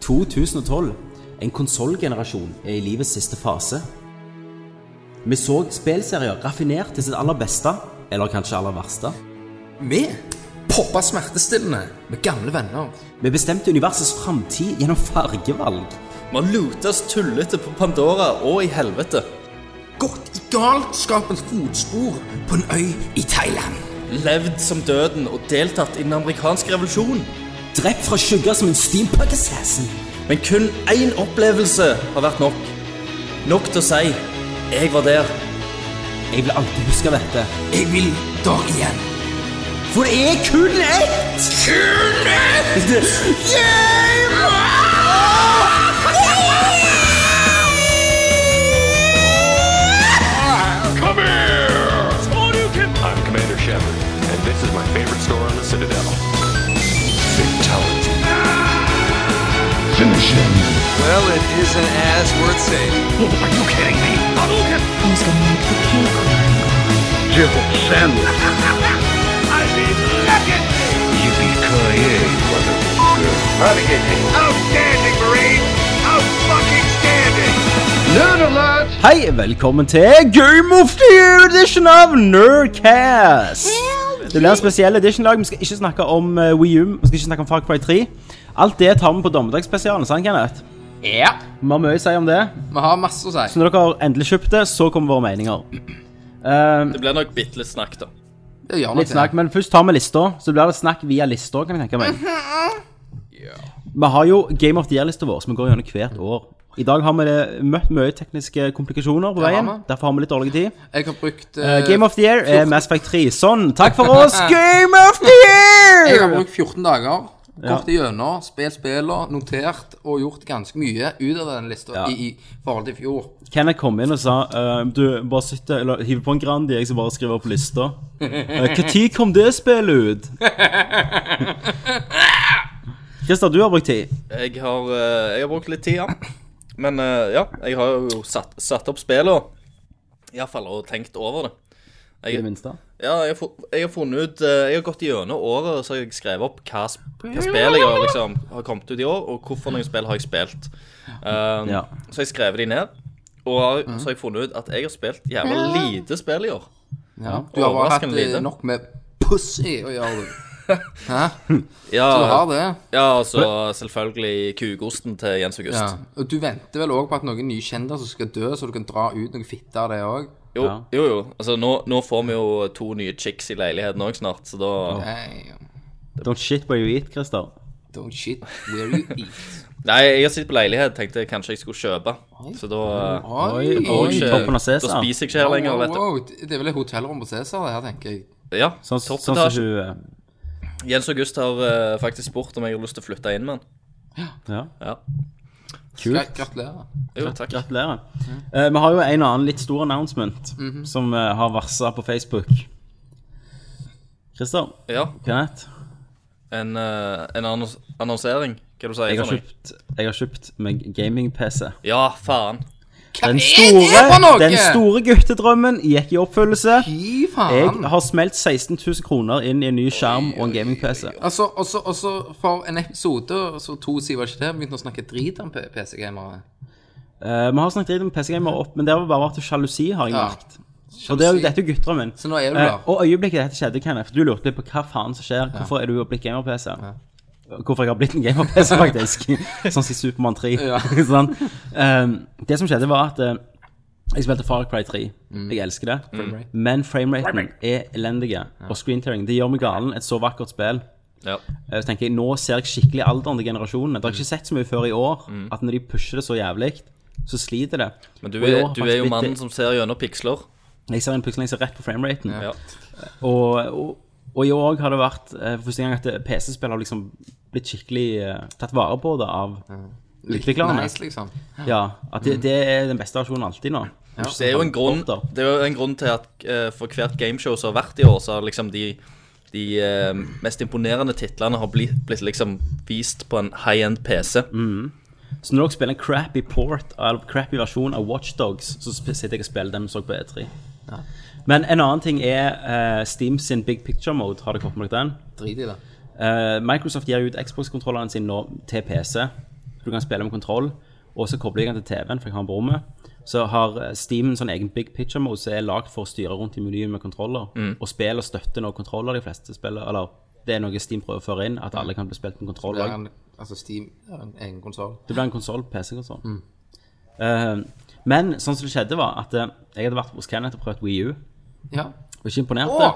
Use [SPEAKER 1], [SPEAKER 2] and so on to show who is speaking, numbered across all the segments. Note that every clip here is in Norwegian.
[SPEAKER 1] 2012. En konsollgenerasjon er i livets siste fase. Vi så spelserier raffinert til sitt aller beste, eller kanskje aller verste.
[SPEAKER 2] Vi poppa smertestillende med gamle venner.
[SPEAKER 1] Vi bestemte universets framtid gjennom fargevalg.
[SPEAKER 3] Man lutas tullete på Pandora og i helvete.
[SPEAKER 2] Gått i galskapens fotspor på en øy i Thailand.
[SPEAKER 3] Levd som døden og deltatt i den amerikanske revolusjonen.
[SPEAKER 1] Drept fra skygger som en steampunk assassin.
[SPEAKER 3] Men kun én opplevelse har vært nok. Nok til å si 'jeg var der'.
[SPEAKER 1] Jeg vil alltid huske dette.
[SPEAKER 2] Jeg vil dere igjen.
[SPEAKER 1] For det er kun ett!
[SPEAKER 4] Come here! I'm Commander Shepard, and this is my favorite store on the Citadel. Fatality.
[SPEAKER 5] Finish him.
[SPEAKER 6] Well, it isn't as worth saying.
[SPEAKER 4] Are you kidding me?
[SPEAKER 7] Who's gonna make the cake?
[SPEAKER 4] I mean, look at me! Yippee-ki-yay, motherfucker. Outstanding, Marine! Out-fucking-standing!
[SPEAKER 1] Hei, velkommen til Game of the Year edition av Nerdcast! Det blir en spesiell edition i dag. Vi skal ikke snakke om uh, Wii U, vi skal ikke snakke om Far Cry 3. Alt det tar vi på dommedagsspesialen, sant, Kenneth?
[SPEAKER 2] Ja,
[SPEAKER 1] Vi har mye å si om det.
[SPEAKER 2] vi har masse å si.
[SPEAKER 1] Så når dere har endelig kjøpt det, så kommer våre meninger. Eh,
[SPEAKER 3] Det blir nok bitte litt snakk, da.
[SPEAKER 2] Det gjør
[SPEAKER 1] litt snakk, men først tar vi lista. Så blir det snakk via lista, kan jeg tenke meg. Vi har jo Game of the Year-lista vår, som vi går gjennom hvert år. I dag har vi det- møtt mye tekniske komplikasjoner på
[SPEAKER 2] Det har
[SPEAKER 1] veien. Derfor har vi litt dårlig tid.
[SPEAKER 2] Jeg har brukt
[SPEAKER 1] Eh, Game of the Year er Mass Effect 3. Sånn, takk for oss! Game of the
[SPEAKER 2] Jeg har
[SPEAKER 1] Year!
[SPEAKER 2] brukt 14 dager. Gått igjennom, spilt spillene, notert og gjort ganske mye ut av den lista i, i forhold til i fjor.
[SPEAKER 1] Kenneth kom inn og sa eh, Du, bare sitt der, eller hiv på en Grandi, jeg skal bare skrive opp lista. Eh, Hva tid kom det spillet ut? Christer, du har brukt tid.
[SPEAKER 3] Jeg har, eh, jeg har brukt litt tid, ja. Men eh, ja, jeg har jo satt, satt opp spillet, iallfall, og tenkt over det.
[SPEAKER 1] I det
[SPEAKER 3] Jeg,
[SPEAKER 1] minste.
[SPEAKER 3] ja, jeg, har fu- jeg har funnet ut eh, Jeg har gått gjennom året, og så har jeg skrevet opp hva, sp- hva spill jeg har, liksom, har kommet ut i år, og hvorfor noen spill har jeg spilt. Um,
[SPEAKER 1] Ja.
[SPEAKER 3] Så har jeg skrevet de ned, og har, så har jeg funnet ut at jeg har spilt jævla lite spill i år.
[SPEAKER 2] Du har bare hatt
[SPEAKER 3] Overraskende
[SPEAKER 2] eh,
[SPEAKER 3] lite.
[SPEAKER 2] nok med pussy å gjøre. du. Hæ?
[SPEAKER 3] Ja,
[SPEAKER 2] Du har det?
[SPEAKER 3] ja og så selvfølgelig kukosten til Jens August.
[SPEAKER 2] Ja. Og du venter vel òg på at noen nye kjendiser skal dø, så du kan dra ut noen fitte av det òg?
[SPEAKER 3] Jo, jo, jo. Altså, nå, nå får vi jo to nye chicks i leiligheten òg snart, så da
[SPEAKER 1] Don't shit where you eat, Christer.
[SPEAKER 2] Don't shit where you eat.
[SPEAKER 3] Nei, jeg har sittet på leilighet, tenkte jeg kanskje jeg skulle kjøpe. Så da eh,
[SPEAKER 2] Oi,
[SPEAKER 1] Oi,
[SPEAKER 3] får jeg ikke-
[SPEAKER 1] toppen av Cæsar.
[SPEAKER 3] Da spiser jeg ikke her lenger, vet du.
[SPEAKER 2] Wow, Det er vel et hotellrom på Cæsar, det her, tenker jeg.
[SPEAKER 3] Ja,
[SPEAKER 1] Sånn sånn som
[SPEAKER 3] toppetasje.
[SPEAKER 1] du eh,
[SPEAKER 3] Jens August har eh, faktisk spurt om jeg har lyst til å flytte inn med han.
[SPEAKER 1] Ja.
[SPEAKER 3] Ja.
[SPEAKER 2] Gra- Gratulerer.
[SPEAKER 3] Jo, takk.
[SPEAKER 1] Gratulerer.
[SPEAKER 2] Mhm.
[SPEAKER 1] Eh, vi har jo en og annen litt stor announcement som eh, har varsla på Facebook. Christer,
[SPEAKER 3] Ja,
[SPEAKER 1] Kenneth,
[SPEAKER 3] en, eh, en annons annonsering, hva du sier
[SPEAKER 1] jeg har
[SPEAKER 3] for noe?
[SPEAKER 1] kjøpt, jeg har kjøpt meg gaming-PC.
[SPEAKER 3] Ja, faen.
[SPEAKER 1] Den
[SPEAKER 2] det for
[SPEAKER 1] store,
[SPEAKER 2] noe?
[SPEAKER 1] den store guttedrømmen gikk i oppfyllelse.
[SPEAKER 2] Fy faen.
[SPEAKER 1] Jeg har smelt 16 000 kroner inn i en ny skjerm og en gaming-PC.
[SPEAKER 2] Altså, også, også for en episode, så to sider ikke det, begynte å snakke drit om P- PC-gamere.
[SPEAKER 1] Eh, vi har snakket litt om PC-gamer opp, men det har bare vært sjalusi, har jeg
[SPEAKER 2] Ja.
[SPEAKER 1] merket. Og det er jo dette er guttedrømmen.
[SPEAKER 2] Så nå er du
[SPEAKER 1] Eh,
[SPEAKER 2] der.
[SPEAKER 1] og øyeblikket dette skjedde, Kenneth, du lurte litt på hva faen som skjer. Hvorfor er du blitt gamer-PC? Hvorfor jeg har blitt en gamer-PC, faktisk. sånn som i Supermann 3.
[SPEAKER 2] Ja.
[SPEAKER 1] sånn. Eh, det som skjedde, var at eh, jeg spilte Far Cry 3.
[SPEAKER 2] Mm.
[SPEAKER 1] Jeg elsker det. Men frameraten er elendig. Og screentearing. Det gjør meg galen. Et så vakkert spill.
[SPEAKER 3] Ja.
[SPEAKER 1] Eh, Så tenker jeg, Nå ser jeg skikkelig alderen til generasjonene. Det har jeg ikke sett så mye før i år. At når de pusher det så jævlig, så sliter det.
[SPEAKER 3] Mm. Men du
[SPEAKER 1] Og i år
[SPEAKER 3] er,
[SPEAKER 1] har
[SPEAKER 3] du
[SPEAKER 1] faktisk
[SPEAKER 3] er jo
[SPEAKER 1] blitt-
[SPEAKER 3] mannen som ser gjennom piksler.
[SPEAKER 1] Jeg ser en plutselig jeg ser rett på frameraten.
[SPEAKER 3] Ja.
[SPEAKER 1] Og, og, og i år også har det vært eh, for første gang at PC-spill har liksom blitt skikkelig eh, tatt vare på det av utviklerne.
[SPEAKER 2] Nice, liksom.
[SPEAKER 1] Ja, at det, det er den beste versjonen alltid nå.
[SPEAKER 3] Det er jo en grunn, det er jo en grunn til at eh, for hvert gameshow som har vært i år, så har liksom de, de eh, mest imponerende titlene har blitt, blitt liksom vist på en high-end PC.
[SPEAKER 1] Så når dere spiller en crappy port eller crappy versjon av Watchdogs, så sp- sitter jeg og spiller den vi så på E3. Men en annen ting er eh, Steam sin Big Picture Mode. Har dere fått med dere den?
[SPEAKER 2] Drit i det.
[SPEAKER 1] Eh, Microsoft gir ut Xbox-kontrolleren sin nå til PC. Du kan spille med kontroll, og så kobler jeg den til TV-en, for jeg har den på rommet. Så har eh, Steam en sånn egen big picture mode som er lagd for å styre rundt i menyen med kontroller. Og spill og støtte nå kontroller, de fleste spiller. Eller det er noe Steam prøver å føre inn, at alle kan bli spilt med kontroll.
[SPEAKER 2] Det
[SPEAKER 1] også.
[SPEAKER 2] er en, altså Steam er en egen konsoll.
[SPEAKER 1] Det ble en konsoll, PC-konsoll.
[SPEAKER 2] Mm.
[SPEAKER 1] Eh, men sånn som det skjedde, var at eh, jeg hadde vært hos Kenneth og prøvd Wii U.
[SPEAKER 2] Ja.
[SPEAKER 1] Og ikke
[SPEAKER 2] Å!
[SPEAKER 1] imponerte.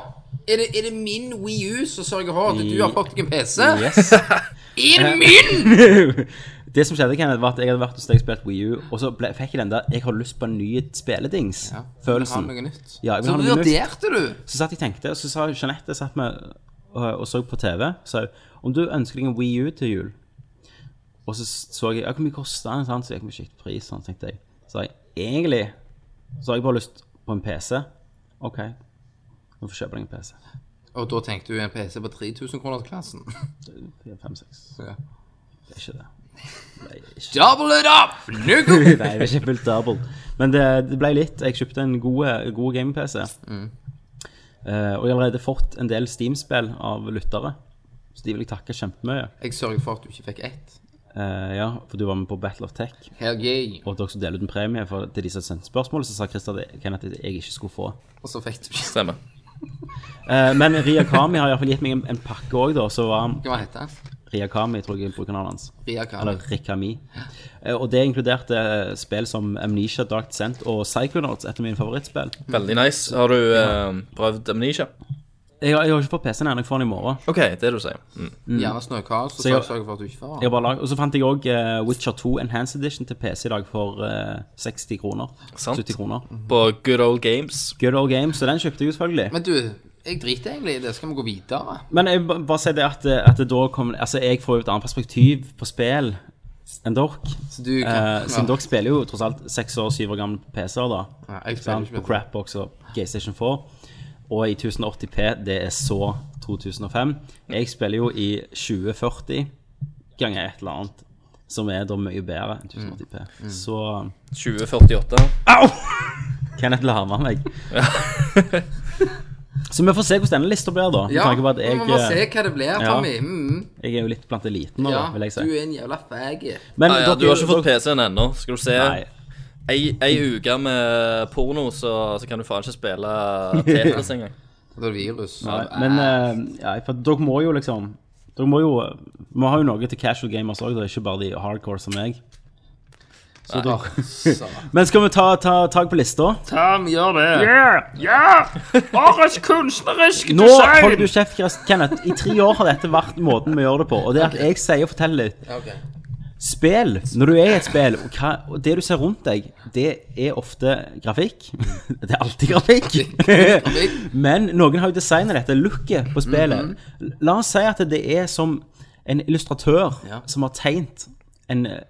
[SPEAKER 2] Er det, er det min Wii U som sørger for at du har fått deg en PC?
[SPEAKER 1] Yes.
[SPEAKER 2] Er det min?!
[SPEAKER 1] det som skjedde, Kenneth, var at jeg hadde vært hos deg og spilt Wii U, og så ble, fikk jeg den der 'jeg har lyst på en ny
[SPEAKER 2] Ja,
[SPEAKER 1] spilledings'-følelsen.
[SPEAKER 2] Ha noe nytt.
[SPEAKER 1] Ja, jeg vil
[SPEAKER 2] så
[SPEAKER 1] ha noe nytt.
[SPEAKER 2] vurderte du!
[SPEAKER 1] så satt jeg og tenkte, og så sa Jeanette satt med, og, og så på TV sa hun, om du ønsker deg en Wii U til jul. Og så så jeg ja, hvor mye koster den, sant? så gikk vi skikt pris, sånn, tenkte jeg. Så sa jeg egentlig så har jeg bare lyst på en PC. OK, nå får jeg kjøpe deg en PC.
[SPEAKER 2] Og da tenkte du en PC på 3000 kroner til klassen.
[SPEAKER 1] Fire, fem, seks.
[SPEAKER 2] Ja.
[SPEAKER 1] Det er ikke det. Nei, det er ikke-
[SPEAKER 2] Double it up! Nuggo!
[SPEAKER 1] Nei, det er ikke fullt double. Men det, det ble litt. Jeg kjøpte en god, god gaming-PC. Eh, og jeg har allerede fått en del Steam-spill av lyttere, så de vil jeg takke kjempemye.
[SPEAKER 2] Jeg sørger for at du ikke fikk ett.
[SPEAKER 1] Eh, ja, for du var med på Battle of Tech.
[SPEAKER 2] Hell yeah.
[SPEAKER 1] Og at dere skulle dele ut en premie for, til de som sendte spørsmål, så sa Christer at jeg- Kenneth at jeg ikke skulle få.
[SPEAKER 2] Og så fikk du ikke.
[SPEAKER 3] Stemmer.
[SPEAKER 1] Eh, men Riyakami har iallfall gitt meg en, en pakke òg, da. Så var han
[SPEAKER 2] Hva heter den?
[SPEAKER 1] Riyakami, tror jeg er brukernavnet hans.
[SPEAKER 2] Ria Khan.
[SPEAKER 1] Eller Rikami. Eh, og det inkluderte eh, spill som Amnesia, Dark Descent og Psychonauts, et av mine favorittspill.
[SPEAKER 3] Veldig nice. Har du eh, prøvd Amnesia?
[SPEAKER 1] Jeg har, jeg har ikke fått PC-en ennå, jeg får den i morgen.
[SPEAKER 3] OK, det er det du sier. Mm.
[SPEAKER 2] Gjerne snøkaos, og
[SPEAKER 1] Så
[SPEAKER 2] så
[SPEAKER 1] jeg-
[SPEAKER 2] sørger for at du ikke får
[SPEAKER 1] Jeg
[SPEAKER 2] den.
[SPEAKER 1] har bare lag... Og så fant jeg òg Witcher 2 Enhanced Edition til PC i dag for eh, 60 kroner.
[SPEAKER 3] Sant.
[SPEAKER 1] 70 kroner.
[SPEAKER 3] På Good Old Games.
[SPEAKER 1] Good old games, så den kjøpte jeg jo selvfølgelig.
[SPEAKER 2] Men du, jeg driter egentlig i det. Skal vi gå videre?
[SPEAKER 1] Men jeg vil ba- bare si det at, at det da kom, altså jeg får jo et annet perspektiv på spill enn dere.
[SPEAKER 2] Så du kan
[SPEAKER 1] Eh, siden dere spiller jo tross alt seks år, syv år gamle PC-er, da.
[SPEAKER 2] Ja, jeg spiller
[SPEAKER 1] sant?
[SPEAKER 2] ikke med
[SPEAKER 1] På Crapbox og GameStation 4. Og i 1080P, det er så 2005. Jeg spiller jo i 2040 ganger et eller annet, som er da mye bedre enn 1080P.
[SPEAKER 2] Mm.
[SPEAKER 1] Så
[SPEAKER 3] 2048.
[SPEAKER 1] Kenneth larmer meg. så vi får se hvordan denne lista blir, da. Med
[SPEAKER 2] Ja,
[SPEAKER 1] tanke på at
[SPEAKER 2] vi må
[SPEAKER 1] jeg, eh,
[SPEAKER 2] se hva det blir,
[SPEAKER 1] Ja.
[SPEAKER 2] Tommy. Mm,
[SPEAKER 1] jeg er jo litt blant eliten nå,
[SPEAKER 2] ja,
[SPEAKER 1] da, vil jeg si.
[SPEAKER 2] du er en jævla faggot.
[SPEAKER 1] Men
[SPEAKER 3] Ah, ja,
[SPEAKER 1] dere-
[SPEAKER 3] du har ikke fått
[SPEAKER 1] dere-
[SPEAKER 3] PC-en ennå. Skal du se.
[SPEAKER 1] Nei.
[SPEAKER 3] Ei, ei uke med porno, så, så kan du faen ikke spille Tetris engang.
[SPEAKER 2] Det er virus.
[SPEAKER 1] Nei, men eh, ja, for dere må jo liksom Dere må jo Vi har jo noe til casual gamers òg, ikke bare de hardcore som meg.
[SPEAKER 2] så altså.
[SPEAKER 1] Men skal vi ta ta tak på lista?
[SPEAKER 2] Tom gjør det.
[SPEAKER 1] Nå holder du kjeft, Chris- Kenneth. I tre år har dette vært måten vi gjør det på. Og det er at jeg sier og forteller litt.
[SPEAKER 2] Ja, ok.
[SPEAKER 1] Spill, når du er i et spill, og, hva, og det du ser rundt deg, det er ofte grafikk. Det er alltid grafikk. Men noen har jo designet dette looket på spillet.
[SPEAKER 3] Mhm.
[SPEAKER 1] La oss si at det er som en illustratør
[SPEAKER 2] Ja.
[SPEAKER 1] som har tegnet en eh,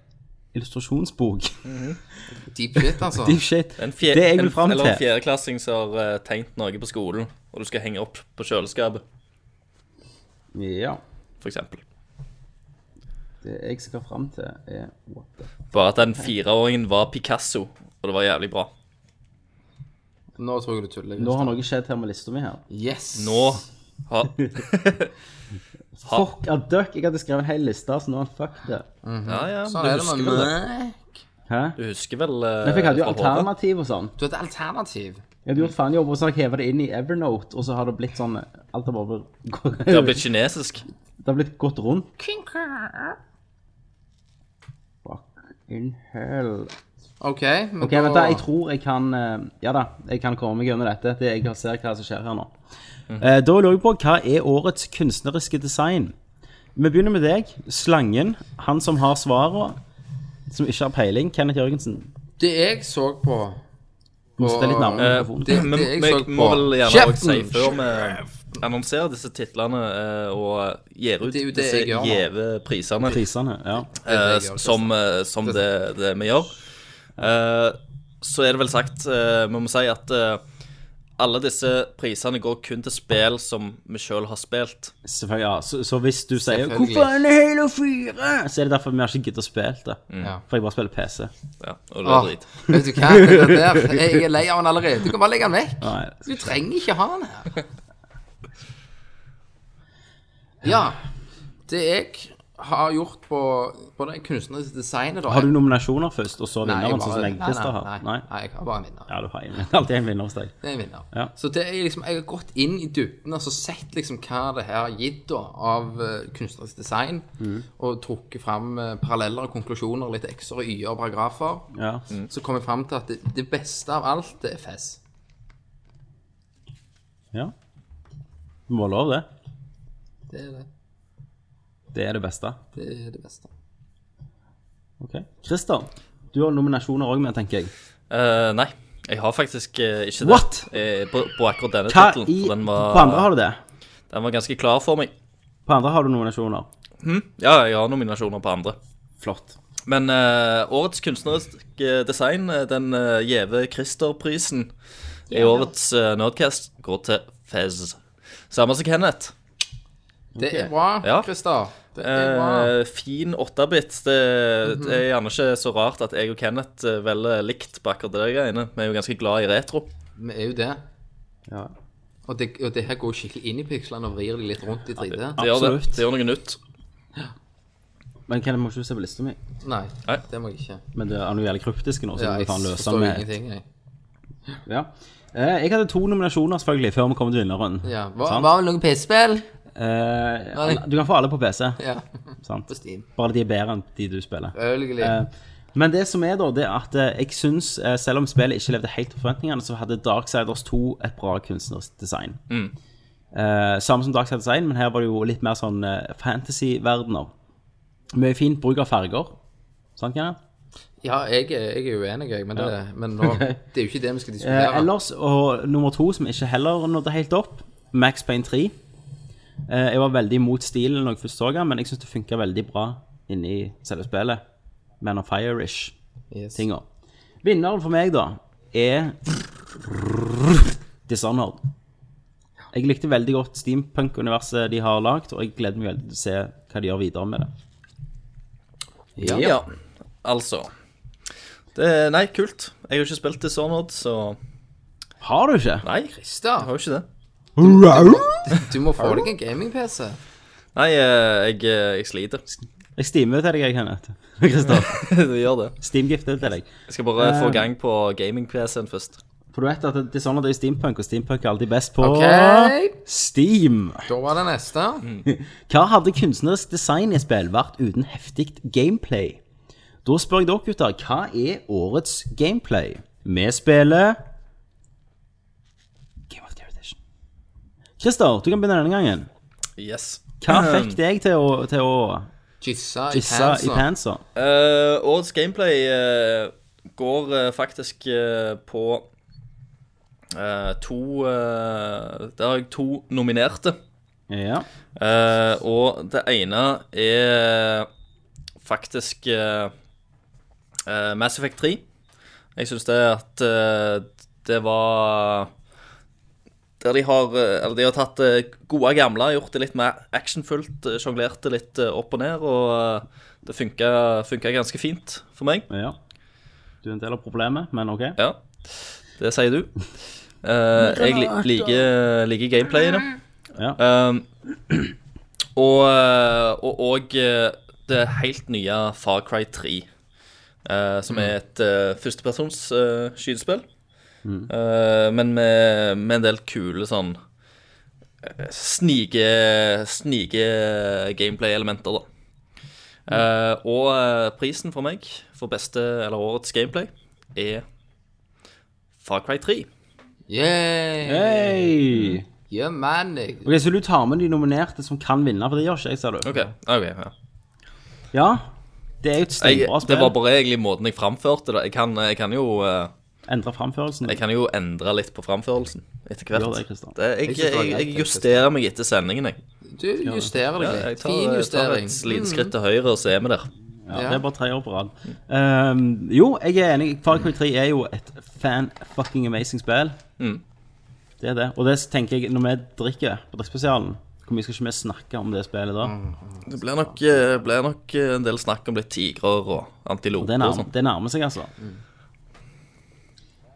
[SPEAKER 1] illustrasjonsbok.
[SPEAKER 2] Deep shit, altså.
[SPEAKER 1] Deep shit.
[SPEAKER 3] En fjer-
[SPEAKER 1] det jeg vil
[SPEAKER 3] en-
[SPEAKER 1] fram
[SPEAKER 3] Eller en
[SPEAKER 1] til.
[SPEAKER 3] fjerdeklassing som har eh, tegnet noe på skolen, og du skal henge opp på kjøleskapet,
[SPEAKER 1] Ja.
[SPEAKER 3] for eksempel.
[SPEAKER 1] Det jeg skal fram til, er what the
[SPEAKER 3] Bare at den fireåringen var Picasso, og det var jævlig bra.
[SPEAKER 2] Nå tror jeg du tuller.
[SPEAKER 1] Nå har noe skjedd her med lista mi her.
[SPEAKER 2] Yes.
[SPEAKER 3] Nå har
[SPEAKER 1] Fuck a duck. Jeg hadde skrevet en hel liste, så nå har han fuck det.
[SPEAKER 3] Ja, ja.
[SPEAKER 2] Sånn
[SPEAKER 3] du,
[SPEAKER 2] er det
[SPEAKER 3] husker
[SPEAKER 2] med
[SPEAKER 3] vel, det.
[SPEAKER 2] meg.
[SPEAKER 1] Hæ?
[SPEAKER 3] du husker vel eh,
[SPEAKER 1] Men jeg hadde jo
[SPEAKER 3] fra hodet?
[SPEAKER 1] alternativ og sånn.
[SPEAKER 2] Du har et alternativ.
[SPEAKER 1] Jeg hadde gjort fanjobb, og så har jeg hevet det inn i Evernote, og så har det blitt sånn Alt har bare
[SPEAKER 3] Det har blitt kinesisk.
[SPEAKER 1] Det har blitt gått rundt. Fuck in hell.
[SPEAKER 2] OK, men
[SPEAKER 1] OK, vent da, jeg tror jeg kan eh, Ja da, jeg kan komme meg gjennom dette. Det Jeg ser hva som skjer her nå. Eh, Da lurer jeg på hva er årets kunstneriske design? Vi begynner med deg, slangen. Han som har svarene, som ikke har peiling. Kenneth Jørgensen.
[SPEAKER 2] Det jeg så på
[SPEAKER 1] Du må sitte litt nærmere
[SPEAKER 3] Eh,
[SPEAKER 1] mikrofonen.
[SPEAKER 3] det,
[SPEAKER 2] det
[SPEAKER 3] men
[SPEAKER 2] jeg
[SPEAKER 3] vi
[SPEAKER 2] så
[SPEAKER 3] må
[SPEAKER 2] på.
[SPEAKER 3] vel gjerne
[SPEAKER 2] Kjeften!
[SPEAKER 3] også si før vi annonserer disse titlene eh, og gir ut
[SPEAKER 2] Det er jo det
[SPEAKER 3] disse
[SPEAKER 2] jeg gjør nå.
[SPEAKER 3] gjeve prisene
[SPEAKER 1] Prisene. Ja.
[SPEAKER 3] eh,
[SPEAKER 2] jeg gjør,
[SPEAKER 3] som, eh, som det, det vi gjør, eh, så er det vel sagt eh, Vi må si at eh, alle disse prisene går kun til spill som vi sjøl har spilt.
[SPEAKER 1] Selvfølgelig, ja. Så, så hvis du sier
[SPEAKER 2] Selvfølgelig.
[SPEAKER 1] 'Hvorfor er det Halo 4?' så er det derfor vi har ikke giddet å spille det.
[SPEAKER 2] Ja.
[SPEAKER 1] For jeg bare spiller PC.
[SPEAKER 3] Ja, og det er
[SPEAKER 2] Ah,
[SPEAKER 3] drit.
[SPEAKER 2] Vet du hva, det der, jeg er lei av den allerede. Du kan bare legge den vekk.
[SPEAKER 1] Nei.
[SPEAKER 2] Du trenger ikke ha den her. Ja. Det jeg har gjort på, på det kunstneriske designet da
[SPEAKER 1] Har du nominasjoner først, og så
[SPEAKER 2] Nei, jeg
[SPEAKER 1] vinneren, sånn
[SPEAKER 2] bare-
[SPEAKER 1] som Engelkvist har?
[SPEAKER 2] Nei, nei, nei, nei, jeg har bare en vinner.
[SPEAKER 1] Ja, du har en. Alltid en vinner hos deg.
[SPEAKER 2] Det er en vinner.
[SPEAKER 1] Ja.
[SPEAKER 2] Så det er liksom, jeg har gått inn i dybden og så sett liksom hva det her har gitt da, av eh, kunstnerisk design,
[SPEAKER 1] Mm.
[SPEAKER 2] og trukket fram eh, paralleller og konklusjoner, litt x-er og y-er og paragrafer.
[SPEAKER 1] Ja.
[SPEAKER 2] Så kom jeg fram til at det, det beste av alt det er FES.
[SPEAKER 1] ja. Du må ha lov, det.
[SPEAKER 2] Det er det,
[SPEAKER 1] Det er det beste.
[SPEAKER 2] det, er det beste.
[SPEAKER 1] Ok. Christer, du har nominasjoner òg med, tenker jeg.
[SPEAKER 3] Eh, nei, jeg har faktisk eh, ikke det.
[SPEAKER 1] What?
[SPEAKER 3] Eh, på, på akkurat denne
[SPEAKER 1] Hva
[SPEAKER 3] tittelen.
[SPEAKER 1] i
[SPEAKER 3] for Den, var-
[SPEAKER 1] På andre har du det.
[SPEAKER 3] den var ganske klar for meg.
[SPEAKER 1] På andre har du nominasjoner.
[SPEAKER 3] Ja, jeg har nominasjoner på andre.
[SPEAKER 1] Flott.
[SPEAKER 3] Men eh, årets kunstneriske design, eh, den eh, gjeve Christer-prisen i årets eh, Nerdcast, går til Fez. Samme som Kenneth.
[SPEAKER 2] Det er bra,
[SPEAKER 3] Ja.
[SPEAKER 2] Christer. Det er bra. Mhm.
[SPEAKER 3] Eh, fin 8-bit. Det, det er gjerne ikke så rart at jeg og Kenneth eh, velger likt på akkurat det greiene. Vi er jo ganske glad i retro.
[SPEAKER 2] Vi er jo det.
[SPEAKER 1] Ja.
[SPEAKER 2] Og det, og det her går skikkelig inn i pikslene og vrir de litt rundt i 3D.
[SPEAKER 3] Det gjør det.
[SPEAKER 1] Absolutt.
[SPEAKER 3] Det gjør noe nytt.
[SPEAKER 1] Men Kenneth må ikke du se på lista mi.
[SPEAKER 2] Nei,
[SPEAKER 3] Nei.
[SPEAKER 2] det må jeg ikke.
[SPEAKER 1] Men det er noe jævlig kryptisk nå, så du
[SPEAKER 2] Ja,
[SPEAKER 1] må
[SPEAKER 2] jeg
[SPEAKER 1] ta en løser
[SPEAKER 2] forstår
[SPEAKER 1] med
[SPEAKER 2] ingenting, jeg.
[SPEAKER 1] ja. Eh, Jeg hadde to nominasjoner, selvfølgelig, før vi kom til vinneren.
[SPEAKER 2] Ja. Var,
[SPEAKER 1] Sant?
[SPEAKER 2] var det noen pisspill?
[SPEAKER 1] Eh, alle- du kan få alle på PC,
[SPEAKER 2] Ja.
[SPEAKER 1] sant?
[SPEAKER 2] På Steam.
[SPEAKER 1] Bare de er bedre enn de du spiller.
[SPEAKER 2] Selvfølgelig.
[SPEAKER 1] Eh, Men det som er da, det er at eh, jeg syns, eh, selv om spillet ikke levde helt til forventningene, så hadde Darksiders 2 et bra kunstnerisk design. Eh, samme som Darksiders 1, men her var det jo litt mer sånn eh, fantasy-verdener. Mye fint bruk av farger. Sant, Kenneth?
[SPEAKER 2] Ja, jeg, er- jeg er uenig, jeg, men, det, men nå, det er jo ikke det vi skal
[SPEAKER 1] Eh,
[SPEAKER 2] diskutere.
[SPEAKER 1] ellers, og nummer to, som ikke heller nådde helt opp, Max Payne 3. Eh, jeg var veldig imot stilen når jeg først så den, men jeg syns det funka veldig bra inni selve spillet. Man of Fire-ish.
[SPEAKER 2] yes.
[SPEAKER 1] tinga. Vinneren for meg, da, er Dishonored. Jeg likte veldig godt steampunk-universet de har lagd, og jeg gleder meg veldig til å se hva de gjør videre med det.
[SPEAKER 2] Ja.
[SPEAKER 3] Ja, altså. Det, nei, kult. Jeg har ikke spilt Dishonored, så
[SPEAKER 1] Har du ikke?
[SPEAKER 3] Nei, jeg
[SPEAKER 2] Christer,
[SPEAKER 3] har jo ikke det.
[SPEAKER 2] du må få deg en gaming-PC.
[SPEAKER 3] Nei, eh, jeg, eh, jeg sliter.
[SPEAKER 1] Jeg steamer til deg, jeg, Kenneth. Kristoff.
[SPEAKER 3] Du gjør det.
[SPEAKER 1] Steamgifter til deg.
[SPEAKER 3] Jeg skal bare
[SPEAKER 2] Eh.
[SPEAKER 3] få gang på gaming-PC-en først.
[SPEAKER 1] For du vet at Dishonored er jo steampunk, og steampunk er alltid best på
[SPEAKER 2] OK,
[SPEAKER 1] Steam.
[SPEAKER 2] da var det neste.
[SPEAKER 1] Hva hadde kunstnerisk design i et spill vært uten heftig gameplay? Da spør jeg dere, gutter, hva er årets gameplay? Vi spiller Game of the Year Edition. Christer, du kan begynne denne gangen.
[SPEAKER 3] Yes.
[SPEAKER 1] Hva fikk deg til å, til å
[SPEAKER 2] Gissa i
[SPEAKER 1] gisse i pantsa?
[SPEAKER 2] pantsa.
[SPEAKER 3] Eh, årets gameplay eh, går eh, faktisk eh, på eh, to eh, Der har jeg to nominerte.
[SPEAKER 1] Ja.
[SPEAKER 3] Eh, og det ene er faktisk eh, eh, Mass Effect 3. Jeg syns det at eh, det var Der de har eh, Eller de har tatt eh, gode gamle, gjort det litt mer actionfullt, eh, sjonglert det litt eh, opp og ned, og eh, det funka, funka ganske fint for meg.
[SPEAKER 1] ja. Du er en del av problemet, men OK.
[SPEAKER 3] Ja, det sier du. Eh, jeg li liker, eh, liker gameplayene.
[SPEAKER 1] Ja.
[SPEAKER 3] Um, og og, og eh, det helt nye Far Cry 3, eh, som er et uh, førstepersons eh, skytespill. Eh, men med, med en del kule sånn eh, snike, snike gameplay-elementer, da. Eh, og eh, prisen for meg for beste eller årets gameplay er Far Cry 3.
[SPEAKER 2] Yeah.
[SPEAKER 1] Hei!
[SPEAKER 2] Yeah, man, jeg.
[SPEAKER 1] Ok, Så du tar med de nominerte som kan vinne, for det gjør ikke jeg, ser du.
[SPEAKER 3] OK. ok, ja.
[SPEAKER 1] Ja. Det er jo et
[SPEAKER 3] jeg,
[SPEAKER 1] steinbra
[SPEAKER 3] det
[SPEAKER 1] spill.
[SPEAKER 3] var bare egentlig måten jeg framførte det. Jeg kan, jeg kan jo eh,
[SPEAKER 1] Endre framførelsen.
[SPEAKER 3] Jeg kan jo endre litt på framførelsen etter hvert.
[SPEAKER 1] Gjør det, Kristian.
[SPEAKER 3] Det- jeg,
[SPEAKER 2] Jeg synes det var
[SPEAKER 3] jeg, jeg
[SPEAKER 2] greit,
[SPEAKER 3] justerer meg etter sendingen, jeg.
[SPEAKER 2] Du justerer deg
[SPEAKER 3] Jeg
[SPEAKER 2] litt.
[SPEAKER 3] tar,
[SPEAKER 2] Fin
[SPEAKER 3] jeg tar
[SPEAKER 2] justering.
[SPEAKER 3] et lite skritt til høyre, og så er vi der.
[SPEAKER 1] Ja,
[SPEAKER 2] Ja.
[SPEAKER 1] Det er bare tre år på rad. Ehm, jo, jeg er enig. Far Cry 3 er jo et fan-fucking-amazing spill.
[SPEAKER 2] Mm.
[SPEAKER 1] Det er det. Og det tenker jeg når vi drikker på drikkspesialen Hvor mye skal ikke vi snakke om det spillet da?
[SPEAKER 2] Mm.
[SPEAKER 3] Det blir nok, eh, blir nok eh, en del snakk om litt tigrer og
[SPEAKER 1] Det,
[SPEAKER 3] antiloper og
[SPEAKER 1] nærmer,
[SPEAKER 3] sånn.
[SPEAKER 1] det nærmer seg, altså.
[SPEAKER 2] Mm.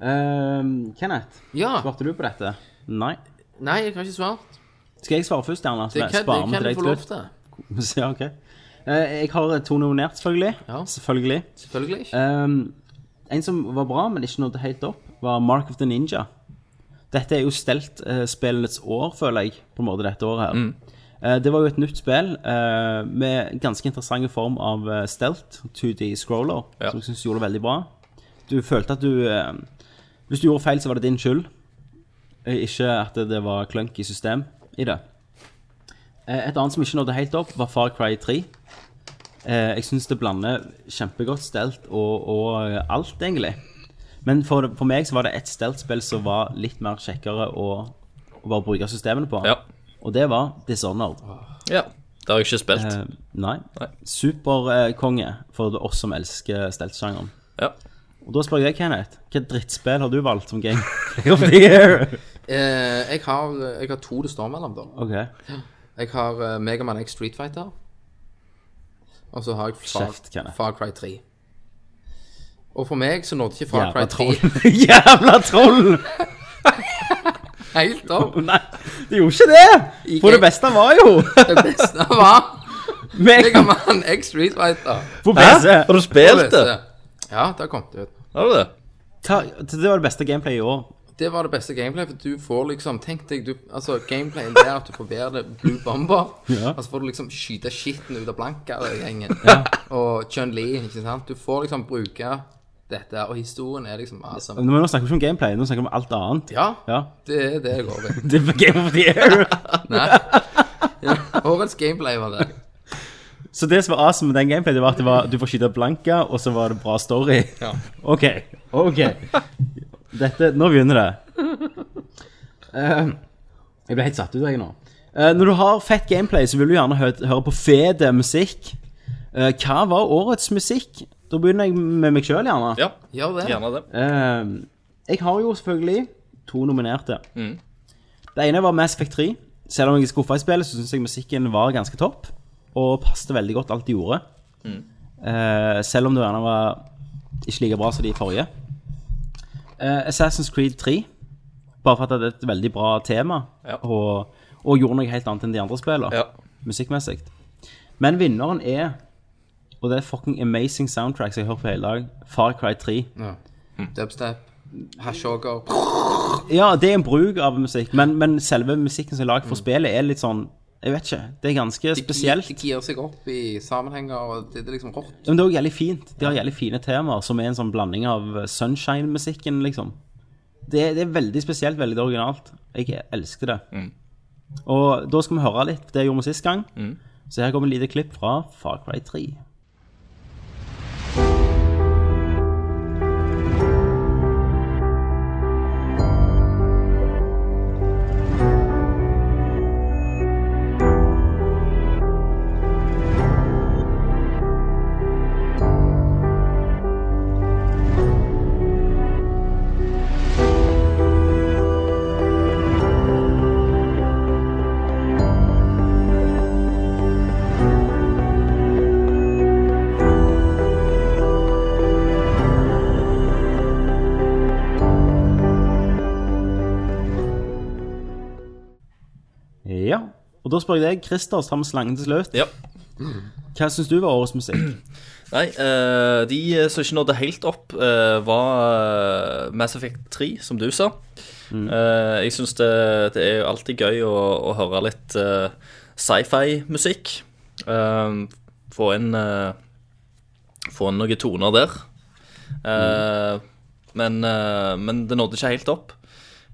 [SPEAKER 1] Ehm, Kenneth,
[SPEAKER 2] Ja.
[SPEAKER 1] svarte du på dette? Nei.
[SPEAKER 2] Nei, jeg har ikke svart.
[SPEAKER 1] Skal jeg svare først, Erna?
[SPEAKER 2] Det kan, det kan du få lov til.
[SPEAKER 1] Ja, ok. Eh, Jeg har to nominert, selvfølgelig.
[SPEAKER 2] Ja.
[SPEAKER 1] Selvfølgelig.
[SPEAKER 2] Selvfølgelig ikke.
[SPEAKER 1] Ehm, en som var bra, men ikke nådde helt opp, var Mark of the Ninja. Dette er jo stelt eh, spillenes år, føler jeg, på en måte dette året her. Eh, det var jo et nytt spill eh, med ganske interessant form av eh, stelt, 2D-scroller,
[SPEAKER 3] Ja.
[SPEAKER 1] som jeg syns gjorde det veldig bra. Du følte at du eh, Hvis du gjorde feil, så var det din skyld. Eh, Ikke at det var klunk i system i det. Eh, Et annet som ikke nådde helt opp, var Far Cry 3. Eh, Jeg syns det blander kjempegodt stelt og, og eh, alt, egentlig. Men for, for meg så var det et steltspill som var litt mer kjekkere å, å bare bruke systemene på.
[SPEAKER 3] Ja.
[SPEAKER 1] Og det var Dishonored.
[SPEAKER 3] ja. Det har jeg ikke spilt.
[SPEAKER 1] Eh, nei.
[SPEAKER 3] Nei.
[SPEAKER 1] Superkonge for oss som elsker steltsjangeren.
[SPEAKER 3] Ja.
[SPEAKER 1] Og da spør jeg deg, Kenneth, hva drittspill har du valgt som game of the year?
[SPEAKER 2] Eh, jeg, har, jeg har to det står mellom, da.
[SPEAKER 1] Ok,
[SPEAKER 2] Jeg har eh, Mega Man X Street Fighter. Og så har jeg Far,
[SPEAKER 1] Kjeft, Kenneth.
[SPEAKER 2] Far Cry 3. Og for meg så nådde ikke Far
[SPEAKER 1] Jævla
[SPEAKER 2] Cry 3
[SPEAKER 1] troll. Jævla troll!
[SPEAKER 2] helt opp.
[SPEAKER 1] Nei, det gjorde ikke det! For det beste var jo
[SPEAKER 2] Det beste var Mega
[SPEAKER 1] Mega
[SPEAKER 2] Man X Street Fighter.
[SPEAKER 1] på PC.
[SPEAKER 3] Hæ? Har du spilt det?
[SPEAKER 2] Ja, det har kommet ut.
[SPEAKER 3] Har du det?
[SPEAKER 1] Ta, det var det beste gameplayet i år.
[SPEAKER 2] Det var det beste gameplayet, for du får liksom Tenk deg, du Altså, gameplayen der at du får være det Blue Bomber,
[SPEAKER 1] Ja.
[SPEAKER 2] og så får du liksom skyte skitten ut av Blanka-gjengen. Og Chun-Li, ikke sant. Du får liksom bruke dette, og historien er liksom awesome.
[SPEAKER 1] Men nå snakker vi ikke om gameplay, nå snakker vi om alt annet.
[SPEAKER 2] Ja,
[SPEAKER 1] Ja.
[SPEAKER 2] det er det jeg går ved.
[SPEAKER 1] Det var Game of the Year.
[SPEAKER 2] Nei. Ja, årets gameplay var det.
[SPEAKER 1] Så det som var awesome med den gameplayen, det var at det var, du får skyte blanka, og så var det bra story.
[SPEAKER 2] Ja.
[SPEAKER 1] OK. ok Dette, Nå begynner det. Eh, jeg ble helt satt ut, jeg nå. Eh, når du har fett gameplay, så vil du gjerne hø høre på fet musikk. Eh, hva var årets musikk? Da begynner jeg med meg sjøl, gjerne.
[SPEAKER 3] Ja.
[SPEAKER 2] Gjør det.
[SPEAKER 3] Gjerne det.
[SPEAKER 1] Eh, jeg har jo selvfølgelig to nominerte.
[SPEAKER 3] Mm.
[SPEAKER 1] Det ene var Mass Effect 3. Selv om jeg er skuffa i spillet, så syns jeg musikken var ganske topp. Og passet veldig godt alt de gjorde.
[SPEAKER 3] Mm.
[SPEAKER 1] Eh, selv om det gjerne var ikke like bra som de forrige. Eh, Assassin's Creed 3. Bare for at det er et veldig bra tema,
[SPEAKER 3] Ja.
[SPEAKER 1] og, og gjorde noe helt annet enn de andre spillene
[SPEAKER 3] Ja.
[SPEAKER 1] musikkmessig. Men vinneren er, og det er fucking amazing soundtracks jeg har hørt på hele dag, Far Cry 3.
[SPEAKER 2] Dubstep, hashoger
[SPEAKER 1] Ja, det er en bruk av musikk, men, men selve musikken som er laget for spillet, er litt sånn Jeg vet ikke. Det er ganske spesielt.
[SPEAKER 2] De girer seg opp i sammenhenger, og det, det er liksom rått.
[SPEAKER 1] Men det er også jævlig fint. De har jævlig fine temaer, som er en sånn blanding av eh, Sunshine-musikken, liksom. Det, det er veldig spesielt, veldig originalt. Jeg elsker det. Og da skal vi høre litt det jeg gjorde vi sist gang. Så her kommer et lite klipp fra Far Cry 3. Ja. Og da spør jeg deg, Christer, som har med slangen til slutt.
[SPEAKER 3] Ja.
[SPEAKER 1] Hva syns du var årets musikk?
[SPEAKER 3] Nei, eh, de som ikke nådde helt opp, eh, var eh, Mass Effect 3, som du sa. Eh, jeg syns det, det er jo alltid gøy å, å høre litt eh, sci-fi-musikk. Eh, få inn eh, Få inn noen toner der. Eh, men, eh, men det nådde ikke helt opp.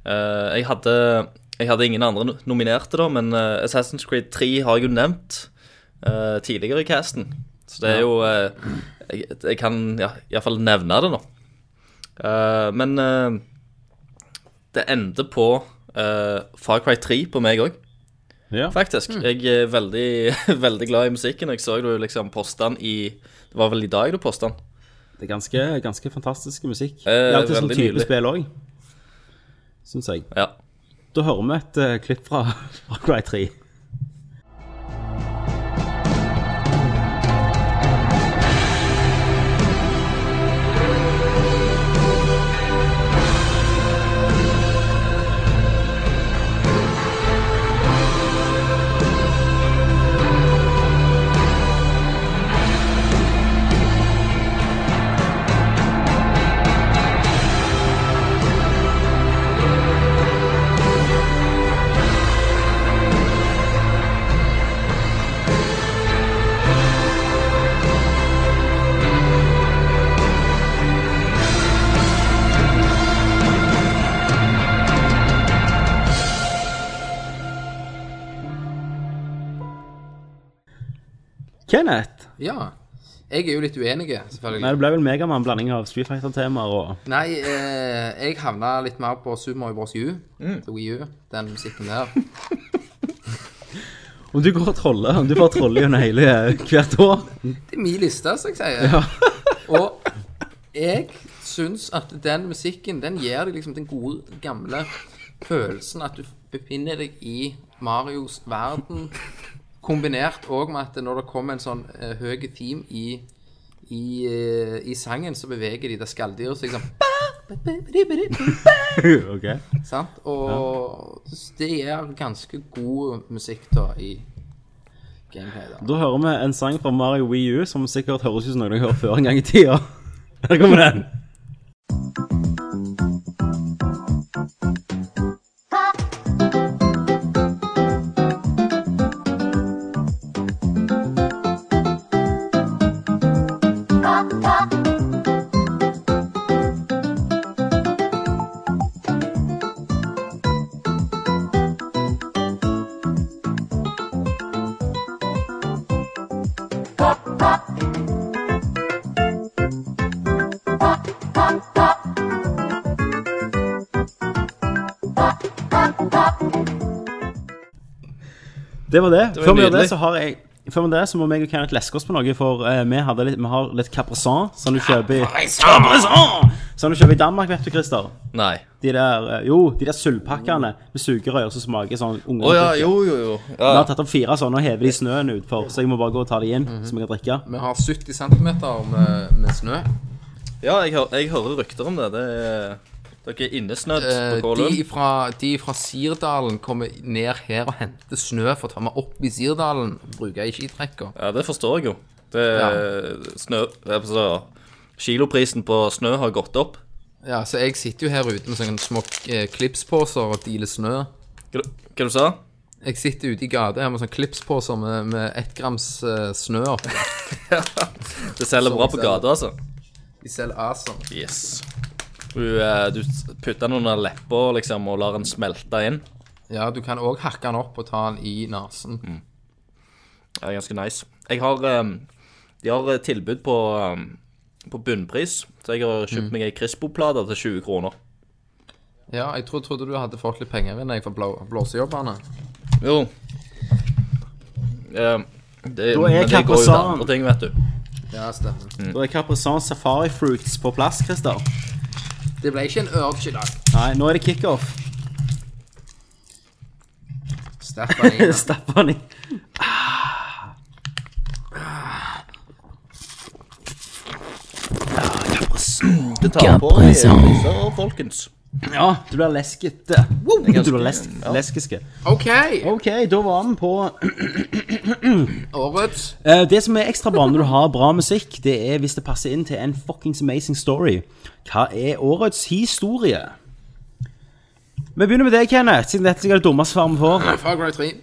[SPEAKER 3] Eh, jeg, hadde, jeg hadde ingen andre no- nominerte, da, men eh, Assassin's Creed 3 har jeg jo nevnt eh, tidligere i casten. Så det er jo eh, jeg, jeg kan ja, iallfall nevne det nå. Eh, men eh, det endte på eh, Far Cry 3 på meg òg,
[SPEAKER 1] Ja.
[SPEAKER 3] faktisk. Jeg er veldig, veldig glad i musikken. Jeg så du liksom posta den i Det var vel i dag du posta den?
[SPEAKER 1] Det er ganske, ganske fantastisk musikk.
[SPEAKER 3] Eh,
[SPEAKER 1] ja, til sånn
[SPEAKER 3] veldig
[SPEAKER 1] type
[SPEAKER 3] nydelig.
[SPEAKER 1] spill òg, syns jeg.
[SPEAKER 3] Ja.
[SPEAKER 1] Da hører vi et eh, klipp fra Far Cry 3. Kenneth?
[SPEAKER 2] Ja. Jeg er jo litt uenig, selvfølgelig.
[SPEAKER 1] Nei, det ble vel Megaman-blanding av Street Fighter-temaer og
[SPEAKER 2] Nei, eh, jeg havna litt mer på Super Mario Bros. U. til Wii U, den musikken der.
[SPEAKER 1] Om du går og troller, om du bare troller gjennom hele eh, hvert år
[SPEAKER 2] Det er min liste, som jeg sier. Og jeg syns at den musikken den gir deg liksom den gode, gamle følelsen at du befinner deg i Marios verden, kombinert òg med at når det kommer en sånn uh, høy theme i, i, eh, i sangen, så beveger de det skalldyret seg sånn
[SPEAKER 1] Ok.
[SPEAKER 2] Sant? Og det gir ganske god musikk da i gameplay. da
[SPEAKER 1] Da hører vi en sang fra Mario Wii U som sikkert høres ut som noe jeg hørt før en gang i tida. Her kommer den. Det var det.
[SPEAKER 3] var
[SPEAKER 1] før vi gjør
[SPEAKER 3] nydelig.
[SPEAKER 1] det, så har jeg før vi gjør det, så må meg og Kenneth leske oss på noe, for eh, vi, hadde litt, vi har litt Capresant som du kjøper i Capresant! Som du kjøper i Danmark, vet du, Christer.
[SPEAKER 3] Nei.
[SPEAKER 1] De der, eh, jo, de der sølvpakkene med sugerør som smaker sånn unge.
[SPEAKER 3] Å ja, jo, jo, jo.
[SPEAKER 1] Vi
[SPEAKER 3] Ja.
[SPEAKER 1] har tatt opp fire sånne og hever de snøen utfor, så jeg må bare gå og ta de inn,
[SPEAKER 3] Mhm.
[SPEAKER 1] så vi kan drikke.
[SPEAKER 2] Vi har 70 cm med, med snø.
[SPEAKER 3] Ja, jeg, hø- jeg hører rykter om det. det er, dere er innesnødd på
[SPEAKER 2] Eh,
[SPEAKER 3] Kålund.
[SPEAKER 2] de, fra, de fra Sirdalen kommer ned her og henter snø for å ta meg opp i Sirdalen. Bruker jeg i skitrekka.
[SPEAKER 3] Ja, det forstår jeg jo. Det er snø det er altså, Kiloprisen på snø har gått opp.
[SPEAKER 2] Ja, så jeg sitter jo her ute med sånne små eh, klipsposer og dealer snø.
[SPEAKER 3] Hva hva du sa du?
[SPEAKER 2] Jeg sitter ute i gata her med sånne klipsposer med, med ett grams eh, snø oppi.
[SPEAKER 3] Det selger bra på gata, altså.
[SPEAKER 2] De selger Acer.
[SPEAKER 3] Yes. Du, eh, du putter den under leppa liksom, og lar den smelte inn.
[SPEAKER 2] Ja, du kan òg hakke den opp og ta den i nesen.
[SPEAKER 3] Det er ganske nice. Jeg har eh, De har eh, tilbud på, eh, på bunnpris, så jeg har
[SPEAKER 1] Mm.
[SPEAKER 3] kjøpt meg ei Crispo-plate til 20 kroner.
[SPEAKER 2] Ja, jeg tro- trodde du hadde fått litt penger inn jeg for blå, blåsejobbene.
[SPEAKER 3] Jo. Eh, det,
[SPEAKER 1] Da er
[SPEAKER 3] men det går jo til
[SPEAKER 1] Kappasaren.
[SPEAKER 3] andre ting, vet du.
[SPEAKER 2] Ja, stemmer.
[SPEAKER 3] Mm.
[SPEAKER 1] Da er Capresant Safari Fruits på plass, Christer.
[SPEAKER 2] Det ble ikke en urge i dag.
[SPEAKER 1] Nei, nå er det kickoff.
[SPEAKER 2] Sterk vanilla.
[SPEAKER 1] Stapp han i.
[SPEAKER 3] Det tar på i priser, folkens.
[SPEAKER 1] Ja, du blir leskete. Wow,
[SPEAKER 3] er ganske-
[SPEAKER 1] du blir lesk leskiske.
[SPEAKER 2] OK!
[SPEAKER 1] OK, da var vi på
[SPEAKER 2] Årets
[SPEAKER 1] Eh, Det som er ekstra bra når du har bra musikk, det er hvis det passer inn til en fuckings amazing story. Hva er årets historie? Vi begynner med deg, Kenneth, siden dette er det dummeste svaret vi får.
[SPEAKER 2] Far Cry 3.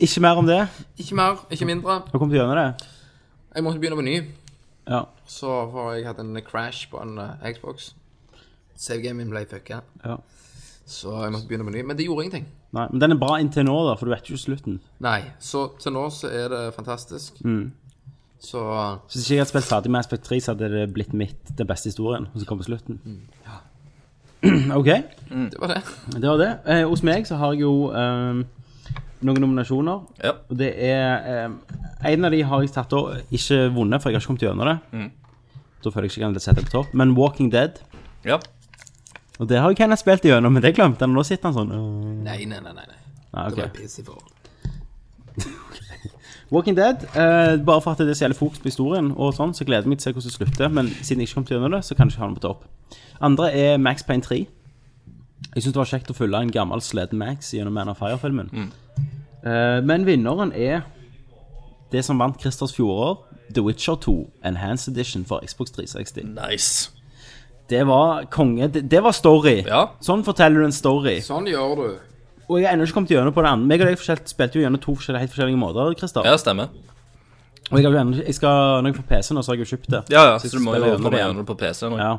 [SPEAKER 1] Ikke mer om det.
[SPEAKER 2] Ikke mer, ikke mindre.
[SPEAKER 1] Har kommet gjennom det.
[SPEAKER 2] Jeg måtte begynne på ny.
[SPEAKER 1] Ja.
[SPEAKER 2] Så for jeg hadde en crash på en eh, Xbox. Savegamen min ble fucka.
[SPEAKER 1] Ja.
[SPEAKER 2] Så jeg måtte begynne på ny. Men det gjorde ingenting.
[SPEAKER 1] Nei, men den er bra inntil nå, da, for du vet jo slutten.
[SPEAKER 2] Nei. Så til nå så er det fantastisk.
[SPEAKER 1] Mm.
[SPEAKER 2] Så eh,
[SPEAKER 1] Så Hvis ikke jeg hadde spilt ferdig med Aspect 3, så hadde det blitt mitt den beste historien. Og så kom slutten. OK,
[SPEAKER 2] det var det.
[SPEAKER 1] det var det. Eh, hos meg så har jeg jo eh, noen nominasjoner.
[SPEAKER 3] Ja.
[SPEAKER 1] Og det er eh, En av de har jeg tatt og ikke vunnet, for jeg har ikke kommet gjennom det.
[SPEAKER 2] Mm.
[SPEAKER 1] Da føler jeg ikke jeg kan sette det på topp. Men Walking Dead.
[SPEAKER 3] ja.
[SPEAKER 1] Og det har jo Kenneth spilt igjennom, men det glemte han. Og nå sitter han sånn. øh.
[SPEAKER 2] Nei, nei, nei. nei, nei.
[SPEAKER 1] Nei,
[SPEAKER 2] Det
[SPEAKER 1] ok.
[SPEAKER 2] var piss i forhold.
[SPEAKER 1] Walking Dead, eh, bare for at det er så jævlig fokus på historien, og sånn, så gleder jeg meg til å se hvordan det slutter. Men siden jeg ikke kom til gjennom det, så kan jeg ikke ha den på topp. Andre er Max Payne 3. Jeg syns det var kjekt å følge en gammel sleden Max gjennom Man of Fire-filmen. Eh, men vinneren er det som vant Christers fjorårår, The Witcher 2 Enhanced Edition for Xbox 360.
[SPEAKER 3] Nice.
[SPEAKER 1] Det var konge. Det, det var story.
[SPEAKER 3] Ja.
[SPEAKER 1] Sånn forteller du en story.
[SPEAKER 2] Sånn gjør du.
[SPEAKER 1] Og jeg har ennå ikke kommet gjennom på det andre. Meg og deg forskjell- spilte jo gjennom to forskjellige, helt forskjellige måter. Christer.
[SPEAKER 3] Ja, stemmer.
[SPEAKER 1] Og jeg har jo ennå- jeg skal, når jeg får PC nå, så har jeg jo kjøpt det.
[SPEAKER 3] Ja, ja,
[SPEAKER 1] jeg
[SPEAKER 3] så du må
[SPEAKER 1] spiller
[SPEAKER 3] jo
[SPEAKER 1] gjennom
[SPEAKER 3] komme
[SPEAKER 1] det igjen.
[SPEAKER 3] gjennom på PC nå.
[SPEAKER 1] Ja.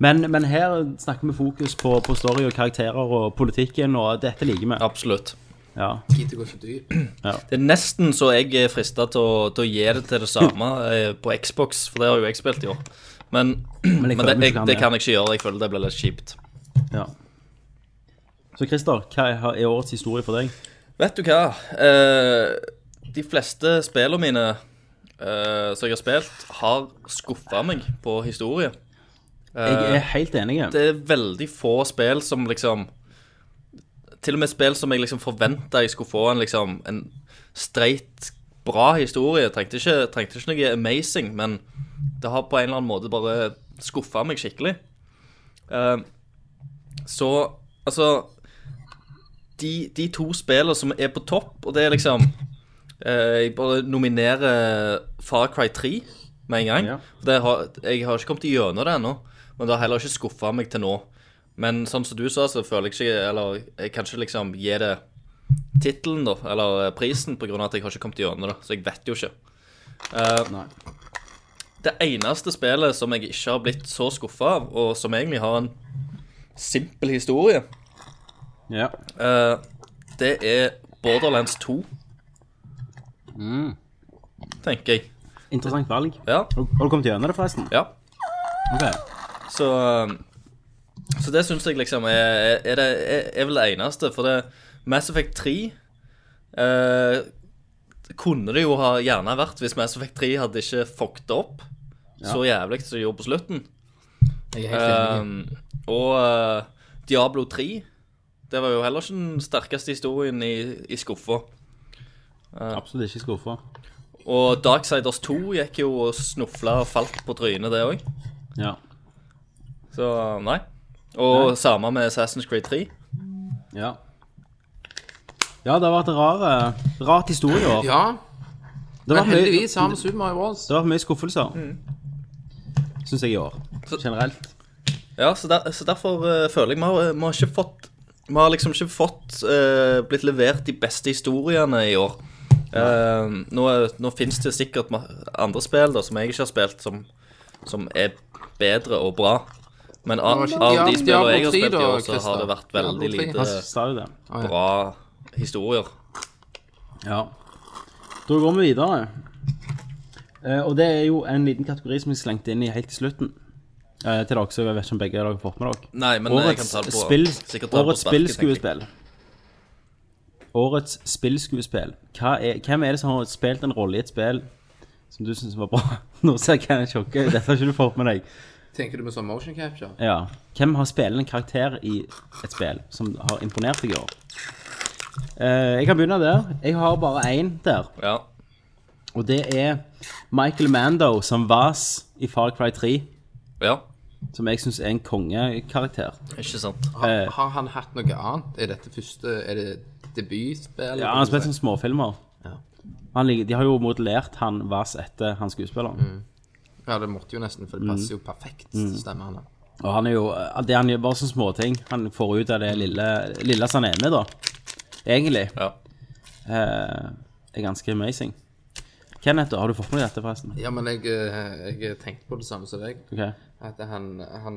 [SPEAKER 1] Men, men her snakker vi fokus på, på story og karakterer og politikken, og dette liker vi.
[SPEAKER 3] Absolutt.
[SPEAKER 1] Ja.
[SPEAKER 2] Tid til å gå så dypt.
[SPEAKER 3] Det er nesten så jeg er frista til, å- til å gi det til det samme eh, på Xbox, for det har jo jeg spilt i år. Men, men,
[SPEAKER 1] jeg
[SPEAKER 3] det,
[SPEAKER 1] føler vi
[SPEAKER 3] jeg,
[SPEAKER 1] kan
[SPEAKER 3] det
[SPEAKER 1] det.
[SPEAKER 3] kan jeg ikke gjøre. Jeg føler det blir litt kjipt.
[SPEAKER 1] ja. Så Christer, hva er- er årets historie for deg?
[SPEAKER 3] Vet du hva? Eh, de fleste spillene mine eh, som jeg har spilt, har skuffa meg på historie.
[SPEAKER 1] Jeg er helt enig.
[SPEAKER 3] Eh, Det er veldig få spill som liksom Til og med spill som jeg liksom forventa jeg skulle få en liksom en streit, bra historie. Trengte ikke, trengte ikke noe amazing, men det har på en eller annen måte bare skuffa meg skikkelig. Eh, så altså de, de to spillene som er på topp, og det er liksom eh, Jeg bare nominerer Far Cry 3 med en gang.
[SPEAKER 1] Ja.
[SPEAKER 3] Det har, jeg har ikke kommet gjennom det ennå, men det har heller ikke skuffa meg til nå. Men sånn som du sa, så føler jeg ikke Eller jeg kan ikke liksom gi det tittelen, da, eller eh, prisen, på grunn av at jeg har ikke kommet gjennom det. Så jeg vet jo ikke. Eh,
[SPEAKER 1] Nei.
[SPEAKER 3] det eneste spillet som jeg ikke har blitt så skuffa av, og som egentlig har en simpel historie,
[SPEAKER 1] Ja.
[SPEAKER 3] Eh, det er Borderlands 2. Tenker jeg.
[SPEAKER 1] Interessant valg.
[SPEAKER 3] Ja.
[SPEAKER 1] Har du har du kommet gjennom det, forresten?
[SPEAKER 3] ja.
[SPEAKER 1] Ok.
[SPEAKER 3] Så, eh, så det syns jeg liksom er, er- er, det, er, er vel det eneste. For det Mass Effect 3 eh, kunne det jo ha gjerne vært hvis Mass Effect 3 hadde ikke fucket opp så jævlig som de gjorde på slutten.
[SPEAKER 2] Jeg er helt enig.
[SPEAKER 3] Eh, og eh, Diablo 3 Det var jo heller ikke den sterkeste historien i, i skuffa.
[SPEAKER 1] Absolutt ikke skuffa.
[SPEAKER 3] Og Darksiders 2 gikk jo og snufla og falt på trynet, det òg.
[SPEAKER 1] Ja.
[SPEAKER 3] Så nei. Og samme med Assassin's Creed 3.
[SPEAKER 1] ja. Ja, det har vært rare, rart historieår.
[SPEAKER 2] Ja,
[SPEAKER 1] det har
[SPEAKER 2] men
[SPEAKER 1] vært mye-
[SPEAKER 2] heldigvis har vi Super Mario Bros.
[SPEAKER 1] Det har vært mye skuffelser, syns jeg, i år.
[SPEAKER 3] Mm. Så-
[SPEAKER 1] Generelt.
[SPEAKER 3] Ja, så, der, så derfor eh, føler jeg vi har, vi har ikke fått Vi har liksom ikke fått eh, blitt levert de beste historiene i år. Eh, nå nå fins det sikkert ma- andre spill da, som jeg ikke har spilt, som, som er bedre og bra. Men av,
[SPEAKER 2] ikke
[SPEAKER 3] av de
[SPEAKER 2] Diablo
[SPEAKER 3] spillene jeg har
[SPEAKER 2] 3
[SPEAKER 3] spilt i
[SPEAKER 2] da,
[SPEAKER 3] år, så
[SPEAKER 2] Christer?
[SPEAKER 3] har det vært veldig
[SPEAKER 2] Diablo Ah, 3.
[SPEAKER 1] Han
[SPEAKER 3] lite
[SPEAKER 1] sa jo det.
[SPEAKER 3] bra historier.
[SPEAKER 1] Ja. Da går vi videre. Eh, og det er jo en liten kategori som jeg slengte inn i helt til slutten. Eh, til dere, så jeg vet ikke om begge dere har fått med dere.
[SPEAKER 3] Nei, men eh, jeg kan
[SPEAKER 1] Årets
[SPEAKER 3] ta det på
[SPEAKER 1] spill,
[SPEAKER 3] sikkert ta det på
[SPEAKER 1] årets
[SPEAKER 3] sparket, tenker jeg.
[SPEAKER 1] spillskuespill. Årets spillskuespill. Hva er, hvem er det som har spilt en rolle i et spill som du syns var bra? Nå ser jeg hva jeg sjokker. Dette har ikke du fått med deg.
[SPEAKER 2] Tenker du med sånn motion capture?
[SPEAKER 1] Ja. Hvem har spillende karakter i et spill som har imponert deg i år? Eh, jeg kan begynne der. Jeg har bare én der.
[SPEAKER 3] Ja.
[SPEAKER 1] Og det er Michael Mando som Vas i Far Cry 3.
[SPEAKER 3] ja.
[SPEAKER 1] Som jeg syns er en kongekarakter. Eh,
[SPEAKER 3] Ikke sant.
[SPEAKER 2] Har, har han hatt noe annet? Er dette første Er det debutspill?
[SPEAKER 1] Ja, han har spilt sånne småfilmer. Han, ligger- de har jo modellert han Vas etter han skuespilleren.
[SPEAKER 2] Ja, det måtte jo nesten, for det passer
[SPEAKER 1] Mm.
[SPEAKER 2] jo perfekt til stemmen hans.
[SPEAKER 1] Og han er jo eh, Det han gjør bare sånne småting. Han får ut av det lille, lille som han er med, da. Egentlig.
[SPEAKER 3] Ja.
[SPEAKER 1] Eh, er ganske amazing. Kenneth, har du fått med deg dette, forresten?
[SPEAKER 2] Ja, men jeg, eh, jeg tenkte på det samme som deg.
[SPEAKER 1] Ok.
[SPEAKER 2] At han, han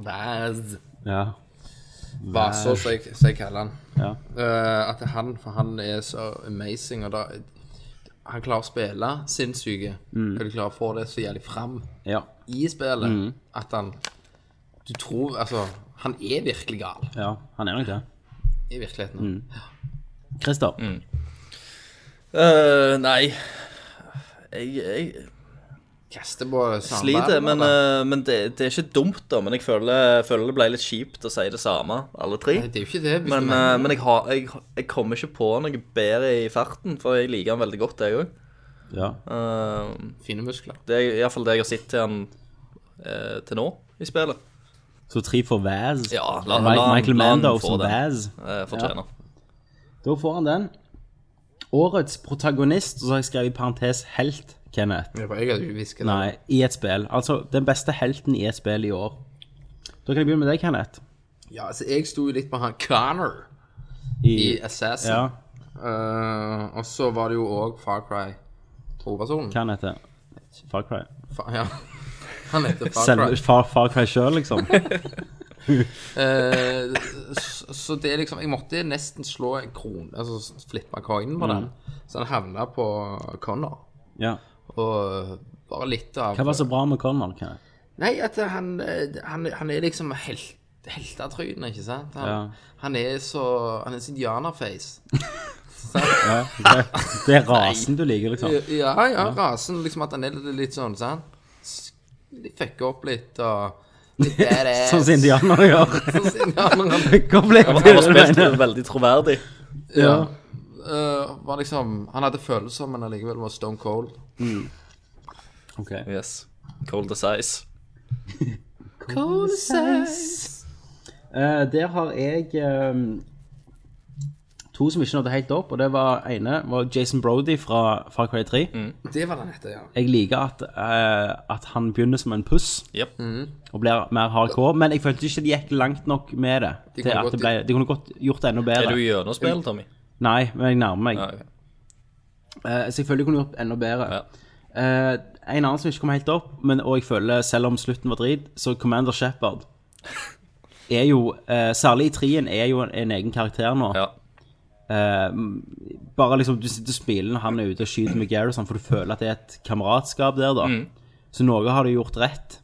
[SPEAKER 2] Vaz
[SPEAKER 1] Ja.
[SPEAKER 2] Vaso, som jeg, som jeg kaller han.
[SPEAKER 1] ja.
[SPEAKER 2] Eh, at han, for han er så amazing, og da Han klarer å spille sinnssyke.
[SPEAKER 1] Mm.
[SPEAKER 2] Og de klarer å få det så jævlig fram
[SPEAKER 1] ja.
[SPEAKER 2] i spillet
[SPEAKER 1] Mm.
[SPEAKER 2] at han Du tror Altså, han er virkelig gal
[SPEAKER 1] Ja, han er nok det.
[SPEAKER 2] i
[SPEAKER 1] Mm.
[SPEAKER 2] virkeligheten.
[SPEAKER 1] Christer.
[SPEAKER 3] Mm. Eh, nei Jeg, jeg
[SPEAKER 2] Kaster på
[SPEAKER 3] sliter,
[SPEAKER 2] samværet.
[SPEAKER 3] men, eh, men det, det er ikke dumt, da. Men jeg føler, jeg føler det ble litt kjipt å si det samme, alle tre.
[SPEAKER 2] Det er jo ikke det. Hvis
[SPEAKER 3] Men,
[SPEAKER 2] du
[SPEAKER 3] eh,
[SPEAKER 2] mener.
[SPEAKER 3] men jeg, har, jeg, jeg kommer ikke på noe bedre i farten, for jeg liker han veldig godt, jeg òg.
[SPEAKER 1] Ja. eh,
[SPEAKER 2] Fine muskler.
[SPEAKER 3] Det er iallfall det jeg har sett til han eh, til nå i spillet.
[SPEAKER 1] Så tre for Vaz.
[SPEAKER 3] Ja, la-
[SPEAKER 1] Mi-
[SPEAKER 3] la han-
[SPEAKER 1] Michael
[SPEAKER 3] la han
[SPEAKER 1] Mando
[SPEAKER 3] få
[SPEAKER 1] som
[SPEAKER 3] den.
[SPEAKER 1] Vaz.
[SPEAKER 3] Uh, Fortjener.
[SPEAKER 1] Da får han den. Årets protagonist, og så har jeg skrevet i parentes helt, Kenneth.
[SPEAKER 2] Jeg hadde ikke hvisket det.
[SPEAKER 1] Nei, i et spill. Altså den beste helten i et spill i år. Da kan jeg begynne med deg, Kenneth.
[SPEAKER 2] Ja, altså, jeg sto jo litt på han Connor i Assassin.
[SPEAKER 1] Ja,
[SPEAKER 2] Eh, og så var det jo òg Far Cry. Hovedpersonen.
[SPEAKER 1] hva han heter Far Cry.
[SPEAKER 2] Fa- Ja. Han heter Far
[SPEAKER 1] Selve
[SPEAKER 2] Cry.
[SPEAKER 1] Far, Far Cry sjøl, liksom.
[SPEAKER 2] Eh, s- så det er liksom Jeg måtte nesten slå en krone, altså flippe coinen
[SPEAKER 1] Mm.
[SPEAKER 2] på den, så den havna på Connor.
[SPEAKER 1] Ja.
[SPEAKER 2] Og bare litt av
[SPEAKER 1] Hva var så bra med Connor? Kenneth?
[SPEAKER 2] Nei, at han, eh, han, han er liksom helt, heltetrynet, ikke sant? Han,
[SPEAKER 1] Ja.
[SPEAKER 2] han er så Han er så indianerface.
[SPEAKER 1] Ja, det, det er rasen du liker, liksom.
[SPEAKER 2] Ja, ja, rasen. Liksom at han er litt, litt sånn, sant? S- litt Fucker opp litt og litt badass.
[SPEAKER 1] Sånn som indianere gjør.
[SPEAKER 2] Sånn som indianerne.
[SPEAKER 1] Komplett.
[SPEAKER 3] Han har spilt veldig troverdig.
[SPEAKER 2] Ja. Eh, var liksom, han hadde følelser, men allikevel var stone cold.
[SPEAKER 1] Ok.
[SPEAKER 3] Yes. Cold as ice.
[SPEAKER 1] Eh, der har jeg ehm, to som ikke nådde helt opp, og det var ene var Jason Brody fra Far Cry 3.
[SPEAKER 2] Det var den hette, ja.
[SPEAKER 1] Jeg liker at, eh, at han begynner som en puss
[SPEAKER 3] Yep.
[SPEAKER 1] og blir mer hardcore, men jeg følte ikke de gikk langt nok med det. til
[SPEAKER 2] De kunne
[SPEAKER 1] at
[SPEAKER 2] godt-
[SPEAKER 1] det ble, de kunne godt gjort det enda
[SPEAKER 3] Er
[SPEAKER 1] bedre.
[SPEAKER 3] du gjennom spillet, Tommy?
[SPEAKER 1] Nei, men jeg nærmer meg.
[SPEAKER 3] Ja, ok.
[SPEAKER 1] Eh, så jeg føler jeg kunne gjort det enda bedre.
[SPEAKER 3] Ja.
[SPEAKER 1] Eh, en annen som ikke kom helt opp, men, og jeg føler selv om slutten var drit, så Commander Shepard er jo, eh, særlig i trien, er jo en, en egen karakter nå.
[SPEAKER 3] ja.
[SPEAKER 1] Eh, bare liksom, du sitter og smiler når han er ute og skyter med Garrison, for du føler at det er et kameratskap der, da.
[SPEAKER 3] Mm.
[SPEAKER 1] Så noe har du gjort rett.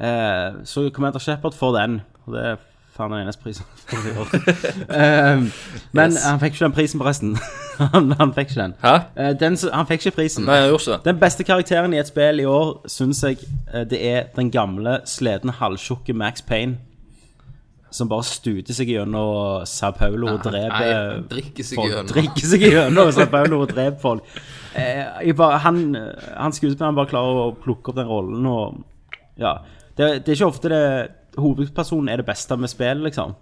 [SPEAKER 1] Eh, så Commander Shepard får den, og det er faen den eneste prisen han får i år. Eh, men
[SPEAKER 3] Yes.
[SPEAKER 1] han fikk ikke den prisen, forresten. han, han fikk ikke den.
[SPEAKER 3] Hæ?
[SPEAKER 1] Eh, den som- han fikk ikke prisen.
[SPEAKER 3] Nei, jeg gjorde ikke det.
[SPEAKER 1] Den beste karakteren i et spill i år syns jeg eh, det er den gamle, sledne, halvtjukke Max Payne. Som bare stuter seg gjennom Sao Paulo og
[SPEAKER 2] Ah, Nei,
[SPEAKER 1] dreper
[SPEAKER 2] drikker seg
[SPEAKER 1] folk.
[SPEAKER 2] gjennom.
[SPEAKER 1] Drikker seg gjennom Sao Paulo og dreper folk. Eh, jeg bare, han han skuespilleren bare klarer å plukke opp den rollen og Ja. Det, det er ikke ofte det hovedpersonen er det beste med spillet, liksom.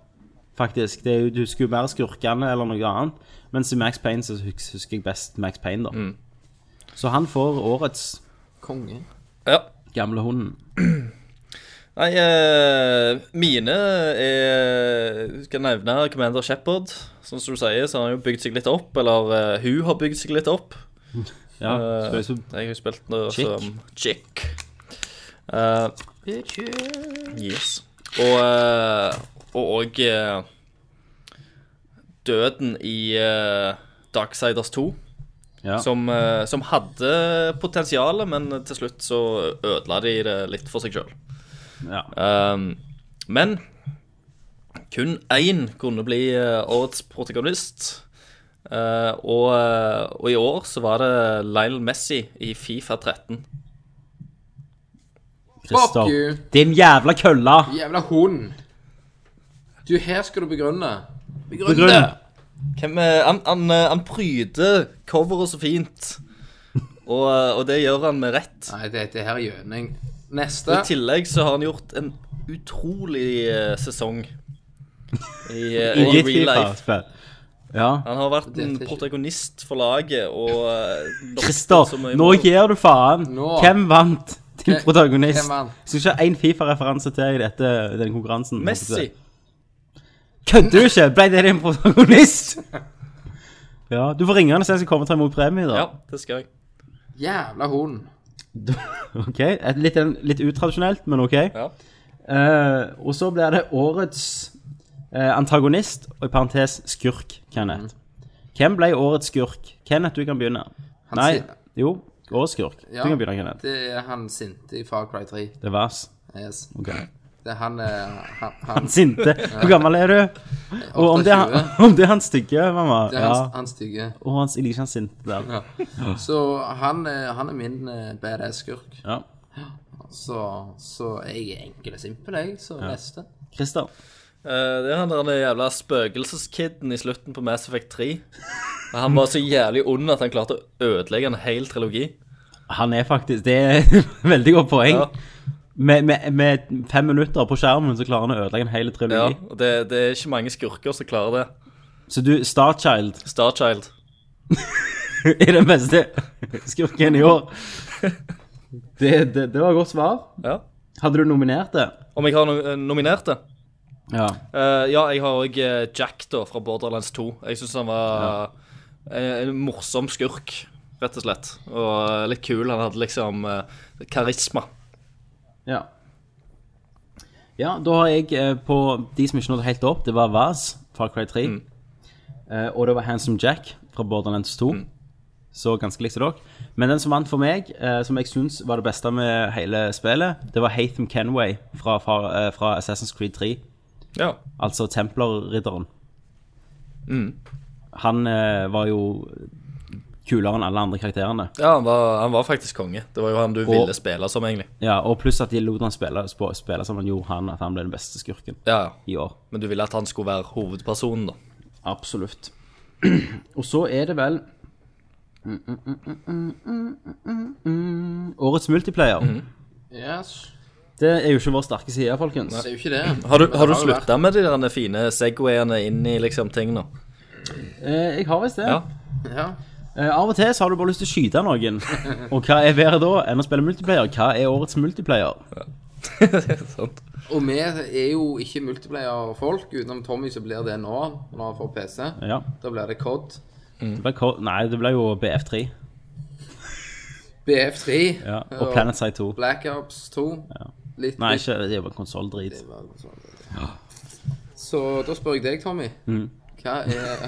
[SPEAKER 1] Faktisk. Det er, jo- du husker jo mer skurkene eller noe annet. Mens i Max Payne så hus- husker jeg best Max Payne, da.
[SPEAKER 2] Mm.
[SPEAKER 1] Så han får årets
[SPEAKER 2] Konge.
[SPEAKER 3] Ja.
[SPEAKER 1] gamle hunden.
[SPEAKER 3] Nei, eh, mine er jeg Skal nevne Commander Shepherd. Sånn som du sier, så har han jo bygd seg litt opp. Eller eh, hun har bygd seg litt opp.
[SPEAKER 1] Ja,
[SPEAKER 3] Eh,
[SPEAKER 1] så jeg så
[SPEAKER 3] Jeg har jo spilt noe
[SPEAKER 1] Chick.
[SPEAKER 3] som Chick. Eh, yes. Og eh, Og og, eh, Døden i eh, Darksiders 2.
[SPEAKER 1] ja.
[SPEAKER 3] Som, eh, som hadde potensial, men til slutt så ødela de det litt for seg sjøl.
[SPEAKER 1] ja.
[SPEAKER 3] Um, men kun én kunne bli eh, årets protagonist. Eh, og, eh, og i år så var det Lionel Messi i Fifa 13.
[SPEAKER 1] Christer.
[SPEAKER 2] Fuck you.
[SPEAKER 1] Din jævla kølla!
[SPEAKER 2] Jævla hund. Du, her skal du begrunne. Begrunn
[SPEAKER 1] Begrunn.
[SPEAKER 2] det!
[SPEAKER 3] Hvem, eh, han, han, eh, han pryder coveret så fint, og, eh, og det gjør han med rett.
[SPEAKER 2] Nei, dette her er gjøning.
[SPEAKER 3] Og
[SPEAKER 2] Neste.
[SPEAKER 3] I tillegg så har han gjort en utrolig eh, sesong i, eh,
[SPEAKER 1] I
[SPEAKER 3] i
[SPEAKER 1] ditt
[SPEAKER 3] real life.
[SPEAKER 1] FIFA-spill. Ja.
[SPEAKER 3] Han har vært en
[SPEAKER 2] Dette er ikke-
[SPEAKER 3] protagonist for laget og eh, nok
[SPEAKER 1] Christer,
[SPEAKER 3] så mye
[SPEAKER 1] nå
[SPEAKER 3] mål.
[SPEAKER 1] gir du faen.
[SPEAKER 2] Nå.
[SPEAKER 1] Hvem vant til
[SPEAKER 2] Hvem-
[SPEAKER 1] protagonist?
[SPEAKER 2] hvem vant?
[SPEAKER 1] Skal ikke ha én Fifa-referanse til i dette, den konkurransen.
[SPEAKER 3] Messi.
[SPEAKER 1] Kødder du ikke? Ble det din protagonist? Ja, Du får ringe han og se om jeg kommer til å ta imot premie. da
[SPEAKER 3] Ja, det skal jeg.
[SPEAKER 2] Jævla hund.
[SPEAKER 1] Ok, et litt, litt utradisjonelt, men ok.
[SPEAKER 3] Ja.
[SPEAKER 1] Eh, og så blir det årets eh, antagonist, og i parentes skurk, Kenneth.
[SPEAKER 2] Mm.
[SPEAKER 1] Hvem ble årets skurk? Kenneth, du kan begynne. Nei,
[SPEAKER 2] sier-
[SPEAKER 1] jo, årets skurk.
[SPEAKER 2] Ja.
[SPEAKER 1] Du kan begynne, Kenneth.
[SPEAKER 2] Det er han sinte i Far Cry 3.
[SPEAKER 1] Det var ass.
[SPEAKER 2] Yes.
[SPEAKER 1] Ok.
[SPEAKER 2] Det er han eh, Han, han,
[SPEAKER 1] Sinte. Hvor gammel er du? Og om det, er han,
[SPEAKER 2] 28.
[SPEAKER 1] om det er han stygge, mamma.
[SPEAKER 2] Det er
[SPEAKER 1] Ja.
[SPEAKER 2] han, han stygge.
[SPEAKER 1] Og han jeg liker ikke han sinte der.
[SPEAKER 2] Så han, eh, han er min eh, badass-skurk.
[SPEAKER 1] Ja.
[SPEAKER 2] Så, så jeg er enkel og simpel, jeg. Så neste.
[SPEAKER 1] Christer.
[SPEAKER 3] Eh, det er han der jævla spøkelseskiden i slutten på Mass Effect 3. Han var så jævlig ond at han klarte å ødelegge en hel trilogi.
[SPEAKER 1] Han er faktisk Det er et veldig godt poeng.
[SPEAKER 3] Ja.
[SPEAKER 1] Med, med, med fem minutter på skjermen så klarer han å ødelegge en hel
[SPEAKER 3] Ja,
[SPEAKER 1] trilogi.
[SPEAKER 3] og det, det er ikke mange skurker som klarer det.
[SPEAKER 1] Så du, Starchild
[SPEAKER 3] Starchild.
[SPEAKER 1] er den beste skurken i år. Det, det, det var et godt svar.
[SPEAKER 3] Ja.
[SPEAKER 1] Hadde du nominert det?
[SPEAKER 3] Om jeg har no eh, nominert det?
[SPEAKER 1] Ja.
[SPEAKER 3] Eh, ja, jeg har òg Jack da, fra Borderlands 2. Jeg syns han var eh, en morsom skurk, rett og slett. Og eh, litt kul. Han hadde liksom eh, karisma.
[SPEAKER 1] ja. Ja, da har jeg eh, på de som ikke nådde helt opp, det var Vaz fra Cry 3. Eh, og det var Handsome Jack fra Borderlands 2. Så ganske likt som dere. Men den som vant for meg, eh, som jeg syns var det beste med hele spillet, det var Hatham Kenway fra, fra, eh, fra Assassin's Creed 3.
[SPEAKER 3] Ja.
[SPEAKER 1] Altså Templer-ridderen. Mm. Han eh, var jo kulere enn alle andre karakterene.
[SPEAKER 3] Ja, han var, han var faktisk konge. Det var jo han du ville spille som, egentlig.
[SPEAKER 1] Ja, Og pluss at de lot han spille, sp- spille som han gjorde, han, at han ble den beste skurken
[SPEAKER 3] Ja, ja.
[SPEAKER 1] i år.
[SPEAKER 3] Men du ville at han skulle være hovedpersonen, da.
[SPEAKER 1] Absolutt. Og så er det vel Mm, mm, mm, mm, mm, mm, mm, mm. Årets multiplayer.
[SPEAKER 2] Yes.
[SPEAKER 1] Det er jo ikke vår sterke side, folkens.
[SPEAKER 2] Det er jo ikke det.
[SPEAKER 3] Har du, har du
[SPEAKER 2] Det jo vært-
[SPEAKER 3] slutta med de der fine segwayene inn i liksom ting nå?
[SPEAKER 1] Eh, jeg har visst det.
[SPEAKER 3] Ja.
[SPEAKER 2] Ja.
[SPEAKER 1] Eh, av og til så har du bare lyst til å skyte noen. Og hva er bedre da enn å spille multiplayer? Hva er årets multiplayer?
[SPEAKER 3] Sant.
[SPEAKER 2] Og vi er jo ikke multiplayer-folk. Utenom Tommy, så blir det nå, når han får PC.
[SPEAKER 1] Ja,
[SPEAKER 2] Da blir det COD.
[SPEAKER 1] det ble, ko- Nei, det ble jo BF3
[SPEAKER 2] BF3
[SPEAKER 1] ja. og PlanetSide 2.
[SPEAKER 2] Black Ops 2. Litt
[SPEAKER 1] Nei, ikke, det var konsolldrit.
[SPEAKER 2] Så da spør jeg deg, Tommy.
[SPEAKER 1] Mm.
[SPEAKER 2] Hva er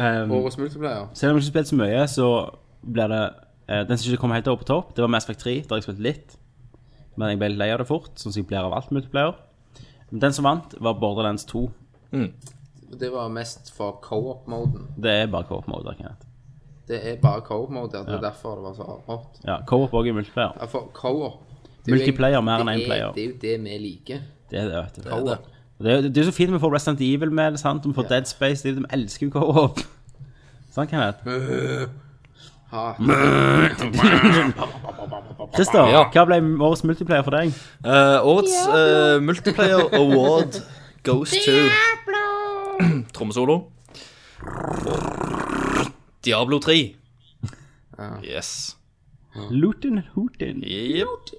[SPEAKER 1] Um,
[SPEAKER 2] årets multiplayer?
[SPEAKER 1] selv om jeg ikke har spilt så mye, så blir det eh, Den som ikke kom helt opp på topp, det var Mass Effect 3, der jeg spilte litt. Men jeg ble litt lei av det fort, sånn som jeg blir av alt multiplayer. Men den som vant, var Borderlands 2.
[SPEAKER 2] Det var mest for co-op-moden.
[SPEAKER 1] Det er bare co-op mode. Kenneth.
[SPEAKER 2] Det er bare co-op-mode. Det er derfor det var så hot.
[SPEAKER 1] Ja, co-op også i multiplayer.
[SPEAKER 2] Ja, for co-op det er jo
[SPEAKER 1] Multiplayer mer
[SPEAKER 2] egentlig-
[SPEAKER 1] enn én
[SPEAKER 2] det er-
[SPEAKER 1] player.
[SPEAKER 2] Det er jo det vi liker.
[SPEAKER 1] Det er det, vet du.
[SPEAKER 2] Co-op.
[SPEAKER 1] Og Det er, det er jo så fint vi får Resident Evil med, det, sant? vi får Dead Space, de, de elsker jo co-op. Sant, Kenneth?
[SPEAKER 2] Ha.
[SPEAKER 1] Christer,
[SPEAKER 3] Ja.
[SPEAKER 1] hva ble årets multiplayer for deg?
[SPEAKER 3] Eh, årets eh, Multiplayer Award goes to Trommesolo. Diablo 3. Yes.
[SPEAKER 1] Lutin Hootin.
[SPEAKER 3] Jep.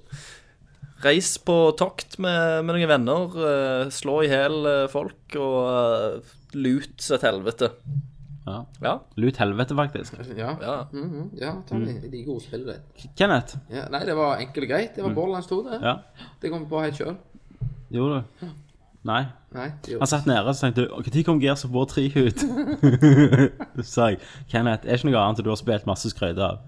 [SPEAKER 3] Reis på tokt med, med noen venner, eh, slå i hjel eh, folk og eh, lut et helvete.
[SPEAKER 1] Ja.
[SPEAKER 3] Ja.
[SPEAKER 1] Lut helvete, faktisk.
[SPEAKER 2] Ja.
[SPEAKER 3] ja.
[SPEAKER 2] Mhm, ja, Tommy.
[SPEAKER 1] Mm.
[SPEAKER 2] Jeg liker ordspillet ditt.
[SPEAKER 1] Kenneth?
[SPEAKER 2] Ja, nei, det var enkelt og greit. Det var Borderlands 2, det.
[SPEAKER 1] Mm. Ja.
[SPEAKER 2] Det kom vi på helt sjøl.
[SPEAKER 1] Gjorde du? Nei.
[SPEAKER 2] Nei. det gjorde-
[SPEAKER 1] Han satt nede og så tenkte Når kom Gears of War 3 ut? Så sa jeg Kenneth, er ikke noe annet du har spilt masse skrøyt av?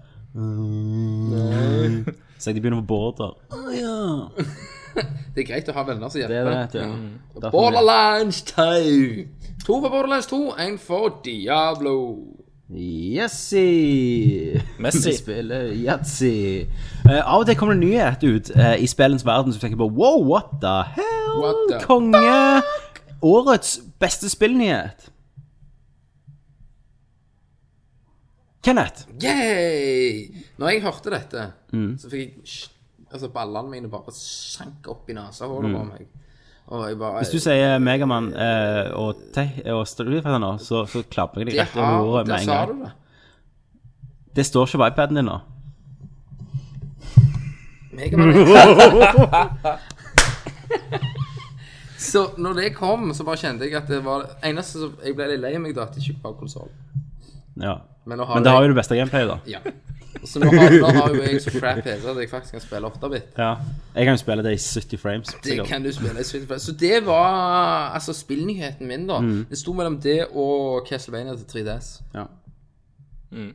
[SPEAKER 1] Så jeg de begynner på border. Å ja.
[SPEAKER 2] Det er greit å ha venner som
[SPEAKER 1] Det er det,
[SPEAKER 2] hjelper.
[SPEAKER 1] vet du. Mm. Derfor-
[SPEAKER 2] Borderlands 2! To for Borderlands 2, én for Diablo.
[SPEAKER 1] Yatzy!
[SPEAKER 3] Messi.
[SPEAKER 1] Vi spiller yatzy. Eh, av og til kommer det nyhet ut eh, i spillens verden som tenker på Wow, what the hell?
[SPEAKER 2] What the
[SPEAKER 1] Konge! Årets beste spillnyhet. Kenneth.
[SPEAKER 2] Yay! Når jeg hørte dette,
[SPEAKER 1] Mm.
[SPEAKER 2] så fikk jeg sj- Altså, ballene mine bare sank opp i nesehullet på meg. Og jeg bare
[SPEAKER 1] Mm. Hvis du sier Megamann eh, og, te- og Street Fighter nå, så, så klapper jeg deg
[SPEAKER 2] det
[SPEAKER 1] rett
[SPEAKER 2] har,
[SPEAKER 1] over hodet
[SPEAKER 2] Der
[SPEAKER 1] med en
[SPEAKER 2] sa
[SPEAKER 1] gang.
[SPEAKER 2] du det.
[SPEAKER 1] Det står ikke på iPaden din nå.
[SPEAKER 2] Megaman. så når det kom, så bare kjente jeg at det var eneste som Jeg ble litt lei meg da at jeg ikke var konsoll.
[SPEAKER 1] Ja.
[SPEAKER 2] Men nå har
[SPEAKER 1] Men det
[SPEAKER 2] jeg-
[SPEAKER 1] har jo det beste gameplayet, da.
[SPEAKER 2] Ja. Så nå har, nå har jo jeg så crap PC at jeg faktisk kan spille 8-bit.
[SPEAKER 1] Ja. Jeg kan jo spille det i 70 frames.
[SPEAKER 2] Det
[SPEAKER 1] sikkert.
[SPEAKER 2] kan du spille i Street Fighter. Så det var altså spillnyheten min, da.
[SPEAKER 1] Mm.
[SPEAKER 2] Det sto mellom det og Castlevania til 3DS.
[SPEAKER 1] Ja.
[SPEAKER 3] Vil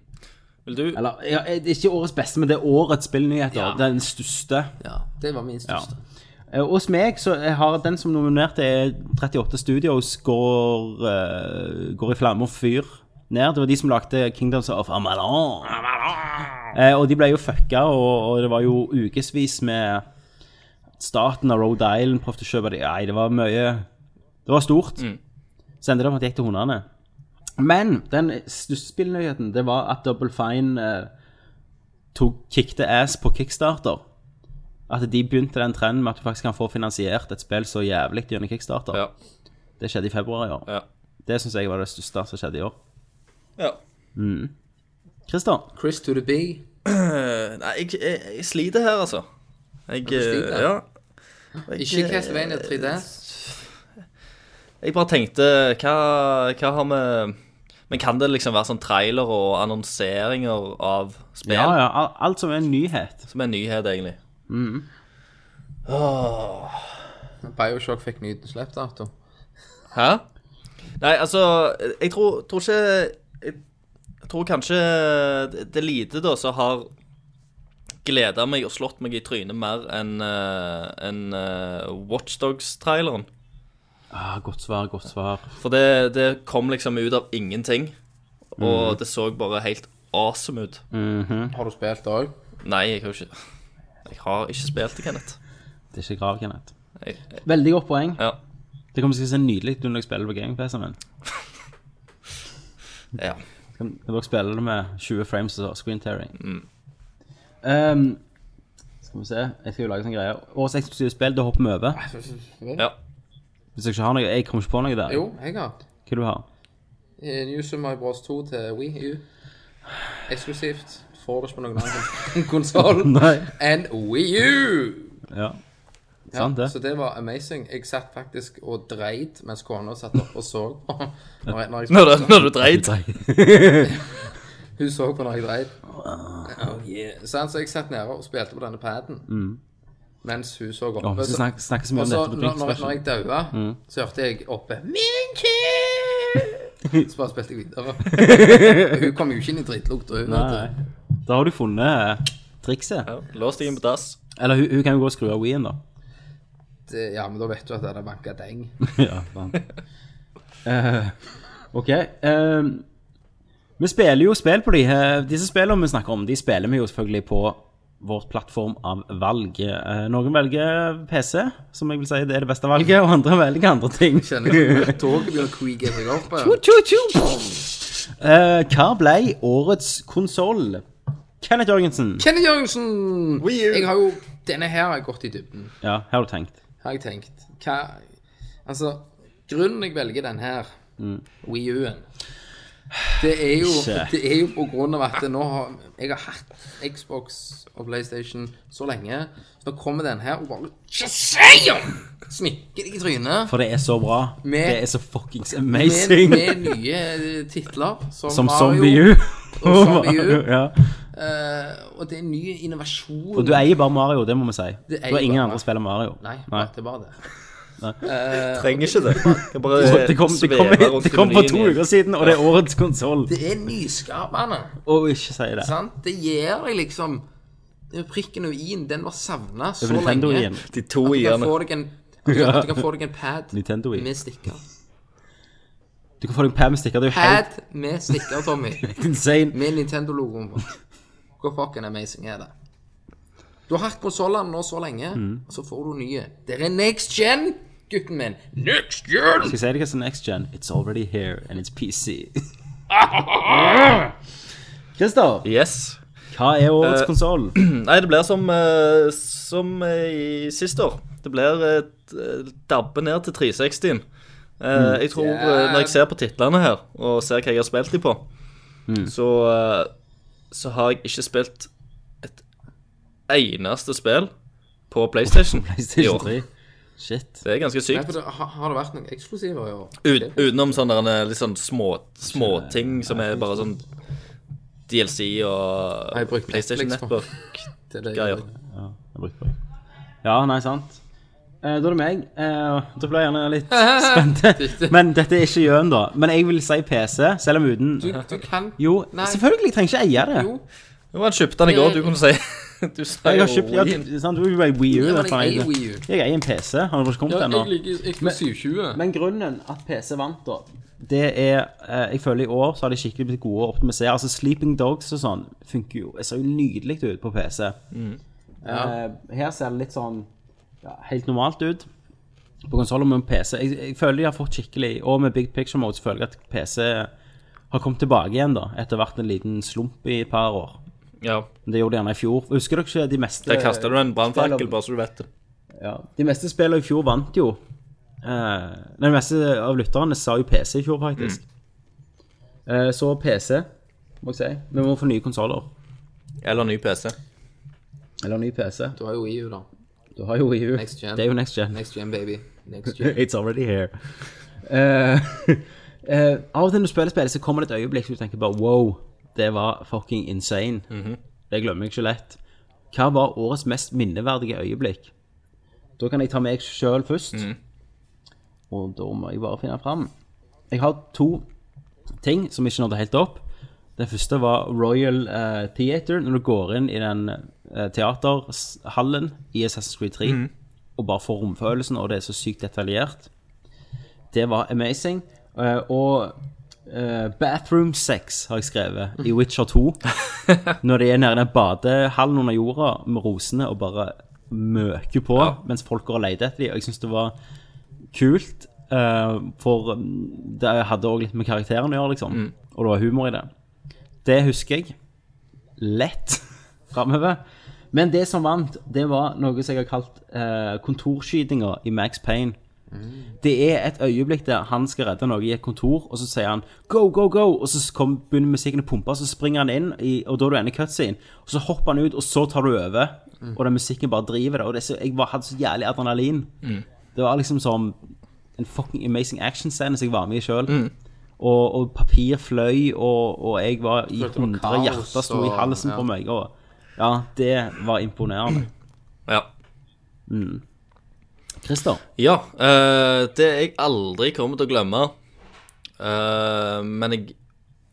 [SPEAKER 3] du
[SPEAKER 1] Eller ja, det er ikke årets beste, men det er årets spillnyheter.
[SPEAKER 2] Ja.
[SPEAKER 1] Det er Den største.
[SPEAKER 2] Ja, det var min største.
[SPEAKER 1] Eh, Hos meg så jeg har den som nominerte er 38 Studios går, eh, går i flamme og fyr ned. Det var de som lagde Kingdoms of Amalon. Eh, og de ble jo fucka, og, og det var jo ukevis med Staten av Rhode Island prøvde å kjøpe de. Nei, det var mye Det var stort.
[SPEAKER 3] Mm.
[SPEAKER 1] Så endte det med at det gikk til hundene. Men den største spillnyheten, det var at Double Fine eh, tok kicked ass på kickstarter. At de begynte den trenden med at du faktisk kan få finansiert et spill så jævlig gjennom Kickstarter.
[SPEAKER 3] Ja.
[SPEAKER 1] Det skjedde i februar i år.
[SPEAKER 3] Ja.
[SPEAKER 1] Det syns jeg var det største som skjedde i år.
[SPEAKER 3] ja.
[SPEAKER 1] Christer,
[SPEAKER 2] Chris to the B.
[SPEAKER 3] Eh, Nei, jeg, jeg, jeg sliter her, altså. Jeg,
[SPEAKER 2] sliter?
[SPEAKER 3] eh, ja. Jeg,
[SPEAKER 2] Ikke
[SPEAKER 3] eh,
[SPEAKER 2] Castlevania til 3DS.
[SPEAKER 3] Jeg bare tenkte Hva, hva har vi Men kan det liksom være sånn trailer og annonseringer av spill
[SPEAKER 1] ja, ja, al- alt som er en nyhet.
[SPEAKER 3] som er en nyhet, egentlig?
[SPEAKER 2] Bioshock fikk ny slippdato.
[SPEAKER 3] Hæ? Nei, altså, jeg tror, tror ikke Jeg tror kanskje det det er lite da som har gleda meg og slått meg i trynet mer enn eh, Watchdogs-traileren.
[SPEAKER 1] Ah, godt svar, godt svar.
[SPEAKER 3] For det, det kom liksom ut av ingenting,
[SPEAKER 1] Mhm.
[SPEAKER 3] og det så bare helt awesome ut.
[SPEAKER 2] Har du spilt òg?
[SPEAKER 3] Nei, jeg har jo ikke Jeg har ikke spilt det, Kenneth.
[SPEAKER 1] Det er ikke grav, Kenneth.
[SPEAKER 3] Jeg,
[SPEAKER 1] Veldig godt poeng.
[SPEAKER 3] ja.
[SPEAKER 1] Det kommer til å se nydelig ut når jeg spiller på gamepacen min.
[SPEAKER 3] ja.
[SPEAKER 1] Kan, kan dere spille det med 20 frames og så screen tearing?
[SPEAKER 2] Mm.
[SPEAKER 1] Ehm, skal vi se Jeg skal jo lage sånn greie. Årets eksklusive spill, da hopper vi over.
[SPEAKER 3] ja.
[SPEAKER 1] Hvis jeg ikke har noe Jeg kommer ikke på noe der.
[SPEAKER 2] Jo, jeg har.
[SPEAKER 1] Hva du har
[SPEAKER 2] Eh, New Super Mario Bros. 2 til Wii U. Eksklusivt. Får det ikke på noen annen konsoll.
[SPEAKER 1] Nei.
[SPEAKER 2] And Wii U!
[SPEAKER 1] Ja.
[SPEAKER 2] Ja,
[SPEAKER 1] Sant, det.
[SPEAKER 2] Så det var amazing. Jeg satt faktisk og dreit mens kona satt opp og så på. Når jeg, når jeg,
[SPEAKER 3] Når, du- når du dreit.
[SPEAKER 2] hun så på når jeg dreit.
[SPEAKER 1] Ah.
[SPEAKER 2] Oh, yeah. Sånn, så jeg satt nede og spilte på denne paden
[SPEAKER 1] Mm.
[SPEAKER 2] mens hun så oppe.
[SPEAKER 1] Å, vi skal
[SPEAKER 2] Så-
[SPEAKER 1] snakke, snakke så mye
[SPEAKER 2] Og
[SPEAKER 1] om
[SPEAKER 2] så
[SPEAKER 1] dette på
[SPEAKER 2] når, når, når jeg
[SPEAKER 1] Blink-spørsmål.
[SPEAKER 2] daua,
[SPEAKER 1] Mm.
[SPEAKER 2] så hørte jeg oppe Minky! Så bare spilte jeg videre. hun kom jo ikke inn i drittlukt. Og hun
[SPEAKER 1] Nei. Da har du funnet eh, trikset.
[SPEAKER 3] Ja. Lås deg inn på dass.
[SPEAKER 1] Eller hun, hun kan jo gå og skru av Wien, da.
[SPEAKER 2] Det, ja, men da vet du at det hadde banka deng.
[SPEAKER 1] ja, sant. Eh, ok. eh, vi spiller jo spill på de her. Disse spillene vi snakker om, de spiller vi jo selvfølgelig på vår plattform av valg. Eh, noen velger PC, som jeg vil si det er det beste valget, og andre velger andre ting.
[SPEAKER 2] Kjenner du at toget begynner å kvige seg opp? ja.
[SPEAKER 1] Eh, hva ble årets konsoll? Kenneth Jørgensen.
[SPEAKER 2] Kenny Jørgensen! Jeg har jo Denne her har jeg gått i dybden,
[SPEAKER 1] Ja, her har du tenkt.
[SPEAKER 2] har jeg tenkt. Hva Altså, grunnen jeg velger den her, Wii U-en det er, jo,
[SPEAKER 1] Mm. Ikke.
[SPEAKER 2] det er jo på grunn av at nå har jeg har hatt Xbox og PlayStation så lenge. Så nå kommer den her og bare Shazam! Smikker deg i trynet
[SPEAKER 1] For det er så bra.
[SPEAKER 2] Med-
[SPEAKER 1] det er så fuckings
[SPEAKER 2] med,
[SPEAKER 1] amazing.
[SPEAKER 2] med nye eh, titler som,
[SPEAKER 1] som
[SPEAKER 2] Mario,
[SPEAKER 1] Zombie U.
[SPEAKER 2] og Zombie U.
[SPEAKER 1] ja.
[SPEAKER 2] eh, og det er ny innovasjon.
[SPEAKER 1] Og du eier bare Mario, det må vi si. Du
[SPEAKER 2] eier
[SPEAKER 1] har ingen
[SPEAKER 2] bare
[SPEAKER 1] andre som spiller Mario.
[SPEAKER 2] Nei,
[SPEAKER 1] Nei.
[SPEAKER 2] det var det.
[SPEAKER 3] Trenger ikke det. Det, bare
[SPEAKER 1] Det kom, det, kom,
[SPEAKER 3] svever rundt
[SPEAKER 1] det
[SPEAKER 3] i
[SPEAKER 1] kom for
[SPEAKER 3] menyen
[SPEAKER 1] to
[SPEAKER 3] igjen.
[SPEAKER 1] uker siden, og det er årets konsoll.
[SPEAKER 2] Det er nyskapende.
[SPEAKER 1] Å, ikke si det.
[SPEAKER 2] Sant? Det gir deg liksom det er Prikken over i-en, den var savna så
[SPEAKER 1] Det er Nintendo
[SPEAKER 2] lenge.
[SPEAKER 1] igjen.
[SPEAKER 3] De to
[SPEAKER 2] At du kan
[SPEAKER 3] i-ene.
[SPEAKER 2] få deg en at du, at du kan få deg en pad
[SPEAKER 1] Nintendo i.
[SPEAKER 2] med stikker.
[SPEAKER 1] Du kan få deg en pad med stikker. Det er jo helt
[SPEAKER 2] Pad med stikker, Tommy.
[SPEAKER 1] insane.
[SPEAKER 2] Med Nintendo-logoen på. Hvor fucking amazing er det? Du har hatt konsollene nå så lenge,
[SPEAKER 1] Mm.
[SPEAKER 2] og så får du nye. Det er next gen, gutten min. Next gen!
[SPEAKER 1] Skal jeg si det hva som er next gen? It's already here, and it's PC. Christer,
[SPEAKER 3] Yes.
[SPEAKER 1] hva er årets
[SPEAKER 3] Eh,
[SPEAKER 1] konsoll?
[SPEAKER 3] Nei, det blir som, eh, som eh, i siste år. Det blir eh, d- dabbe ned til 360-en. Eh, jeg tror, eh, når jeg ser på titlene her, og ser hva jeg har spilt de på, så, eh, så har jeg ikke spilt et eneste spill på PlayStation, i
[SPEAKER 1] PlayStation
[SPEAKER 3] år.
[SPEAKER 1] 3. Shit.
[SPEAKER 3] Det er ganske
[SPEAKER 2] Nei,
[SPEAKER 3] sykt.
[SPEAKER 2] for det, har, har det vært noen eksklusiver i år?
[SPEAKER 3] Ut, utenom sånne der, eh, litt sånn små- småting som er bare sånn DLC og
[SPEAKER 2] Har jeg brukt
[SPEAKER 3] PlayStation
[SPEAKER 2] Netflix på?
[SPEAKER 3] Network.
[SPEAKER 2] Det er det jeg-
[SPEAKER 3] Greier.
[SPEAKER 1] Jeg brukte på det. Ja, nei, sant. Eh, da er det meg. Eh, da ble jeg gjerne litt spent. Men dette er ikke gjøn, da. Men jeg vil si PC, selv om uten
[SPEAKER 2] Du, du kan
[SPEAKER 1] Jo,
[SPEAKER 2] Nei.
[SPEAKER 1] selvfølgelig. Jeg trenger ikke eie det.
[SPEAKER 2] Jo.
[SPEAKER 3] Jo, han kjøpte den i går, du kunne si. Du sa
[SPEAKER 1] Jeg har
[SPEAKER 3] jo
[SPEAKER 1] kjøpt ja,
[SPEAKER 3] Wien.
[SPEAKER 1] sant, Du er jo Wii U.
[SPEAKER 2] Ja, men
[SPEAKER 1] derfor
[SPEAKER 2] jeg
[SPEAKER 1] jeg,
[SPEAKER 2] eier Wii U.
[SPEAKER 1] jeg eier en PC. Han har ikke kommet ennå.
[SPEAKER 2] liker eksklusiv 20.
[SPEAKER 1] Men grunnen at PC vant, da, det er eh, Jeg føler i år så har de skikkelig blitt gode å optimisere. Altså Sleeping Dogs og sånn funker jo ser jo nydelig ut på PC. Eh, her ser det litt sånn ja, helt normalt ut. På konsoller med PC. Jeg, jeg føler de har fått skikkelig Og med Big Picture Mode så føler jeg at PC har kommet tilbake igjen, da. Etter å ha vært en liten slump i et par år.
[SPEAKER 3] Ja,
[SPEAKER 1] Men det gjorde de gjerne i fjor. Husker dere ikke de meste
[SPEAKER 3] der kasta du en brannfakkel,
[SPEAKER 1] spiller-
[SPEAKER 3] bare så du vet det.
[SPEAKER 1] Ja. De meste spillene i fjor vant jo. Eh, de meste av lytterne sa jo PC i fjor, faktisk. Eh, så PC, må jeg si. Vi må få nye konsoller.
[SPEAKER 3] Eller ny PC.
[SPEAKER 1] Eller ny PC.
[SPEAKER 2] Du har jo EU, da.
[SPEAKER 1] Du har jo EU.
[SPEAKER 2] Next gen.
[SPEAKER 1] Det er jo next gen.
[SPEAKER 2] Next gen, baby. Next gen.
[SPEAKER 1] It's already here. Eh, eh, av og til når du spiller spill, så kommer det et øyeblikk hvor du tenker bare wow, det var fucking insane. Det glemmer jeg ikke lett. Hva var årets mest minneverdige øyeblikk? Da kan jeg ta meg sjøl først. Og da må jeg bare finne fram. Jeg har to ting som ikke nådde helt opp. Den første var Royal eh, Theater. Når du går inn i den eh, teaterhallen i Assassin's Creed 3 og bare får romfølelsen, og det er så sykt detaljert. Det var amazing. Eh, og eh, Bathroom Sex har jeg skrevet i Witcher 2. Når de er nede i den badehallen under jorda med rosene og bare møker på mens folk går og leter etter dem. Og jeg syns det var kult, eh, for mm, det hadde òg litt med karakteren å gjøre, liksom. Og det var humor i det. Det husker jeg lett framover. Men det som vant, det var noe som jeg har kalt eh, kontorskytinga i Max Payne. Det er et øyeblikk der han skal redde noe i et kontor, og så sier han 'go, go, go', og så kom, begynner musikken å pumpe, og så springer han inn, i, og da er du enig i cutscene. Og så hopper han ut, og så tar du over,
[SPEAKER 3] Mm.
[SPEAKER 1] og den musikken bare driver det. Og det er så, jeg var, hadde så jævlig adrenalin.
[SPEAKER 3] Mm.
[SPEAKER 1] Det var liksom som en fucking amazing action-scene som jeg var med i sjøl.
[SPEAKER 3] Mm.
[SPEAKER 1] Og, og papir fløy, og, og jeg var i
[SPEAKER 2] Følte det var
[SPEAKER 1] 100
[SPEAKER 2] kaos,
[SPEAKER 1] hjerter sto i
[SPEAKER 2] og-
[SPEAKER 1] halsen
[SPEAKER 2] ja.
[SPEAKER 1] på meg. Og ja, det var imponerende.
[SPEAKER 3] Ja.
[SPEAKER 1] Christer?
[SPEAKER 3] Ja, eh, det jeg aldri kommer til å glemme, eh, men jeg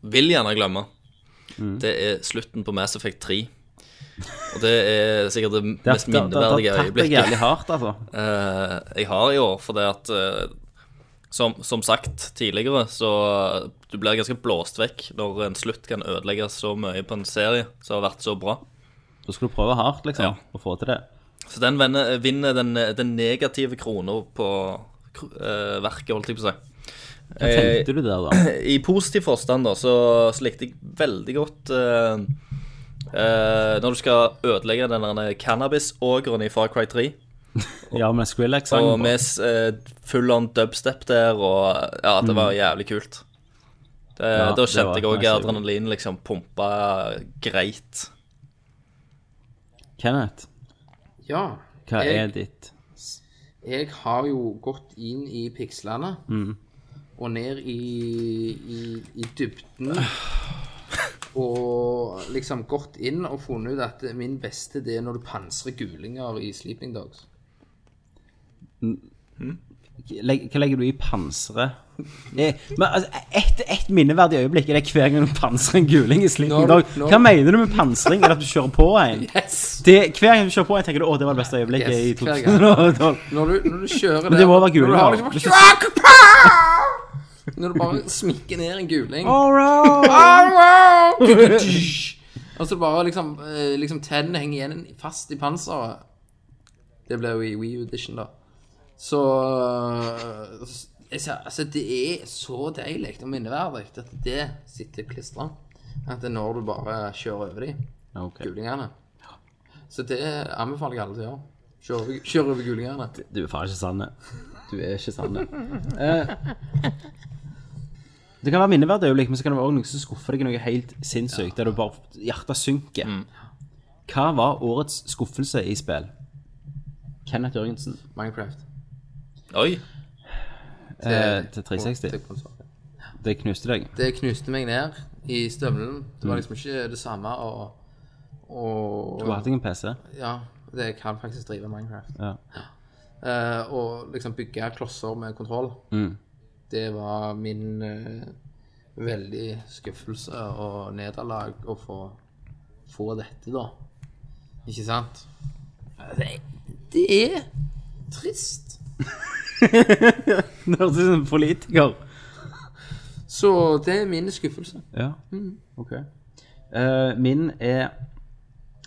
[SPEAKER 3] vil gjerne glemme,
[SPEAKER 1] Mm.
[SPEAKER 3] det er slutten på Mass Effect 3. Og det er sikkert
[SPEAKER 1] Det
[SPEAKER 3] det mest
[SPEAKER 1] har tatt
[SPEAKER 3] minneverdige
[SPEAKER 1] deg
[SPEAKER 3] øyeblikket
[SPEAKER 1] jævlig hardt, altså.
[SPEAKER 3] eh, jeg har i år, fordi at eh, som, som sagt tidligere, så eh, du blir ganske blåst vekk når en slutt kan ødelegge så mye på en serie som har vært så bra.
[SPEAKER 1] Da skal du prøve hardt, liksom,
[SPEAKER 3] Ja.
[SPEAKER 1] å få til det.
[SPEAKER 3] Så den vender, vinner den, den negative krona på eh, verket, holdt jeg på å si.
[SPEAKER 1] Hva
[SPEAKER 3] Eh,
[SPEAKER 1] tenkte du der, da?
[SPEAKER 3] I positiv forstand da, så, så likte jeg veldig godt eh, eh, Når du skal ødelegge den der cannabis-ågeren i Far Cry 3.
[SPEAKER 1] Ja, med
[SPEAKER 3] Og
[SPEAKER 1] Skrillex-sangen?
[SPEAKER 3] med eh, full on dubstep der, og ja, det var jævlig kult.
[SPEAKER 1] Mm.
[SPEAKER 3] Det,
[SPEAKER 1] Ja,
[SPEAKER 3] da
[SPEAKER 1] det
[SPEAKER 3] kjente
[SPEAKER 1] var
[SPEAKER 3] jeg òg
[SPEAKER 1] nice, jeg.
[SPEAKER 3] adrenalin liksom pumpa greit.
[SPEAKER 1] Kenneth,
[SPEAKER 2] Ja.
[SPEAKER 1] hva
[SPEAKER 2] jeg,
[SPEAKER 1] er ditt
[SPEAKER 2] jeg har jo gått inn i pikslene
[SPEAKER 1] Mm.
[SPEAKER 2] og ned i, i, i dybden. Og liksom gått inn og funnet ut at min beste det er når du pansrer gulinger i Sleeping Dogs.
[SPEAKER 1] Legg- Hva legger du i pansre? Eh, Men altså, ett et minneverdig øyeblikk er det hver gang du pansrer en guling i Slinking
[SPEAKER 2] Når-
[SPEAKER 1] Dog.
[SPEAKER 2] når-
[SPEAKER 1] Hva mener du med pansring? Er det at du kjører på en?
[SPEAKER 2] Yes!
[SPEAKER 1] Det, hver gang du kjører på en, tenker du å, det var det beste øyeblikket
[SPEAKER 2] Yes,
[SPEAKER 1] i
[SPEAKER 2] hver gang.
[SPEAKER 1] 2012.
[SPEAKER 2] Når du, når du kjører
[SPEAKER 1] Men det må
[SPEAKER 2] der,
[SPEAKER 1] være guling,
[SPEAKER 2] Når du, har
[SPEAKER 1] da.
[SPEAKER 2] liksom,
[SPEAKER 1] Hvis du-
[SPEAKER 2] når du bare smikker ned en guling
[SPEAKER 1] All right.
[SPEAKER 2] Og så bare liksom, eh, liksom tennene henger igjen fast i panseret. Det ble jo i Wii Edition, da. Så eh, jeg sa, Altså, det er så deilig og minneverdig at det sitter klistra. At det er når du bare kjører over de
[SPEAKER 1] Ok.
[SPEAKER 2] gulingene. Så det anbefaler jeg alle til å gjøre. Kjøre over, kjøre over gulingene.
[SPEAKER 1] Du er faen ikke sann. Du er ikke sann. Eh, det kan være minneverdig øyeblikk, men så kan det være også noe som skuffer deg noe helt sinnssykt, der du bare hjertet synker. Hva var årets skuffelse i spill? Kenneth Jørgensen
[SPEAKER 2] Minecraft.
[SPEAKER 3] Oi.
[SPEAKER 1] eh, til 360.
[SPEAKER 2] Til konsol.
[SPEAKER 1] Det knuste deg.
[SPEAKER 2] det knuste meg ned i støvelen. Det
[SPEAKER 1] Mm.
[SPEAKER 2] var liksom ikke det samme å og,
[SPEAKER 1] Du har hatt deg en PC.
[SPEAKER 2] Ja, det kan faktisk drive Minecraft.
[SPEAKER 1] Ja.
[SPEAKER 2] Eh, og liksom bygge klosser med kontroll.
[SPEAKER 1] Mm.
[SPEAKER 2] Det var min eh, veldig skuffelse og nederlag å få, få dette, da. Ikke sant? Det, det er trist.
[SPEAKER 1] Det høres ut som en politiker.
[SPEAKER 2] Så det er min skuffelse.
[SPEAKER 1] Ja, ok. Eh, min er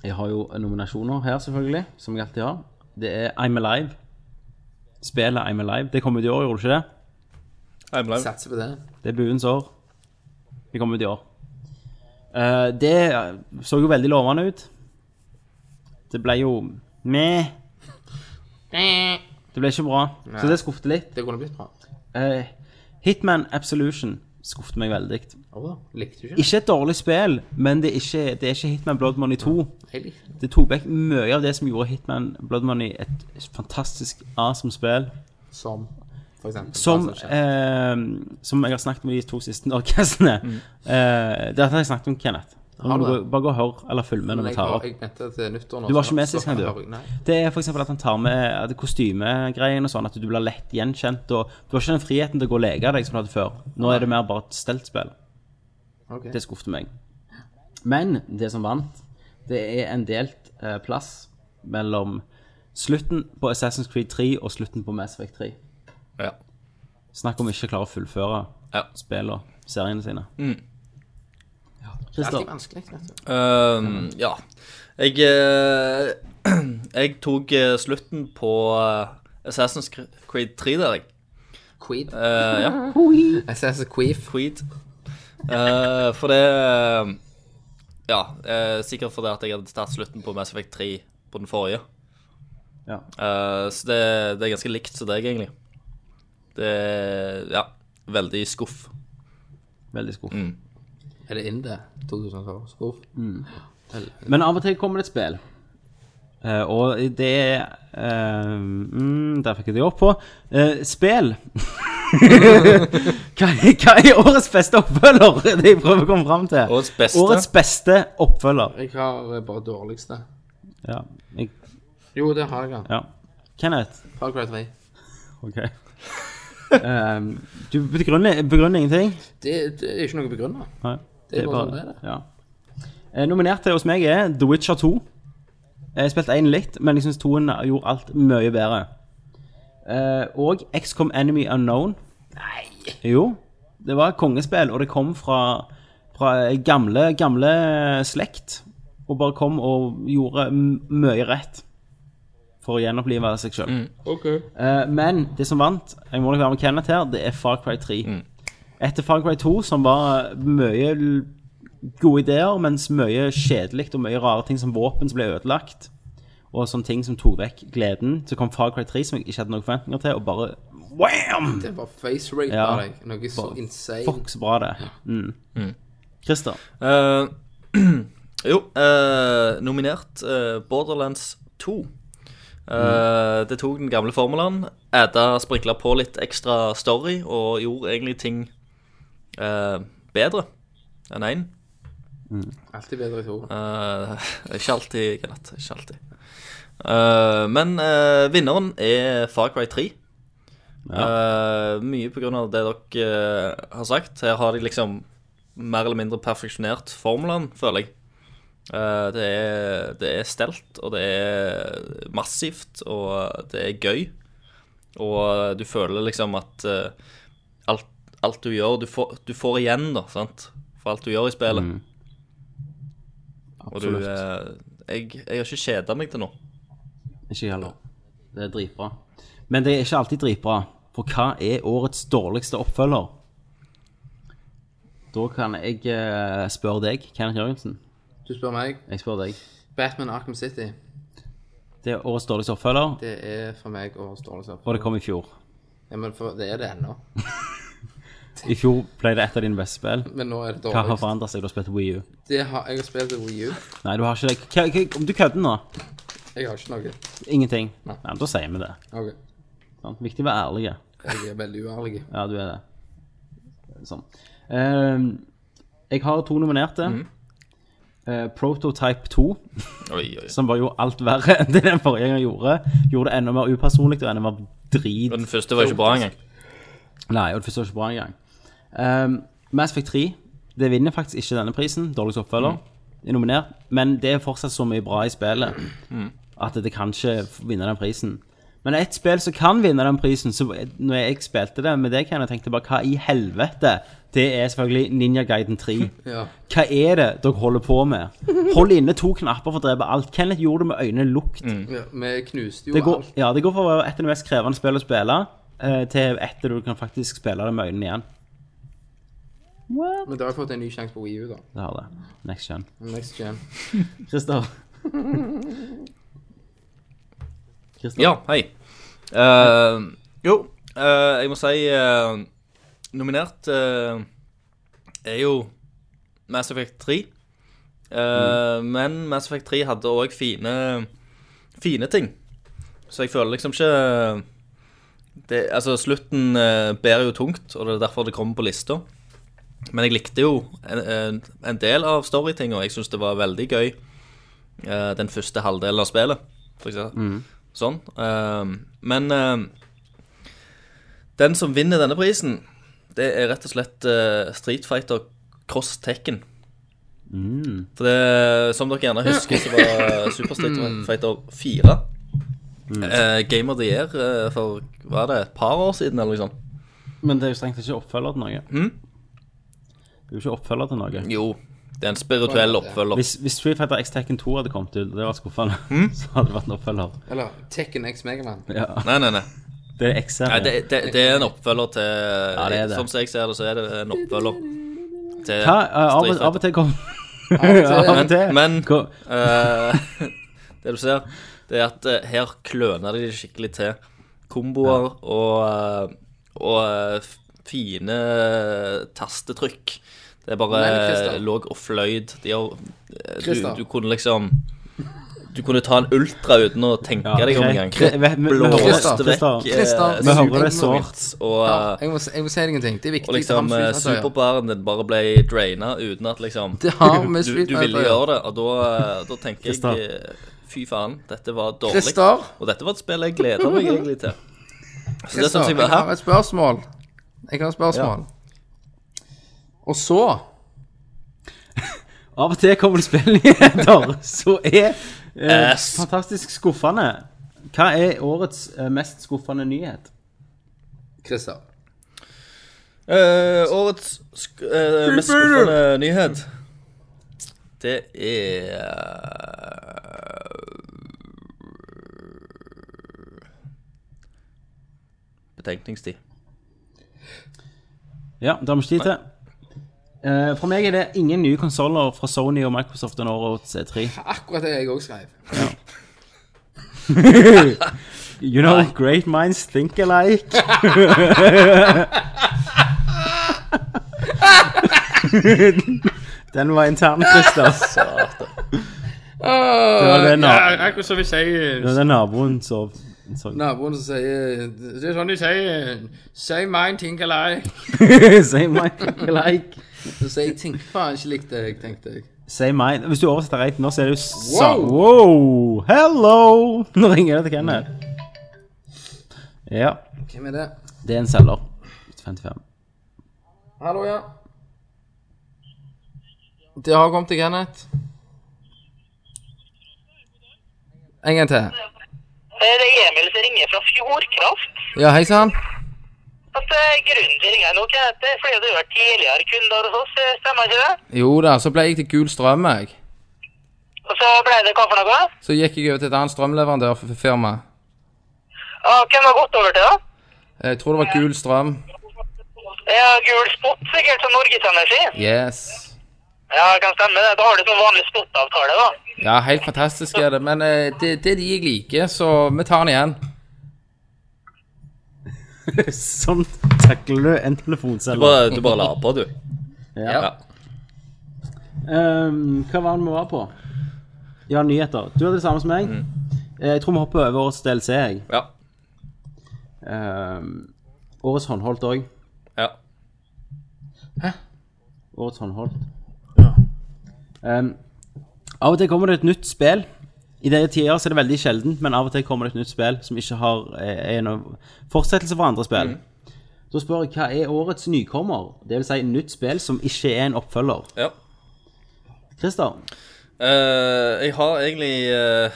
[SPEAKER 1] Jeg har jo nominasjoner her, selvfølgelig, som jeg alltid har. Det er I'm Alive. Spillet I'm Alive. Det kom ut i år, gjorde det ikke det?
[SPEAKER 3] I'm live.
[SPEAKER 2] Satser på det.
[SPEAKER 1] Det er buens år. Det kom ut i år. Eh, det så jo veldig lovende ut. Det ble jo meh. Det ble ikke bra, så det skuffet litt.
[SPEAKER 2] Det kunne blitt bra.
[SPEAKER 1] Eh, Hitman Absolution skuffet meg veldig.
[SPEAKER 2] Å, likte du ikke?
[SPEAKER 1] Ikke et dårlig spill, men det er ikke, det er ikke Hitman Blood Money 2.
[SPEAKER 2] Jeg likte det.
[SPEAKER 1] Det tok vekk mye av det som gjorde Hitman Blood Money et fantastisk awesome spill.
[SPEAKER 2] Som for eksempel.
[SPEAKER 1] Som, ehm,
[SPEAKER 2] Bare sånn kjent.
[SPEAKER 1] eh, som jeg Mm. har snakket om i de to siste orkestrene. Eh, det har jeg snakket om, Kenneth. Nå må du gå- bare gå og hør, eller følg med når vi
[SPEAKER 2] jeg
[SPEAKER 1] tar
[SPEAKER 2] har
[SPEAKER 1] opp.
[SPEAKER 2] jeg nettet til nyttår nå.
[SPEAKER 1] Du var
[SPEAKER 2] så-
[SPEAKER 1] ikke med
[SPEAKER 2] så
[SPEAKER 1] sist gang,
[SPEAKER 2] har jeg-
[SPEAKER 1] du.
[SPEAKER 2] Nei.
[SPEAKER 1] Det er f.eks. at han tar med at kostymegreien og sånn, at du blir lett gjenkjent. Og du har ikke den friheten til å gå og leke deg som du hadde før. Nå er det mer bare et steltspill.
[SPEAKER 2] Ok.
[SPEAKER 1] Det skuffet meg. Men det som vant, det er en delt eh, plass mellom slutten på Assassin's Creed 3 og slutten på Mass Effect 3.
[SPEAKER 3] Ja.
[SPEAKER 1] Snakk om ikke å klare å fullføre
[SPEAKER 3] Ja.
[SPEAKER 1] spillene, seriene sine.
[SPEAKER 2] Det er
[SPEAKER 1] Christer,
[SPEAKER 2] alltid vanskelig. nettet.
[SPEAKER 1] Eh, Mm.
[SPEAKER 3] Ehm, ja. Jeg eh, Jeg tok eh, slutten på eh, Assassin's Creed 3 der, jeg.
[SPEAKER 2] Queed.
[SPEAKER 3] Eh, ja.
[SPEAKER 2] Jeg ser så queef.
[SPEAKER 3] Creed. Eh, for det eh, Ja, eh, sikkert fordi at jeg hadde tatt slutten på Mass Effect 3 på den forrige.
[SPEAKER 1] Ja.
[SPEAKER 3] Eh, så det, det er ganske likt som deg, egentlig. Det er ja, veldig skuff.
[SPEAKER 1] veldig skuff.
[SPEAKER 2] Er det in det? 2012? Skuff.
[SPEAKER 1] Men av og til kommer det et spill. Eh, og det er eh, mm, Der fikk jeg det opp på. Uh, spill. hva, er- hva er årets beste oppfølger? Det er det jeg prøver å komme fram til.
[SPEAKER 3] Årets beste?
[SPEAKER 1] Årets beste oppfølger.
[SPEAKER 2] Jeg har eh, bare dårligste.
[SPEAKER 1] Ja. Jeg,
[SPEAKER 2] Jo, det har jeg, ja.
[SPEAKER 1] ja. Kenneth.
[SPEAKER 2] Far Cry 3.
[SPEAKER 1] OK. Eh, du begrunner, begrunner ingenting?
[SPEAKER 2] Det, det er ikke noe begrunna.
[SPEAKER 1] Nei.
[SPEAKER 2] Det er bare sånn det er, det.
[SPEAKER 1] Ja. Eh, nominert til hos meg er The Witcher 2. Jeg spilte én litt, men jeg syns toen gjorde alt mye bedre. Eh, og XCOM Enemy Unknown. Nei! Jo. Det var et kongespill, og det kom fra, fra gamle, gamle slekt. Og bare kom og gjorde m- mye rett for å gjenopplive seg sjøl. Eh, men det som vant, jeg må nok være med Kenneth her, det er Far Cry 3. Etter Far Cry 2, som var eh, mye l- gode ideer, mens mye kjedelig og mye rare ting som våpen som ble ødelagt, og sånne ting som tok vekk gleden, så kom Far Cry 3, som jeg ikke hadde noen forventninger til, og bare wham!
[SPEAKER 2] Det var face rape
[SPEAKER 1] Ja.
[SPEAKER 2] av deg. Noe så insane.
[SPEAKER 1] Fuck, så bra det er. Mm. Christer.
[SPEAKER 3] Eh, jo, eh, nominert eh, Borderlands 2. Eh, Det tok den gamle formelen, adda sprinkla på litt ekstra story og gjorde egentlig ting eh, bedre enn én.
[SPEAKER 2] Alltid bedre i to.
[SPEAKER 3] Eh, ikke alltid, Kenneth. Ikke alltid. Eh, men eh, vinneren er Far Cry 3. Eh, mye på grunn av det dere eh, har sagt. Her har de liksom mer eller mindre perfeksjonert formelen, føler jeg. Eh, det, er, det er stelt, og det er massivt, og det er gøy. Og du føler liksom at eh, alt, alt du gjør, du får, du får igjen, da, sant? For alt du gjør i spillet. Og du,
[SPEAKER 1] Absolutt.
[SPEAKER 3] eh, jeg, jeg har ikke kjeda meg til nå.
[SPEAKER 1] Ikke jeg heller. Det er dritbra. Men det er ikke alltid dritbra. For hva er årets dårligste oppfølger? Da kan jeg eh, spørre deg, Kenneth Jørgensen.
[SPEAKER 2] Du spør meg.
[SPEAKER 1] Jeg spør deg.
[SPEAKER 2] Batman Arkham City.
[SPEAKER 1] Det er årets dårligste oppfølger,
[SPEAKER 2] Det er for meg årets dårligste
[SPEAKER 1] og
[SPEAKER 2] oppfølger.
[SPEAKER 1] det kom i fjor.
[SPEAKER 2] Ja, men for, det er det ennå.
[SPEAKER 1] I fjor ble det et av dine beste spill.
[SPEAKER 2] Men nå er det
[SPEAKER 1] Hva har
[SPEAKER 2] dårligst.
[SPEAKER 1] forandret seg? Du har spilt Wii U.
[SPEAKER 2] Det har, jeg har spilt i Wii U.
[SPEAKER 1] Nei, du har ikke det. Hva- hva- Om du kødder nå?
[SPEAKER 2] Jeg har ikke noe.
[SPEAKER 1] Ingenting. Nei, men da sier vi det.
[SPEAKER 2] Ok,
[SPEAKER 1] Sant? Viktig å være ærlige.
[SPEAKER 2] Jeg er veldig uærlig.
[SPEAKER 1] Ja, du er det. Sånn. Ehm, jeg har to nominerte. Eh, Prototype 2.
[SPEAKER 3] Oi, oi.
[SPEAKER 1] som bare gjorde alt verre enn det den forrige gangen gjorde. Gjorde det enda mer upersonlig og enda mer drit.
[SPEAKER 3] Og den første var ikke bra engang.
[SPEAKER 1] Nei, og det forstår ikke bra engang. Um, Mass Effect 3 det vinner faktisk ikke denne prisen. Dårligst oppfølger. Er nominert. Men det er fortsatt så mye bra i spillet at det kan ikke vinne den prisen. Men et spill som kan vinne den prisen, så når jeg spilte det med deg, Ken, jeg tenkte bare hva i helvete? Det er selvfølgelig Ninja Guiden 3.
[SPEAKER 2] Ja.
[SPEAKER 1] Hva er det dere holder på med? Hold inne to knapper for å drepe alt. Kenneth gjorde det med øynene lukt.
[SPEAKER 2] ja. Vi knuste jo
[SPEAKER 1] Det går,
[SPEAKER 2] alt.
[SPEAKER 1] ja, det går fra å være et av de mest krevende spillene å spille, eh, til et der du kan faktisk spille det med øynene igjen.
[SPEAKER 2] Men da har jeg fått en ny sjanse på Wii U, da.
[SPEAKER 1] Det har det. Next gen.
[SPEAKER 2] Next gen.
[SPEAKER 1] Christer. Christer.
[SPEAKER 3] Ja, hei. Eh, jo, eh, jeg må si eh, Nominert eh, er jo Mass Effect 3. Eh, Men Mass Effect 3 hadde òg fine, fine ting. Så jeg føler liksom ikke eh, det, Altså, slutten eh, bærer jo tungt, og det er derfor det kommer på lista. Men jeg likte jo en, en, en del av storytinga. Jeg syns det var veldig gøy eh, den første halvdelen av spillet, for eksempel. Sånn. Eh, men eh, den som vinner denne prisen, det er rett og slett eh, Street Fighter Cross Tekken.
[SPEAKER 1] Mm.
[SPEAKER 3] For det, som dere gjerne husker, så var eh, Super Street Fighter 4
[SPEAKER 1] Mm.
[SPEAKER 3] eh, Game of the Year eh, for hva er det, et par år siden, eller noe sånt.
[SPEAKER 1] Men det er jo strengt ikke oppfølger til noe.
[SPEAKER 3] Mm.
[SPEAKER 1] Det er jo ikke oppfølger til noe.
[SPEAKER 3] Jo, det er en spirituell oppfølger.
[SPEAKER 1] Hvis, hvis Street Fighter X Tekken 2 hadde kommet ut, det var skuffende,
[SPEAKER 3] Mm.
[SPEAKER 1] så hadde det vært en oppfølger.
[SPEAKER 2] Eller Tekken X Megaman.
[SPEAKER 1] Ja.
[SPEAKER 3] Nei, nei, nei.
[SPEAKER 1] Det er X-serien.
[SPEAKER 3] nei det, det, det er en oppfølger til
[SPEAKER 1] det er det.
[SPEAKER 3] Som jeg ser det, så er det en oppfølger til
[SPEAKER 1] Hva? Eh, av,
[SPEAKER 3] Street
[SPEAKER 1] av og
[SPEAKER 3] Fighter.
[SPEAKER 1] til kom Av
[SPEAKER 2] Ja,
[SPEAKER 1] og til.
[SPEAKER 3] Men-
[SPEAKER 1] Ko-
[SPEAKER 3] Eh, det du ser, det er at eh, her kløner de det skikkelig til. Komboer og, eh, og eh, f- fine tastetrykk. Det er
[SPEAKER 2] Nei,
[SPEAKER 3] bare
[SPEAKER 2] men Christer.
[SPEAKER 3] låg og fløyd. De har, eh, du,
[SPEAKER 2] Christer.
[SPEAKER 3] du kunne liksom Du kunne ta en ultra uten å tenke
[SPEAKER 1] Ja,
[SPEAKER 3] deg om
[SPEAKER 1] ok.
[SPEAKER 3] engang.
[SPEAKER 1] Kri- vi- vi- vi
[SPEAKER 3] Blåste
[SPEAKER 2] hører-
[SPEAKER 3] vekk eh,
[SPEAKER 2] Christer.
[SPEAKER 1] Vi hører det
[SPEAKER 2] Superman
[SPEAKER 1] sårt.
[SPEAKER 3] og eh,
[SPEAKER 2] jeg, må, si- jeg må si deg en ting. Det er viktig.
[SPEAKER 3] og liksom
[SPEAKER 2] det har
[SPEAKER 3] eh,
[SPEAKER 2] med Street Fighter å gjøre.
[SPEAKER 3] superbaren din bare ble draina uten at liksom
[SPEAKER 2] Altså, Det har med
[SPEAKER 3] du,
[SPEAKER 2] Street
[SPEAKER 3] du
[SPEAKER 2] Fighter
[SPEAKER 3] ville
[SPEAKER 2] å gjøre.
[SPEAKER 3] gjøre det, og da, eh, da tenker
[SPEAKER 1] Kristian.
[SPEAKER 3] jeg eh, Fy faen, dette var dårlig.
[SPEAKER 2] Christer,
[SPEAKER 3] Og dette var et spill jeg gleder meg egentlig til. Så det
[SPEAKER 2] Christer,
[SPEAKER 3] synes jeg
[SPEAKER 2] jeg
[SPEAKER 3] var
[SPEAKER 2] har
[SPEAKER 3] her.
[SPEAKER 2] et spørsmål. Jeg har et spørsmål. Og så
[SPEAKER 1] Av og til kommer det spillnyheter som er eh,
[SPEAKER 3] Ass.
[SPEAKER 1] fantastisk skuffende. Hva er årets eh, mest skuffende nyhet?
[SPEAKER 2] Christer.
[SPEAKER 3] Eh, årets sk eh, mest skuffende nyhet, det er eh, Betenkningstid.
[SPEAKER 1] Ja, det har vi ikke tid til. Eh, for meg er det ingen nye konsoller fra Sony og Microsoft under årets eh, E3.
[SPEAKER 2] Akkurat det jeg òg skrev.
[SPEAKER 1] You know, great minds think alike. Den var intern, Christer. Det var det,
[SPEAKER 5] Ja,
[SPEAKER 1] na
[SPEAKER 5] akkurat som vi sier.
[SPEAKER 1] det, var det naboen sov. sov.
[SPEAKER 2] Naboen som sier
[SPEAKER 5] Det er sånn de sier. Si mine ting eller ei.
[SPEAKER 1] Say mine alike.
[SPEAKER 2] Så sier jeg tenker faen ikke likt det jeg tenkte. jeg.
[SPEAKER 1] Say mine. Hvis du oversetter rett nå, så er det jo sa...
[SPEAKER 2] Wow.
[SPEAKER 1] Wow! Hello! Nå ringer det til Kenneth. Ja,
[SPEAKER 2] Hvem er det?
[SPEAKER 1] det er en selger. 55.
[SPEAKER 2] Hallo, ja. Det har kommet til Kenneth. En gang til.
[SPEAKER 8] Eh, Det er Emil som ringer fra Fjordkraft.
[SPEAKER 2] Ja, hei sann.
[SPEAKER 8] Altså, grunnen til ringen nok er at det er fordi du har vært tidligere kunder hos oss, eh, stemmer ikke det?
[SPEAKER 2] Jo da, så ble jeg til gul strøm, jeg.
[SPEAKER 8] Og så ble det hva for noe?
[SPEAKER 2] Så gikk jeg over til et annet strømleverandørfirma.
[SPEAKER 8] Ah, hvem har gått over til da?
[SPEAKER 2] Jeg tror det var gul strøm.
[SPEAKER 8] Ja, gul spot sikkert som Norges Energi.
[SPEAKER 2] Yes.
[SPEAKER 8] Ja, det kan stemme det. Da har du sånn vanlig spot-avtale da.
[SPEAKER 2] Ja, helt fantastisk er det. Men eh, det, det er de jeg liker, så vi tar den igjen.
[SPEAKER 1] Sånn takler du en
[SPEAKER 3] Du
[SPEAKER 1] telefonselger.
[SPEAKER 3] bare, du bare la på, du.
[SPEAKER 2] Ja.
[SPEAKER 1] Ehm, hva var det vi var på? Ja, nyheter. Du hadde det samme som meg. Eh, Jeg tror vi hopper over årets DLC, jeg.
[SPEAKER 3] Ja.
[SPEAKER 1] Ehm, årets håndholdt òg.
[SPEAKER 3] ja.
[SPEAKER 1] Årets håndholdt. Ehm, av og til kommer det et nytt spill. I det tider så er det veldig sjeldent, men av og til kommer det et nytt spill som ikke har, eh, er noen fortsettelse for andre spill. Da spør jeg hva er årets nykommer? Det vil si nytt spill som ikke er en oppfølger.
[SPEAKER 3] ja.
[SPEAKER 1] Christer?
[SPEAKER 3] Eh, jeg har egentlig eh,